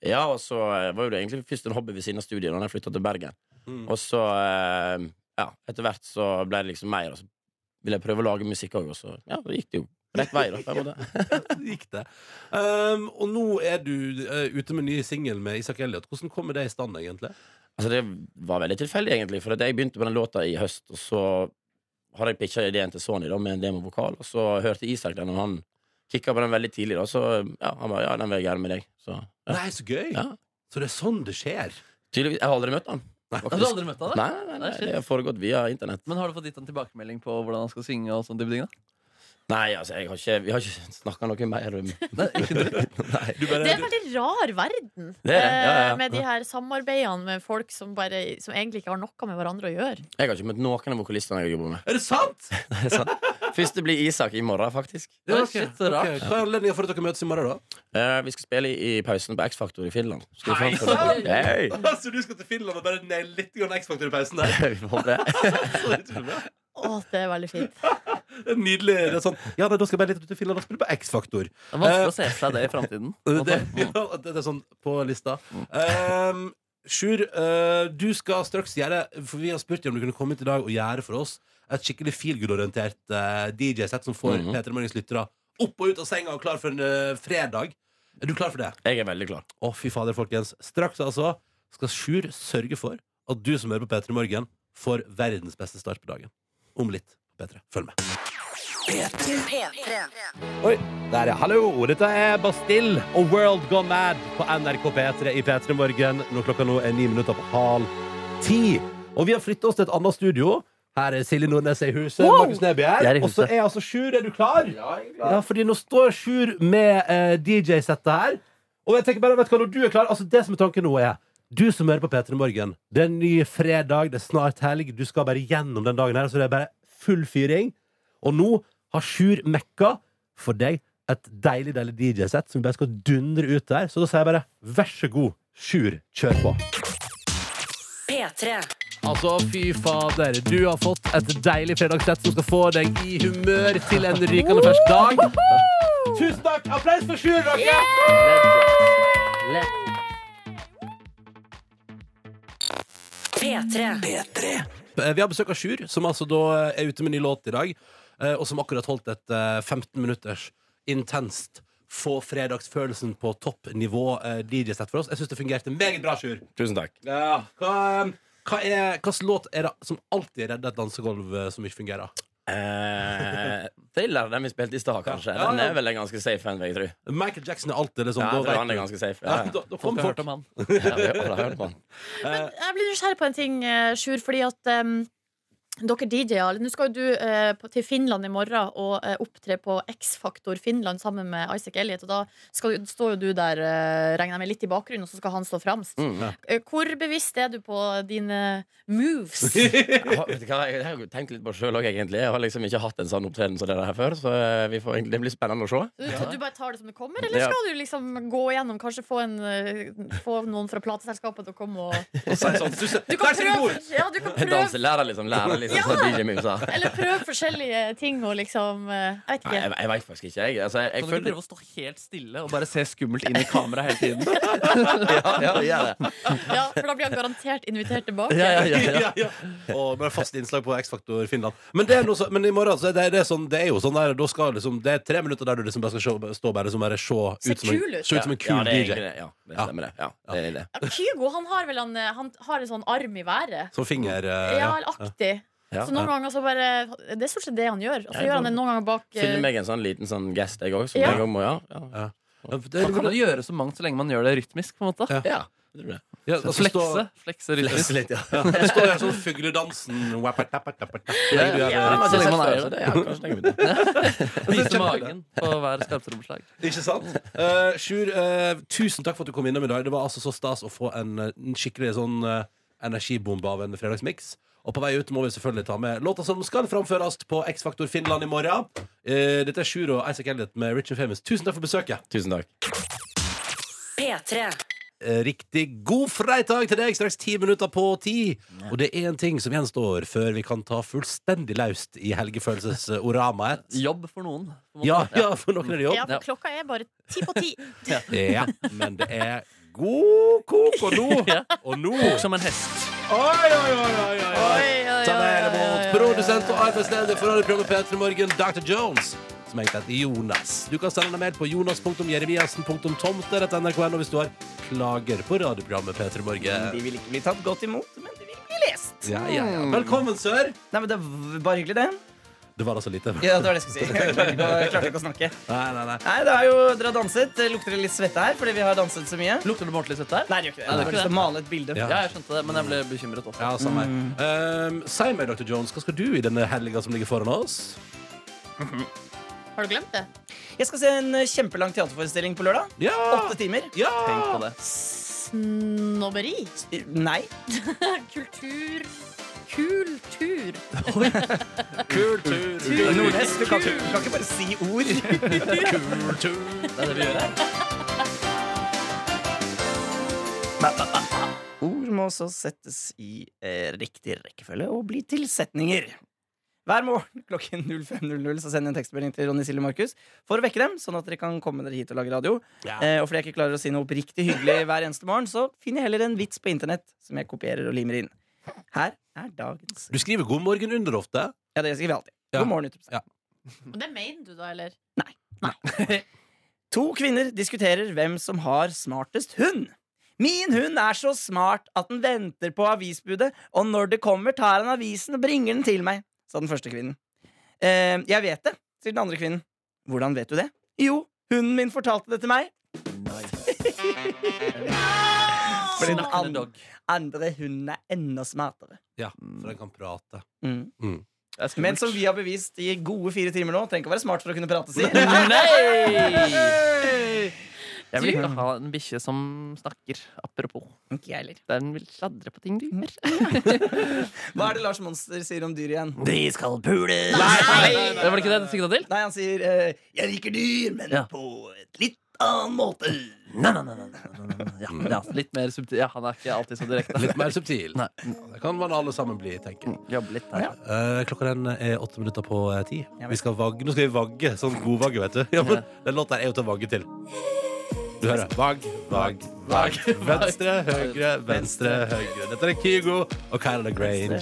Speaker 15: Ja, og så eh, var jo det egentlig først en hobby ved siden av studiet da jeg flytta til Bergen.
Speaker 2: Mm.
Speaker 15: Og så, eh, ja, etter hvert så ble det liksom mer, og så ville jeg prøve å lage musikk òg, og så ja, det gikk det jo rett vei, da.
Speaker 2: (laughs)
Speaker 15: på en måte.
Speaker 2: Gikk det. Ehm, og nå er du eh, ute med ny singel med Isak Elliot. Hvordan kommer det i stand, egentlig?
Speaker 15: Altså Det var veldig tilfeldig, egentlig. For at jeg begynte på den låta i høst, og så hadde jeg pitcha ideen til Sony da med en demovokal, og så hørte Isak den, og han kicka på den veldig tidlig, da, så ja, han bare ja, den vil jeg gjerne med deg. Så, ja.
Speaker 2: Nei, så gøy!
Speaker 15: Ja.
Speaker 2: Så det er sånn det skjer?
Speaker 15: Tydeligvis. Jeg har aldri møtt han.
Speaker 3: Har du aldri møtt han, da?
Speaker 15: Nei, nei, nei,
Speaker 3: Nei,
Speaker 15: nei,
Speaker 3: shit.
Speaker 15: det har foregått via internett.
Speaker 3: Men har du fått gitt en tilbakemelding på hvordan han skal synge? og sånne type ting da?
Speaker 15: Nei, altså, jeg har ikke, vi har ikke snakka noe mer om Nei.
Speaker 5: Det er en veldig rar verden
Speaker 15: Det er det, ja, ja, ja.
Speaker 5: eh, med de her samarbeidene med folk som, bare, som egentlig ikke har noe med hverandre å gjøre.
Speaker 15: Jeg har ikke møtt noen av vokalistene jeg jobber med.
Speaker 2: Er det sant?
Speaker 15: Det er sant. Første blir Isak i morgen, faktisk.
Speaker 2: Ja, ok. Ok, Hva er anledningen for at dere møtes i morgen, da?
Speaker 15: Eh, vi skal spille i, i pausen på X-Faktor i Finland. Skal vi få
Speaker 2: Hei,
Speaker 15: en- Hei!
Speaker 2: (laughs) Så du skal til Finland og bare naile litt grann X-Factor i
Speaker 15: (laughs)
Speaker 2: pausen der?
Speaker 15: Vi får
Speaker 2: (laughs)
Speaker 15: det.
Speaker 5: Å, det er veldig fint.
Speaker 2: Det er Nydelig. Det er sånn, ja, nei, da skal jeg bare litt ut til Finland og spille på X-Faktor.
Speaker 3: Det er vanskelig å se for seg det i framtiden.
Speaker 2: (laughs) Det, ja, det er sånn på lista. Ehm, Sjur, eh, du skal straks gjøre For vi har spurt deg om du kunne komme hit i dag og gjøre for oss et skikkelig feelgood-orientert eh, DJ-sett som får
Speaker 15: Mhm.
Speaker 2: Peter Morgens lyttere Opp og ut av senga og klar for en eh, fredag. Er du klar for det?
Speaker 15: Jeg er veldig klar.
Speaker 2: Å, fy fader, folkens. Straks altså skal Sjur sørge for at du som hører på P3 Morgen, får verdens beste start på dagen. Om litt på P3. Følg med. Oi, der ja. Hallo, dette er Bastille og World Gone Mad på NRK P3 i P3 Morgen når klokka nå er ni minutter på halv ti. Og vi har flyttet oss til et annet studio. Her er Silje Nordnes i huset.
Speaker 15: Wow!
Speaker 2: Markus Neby
Speaker 15: Jeg er
Speaker 2: her.
Speaker 15: i
Speaker 2: Og så
Speaker 15: huset.
Speaker 2: er altså Sjur, er du klar? Ja, jeg er klar. Ja, fordi nå står Sjur med eh, DJ-settet her. Og jeg tenker bare, vet du hva, når du er klar, altså det som er tanken nå er du som hører på P3 Morgen, det er en ny fredag, det er snart helg, du skal bare gjennom den dagen her, så det er bare full fyring. Og nå har Sjur mekka for deg et deilig, deilig DJ-sett som vi bare skal dundre ut der. Så da sier jeg bare vær så god, Sjur, kjør på.
Speaker 4: P3.
Speaker 2: Altså, fy fader, du har fått et deilig fredagssett som skal få deg i humør til en rykende fersk dag. Tusen takk! Applaus for Sjur, dere!
Speaker 4: P3.
Speaker 2: Eh, Vi har besøk av Sjur, som altså da er ute med ny låt i dag. eh, Og som akkurat holdt et eh, 15 minutters intenst få fredagsfølelsen på toppnivå eh, DJ-sett for oss. Jeg syns det fungerte meget bra, Sjur.
Speaker 15: Tusen takk.
Speaker 2: Ja, hva, eh, hva er, hvilken låt er det som alltid redder et dansegulv eh, som ikke fungerer?
Speaker 15: Eh, thriller, den vi spilte i stad, kanskje.
Speaker 2: Ja, ja.
Speaker 15: Den er vel en ganske safe en, vil jeg tro.
Speaker 2: Michael Jackson er alltid liksom
Speaker 15: Ja, jeg
Speaker 2: da
Speaker 15: tror
Speaker 2: vet
Speaker 15: han er
Speaker 2: du.
Speaker 15: ganske safe.
Speaker 2: Ja,
Speaker 15: Ja, ja.
Speaker 2: da, da kom
Speaker 15: Folk
Speaker 2: folk.
Speaker 15: har hørt om
Speaker 2: (laughs)
Speaker 15: han. Ja, vi har- alle har hørt om han.
Speaker 5: Jeg blir nysgjerrig på en ting, eh, Sjur, fordi at em, dere DJ-er Nå skal jo du eh, på- til Finland i morgen og eh, opptre på X-Faktor Finland sammen med Isaac Elliot. Og da skal, jo- står jo du der, eh, regner jeg med, litt i bakgrunnen, og så skal han stå fremst.
Speaker 15: Mm.
Speaker 5: Eh, Hvor bevisst er du på dine
Speaker 15: (laughs)
Speaker 5: moves?
Speaker 15: Jeg har- vet du hva, jeg har jo tenkt litt på det sjøl òg, egentlig. Jeg har liksom ikke hatt en sånn opptreden som det der her før, så eh, vi får, egentlig- det blir spennende å se.
Speaker 5: Du, du bare tar det som det kommer, eller
Speaker 15: Ja.
Speaker 5: skal du liksom gå igjennom, kanskje få, en, eh, få noen fra plateselskapet til å komme og
Speaker 15: sånn,
Speaker 2: sånn, Du
Speaker 5: kan prøve, ja, du kan prøve
Speaker 15: Danselærer, liksom. Lærer liksom
Speaker 5: Ja.
Speaker 15: sånn DJ-muser.
Speaker 5: Eller prøv forskjellige ting og liksom eh, Jeg vet
Speaker 15: Nei, jeg,
Speaker 5: ikke.
Speaker 15: jeg veit faktisk ikke. Jeg, altså, jeg, jeg
Speaker 3: Kan du ikke
Speaker 15: føler
Speaker 3: prøve å stå helt stille og bare se skummelt inn i kameraet hele
Speaker 15: (laughs)
Speaker 3: tiden? ja, ja, gjør det.
Speaker 5: Ja, for da blir han garantert invitert tilbake.
Speaker 2: Og med fast innslag på X-Faktor Finland. Men, det er noe så, men i morgen så er det, det, er sånn, det er jo sånn der, da skal liksom, det er tre minutter der du liksom bare skal se, stå bare, liksom bare se,
Speaker 5: Se
Speaker 2: ut som en-
Speaker 5: kul ut.
Speaker 2: se ut som en kul
Speaker 15: ja, det er
Speaker 2: DJ.
Speaker 15: egentlig det. Ja, det stemmer, det. Ja, det, er det.
Speaker 5: Kygo han har vel en, eh, han har en sånn arm i været.
Speaker 2: Som finger... eh,
Speaker 5: Ja, eller aktig.
Speaker 15: Ja.
Speaker 5: Så noen ganger så bare Det er stort sett det han gjør. Og så
Speaker 15: Ja,
Speaker 5: gjør han det noen ganger bak eh,
Speaker 15: Finner meg en sånn liten sånn gest, jeg òg.
Speaker 5: Ja.
Speaker 15: Ja. Jeg også må- ja, ja.
Speaker 3: Man kan jo gjøre så mangt så lenge man gjør det rytmisk, på en måte.
Speaker 15: Ja.
Speaker 2: Ja, altså,
Speaker 3: flekse.
Speaker 2: stå-
Speaker 3: flekse rytmisk.
Speaker 2: Flekse litt,
Speaker 3: (laughs)
Speaker 2: ja. Ja, Det står jo sånn fugledansen wappa, tappa, tappa, tappa.
Speaker 3: Ja,
Speaker 2: Du er-
Speaker 3: ja, men så lenge man eier det, ja, kanskje det er god (laughs) idé.
Speaker 2: Men så
Speaker 3: Vise
Speaker 2: kjempe-
Speaker 3: magen på hver skarptrommeslag.
Speaker 2: Ikke sant? Eh, Sjur, eh, tusen takk for at du kom innom i dag. Det var altså så stas å få en, eh, en skikkelig sånn eh, energibombe av en fredagsmiks. Og på vei ut må vi selvfølgelig ta med låta som skal framføres på X-Faktor Finland i morgen. Eh, dette er Sjur og Isaac Elliot med Rich and Famous. Tusen takk for besøket.
Speaker 15: Tusen takk.
Speaker 4: P3.
Speaker 2: Eh, Riktig god fredag til deg, straks ti minutter på ti. Og det er én ting som gjenstår før vi kan ta fullstendig løst i helgefølelsesoramaet.
Speaker 3: Jobb for noen. på en måte.
Speaker 2: Ja, ja, for noen er det jobb.
Speaker 5: Ja, for klokka er bare ti på ti.
Speaker 2: Ja. Ja, men det er god kok,
Speaker 3: (laughs)
Speaker 2: og nå Og nå
Speaker 3: Kok som en hest.
Speaker 2: Oi, oi, oi, oi, oi, oi. Ta vel imot produsent og arbeidsleder for radioprogrammet P3 Morgen, Dr. Jones. Som egentlig heter Jonas. Du kan sende en mail på jonas.jeremiassen.tomter.nrk.no hvis du har klager på radioprogrammet P3
Speaker 1: De
Speaker 2: Morgen.
Speaker 1: vil ikke bli tatt godt imot, men de vil bli lest.
Speaker 2: Ja, ja, ja. Velkommen, sør.
Speaker 1: Nei, men Det var bare hyggelig, det.
Speaker 2: Det var altså lite.
Speaker 1: Ja, det var det jeg skulle si. Jeg klarte ikke å, jeg klarte ikke å snakke.
Speaker 2: Nei, nei, nei.
Speaker 1: Nei, det er jo, Dere har danset. Det Lukter det litt svette her fordi vi har danset så mye?
Speaker 3: Lukter det ordentlig svette her?
Speaker 1: Nei, det gjør ikke det.
Speaker 3: Nei, det
Speaker 1: Jeg
Speaker 3: gjør
Speaker 1: har
Speaker 3: ikke
Speaker 1: lyst til å
Speaker 3: det.
Speaker 1: male et bilde.
Speaker 3: Ja, jeg skjønte det, men jeg ble bekymret også.
Speaker 2: Ja, samme her.
Speaker 1: Mm.
Speaker 2: Um, si meg, Dr. Jones, hva skal du i denne helga som ligger foran oss?
Speaker 1: (laughs)
Speaker 5: Har du glemt det?
Speaker 1: Jeg skal se en eh, kjempelang teaterforestilling på lørdag.
Speaker 2: Ja!
Speaker 1: Åtte timer.
Speaker 3: Tenk på det.
Speaker 5: Snobberi? (laughs)
Speaker 1: Nei.
Speaker 5: Kultur. Kultur.
Speaker 2: Kultur.
Speaker 1: Nordnes, du kan, du kan ikke bare si ord.
Speaker 2: Kultur.
Speaker 3: Det er det vi gjør her.
Speaker 1: Ord må også settes i eh, riktig rekkefølge og bli til setninger. Hver morgen klokken 05.00 så sender jeg en tekstmelding til Ronny Silje Markus for å vekke dem, sånn at dere kan komme dere hit og lage radio.
Speaker 2: Ja.
Speaker 1: Eh, og fordi jeg ikke klarer å si noe oppriktig hyggelig hver eneste morgen, så finner jeg heller en vits på internett som jeg kopierer og limer inn. Her er dagens.
Speaker 2: Du skriver 'god morgen' under ofte.
Speaker 1: Ja, det skriver jeg alltid.
Speaker 2: Ja.
Speaker 1: God morgen, utropstegn.
Speaker 5: Og det mener du da, eller?
Speaker 1: to kvinner diskuterer hvem som har smartest hund. Min hund er så smart at den venter på avisbudet, og når det kommer, tar han avisen og bringer den til meg, sa den første kvinnen. Eh, jeg vet det, sier den andre kvinnen. Hvordan vet du det? Jo, hunden min fortalte det til
Speaker 3: (laughs)
Speaker 1: meg. For den
Speaker 2: Snakkende
Speaker 1: an andre hunden er enda smartere.
Speaker 2: Ja, for den kan prate.
Speaker 1: Mm.
Speaker 2: Mm.
Speaker 1: Men som vi har bevist i gode fire timer nå, trenger ikke å være smart for å kunne
Speaker 3: (laughs)
Speaker 1: prate, si.
Speaker 3: Nei! Jeg vil
Speaker 1: Du-
Speaker 3: ikke ha en bikkje som snakker. Apropos.
Speaker 1: Ikke jeg heller.
Speaker 3: Den vil sladre på ting du gjør.
Speaker 1: Hva er det Lars Monster sier om dyr igjen?
Speaker 14: De skal pules!
Speaker 3: Det var det ikke det du sikta til?
Speaker 1: Nei, han sier eh, 'jeg liker dyr, men
Speaker 3: Ja.
Speaker 1: på et litt annen måte'.
Speaker 3: Ja, det er litt mer subtil. Ja, han er ikke alltid så direkte.
Speaker 2: Mm.
Speaker 3: Mm,
Speaker 2: Litt mer subtil. Det kan man alle sammen bli, tenker jeg.
Speaker 3: Jobbe litt der.
Speaker 2: Eh, klokka den er åtte minutter på eh, ti.
Speaker 3: Ja, vel.
Speaker 2: Vi skal vagge. Nå skal vi vagge. Sånn godvagge, vet du. (laughs) Ja, men, den låta er jo til å vagge til. Du hører. Vagg, vagg, vagg. Venstre, høyre, venstre, høyre. Dette er Kygo og Kyla Grange.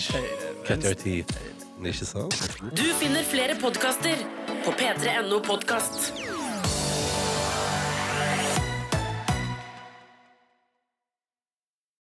Speaker 2: Cut your teeth. Ikke sant?
Speaker 4: Du finner flere podkaster på p3.no podkast.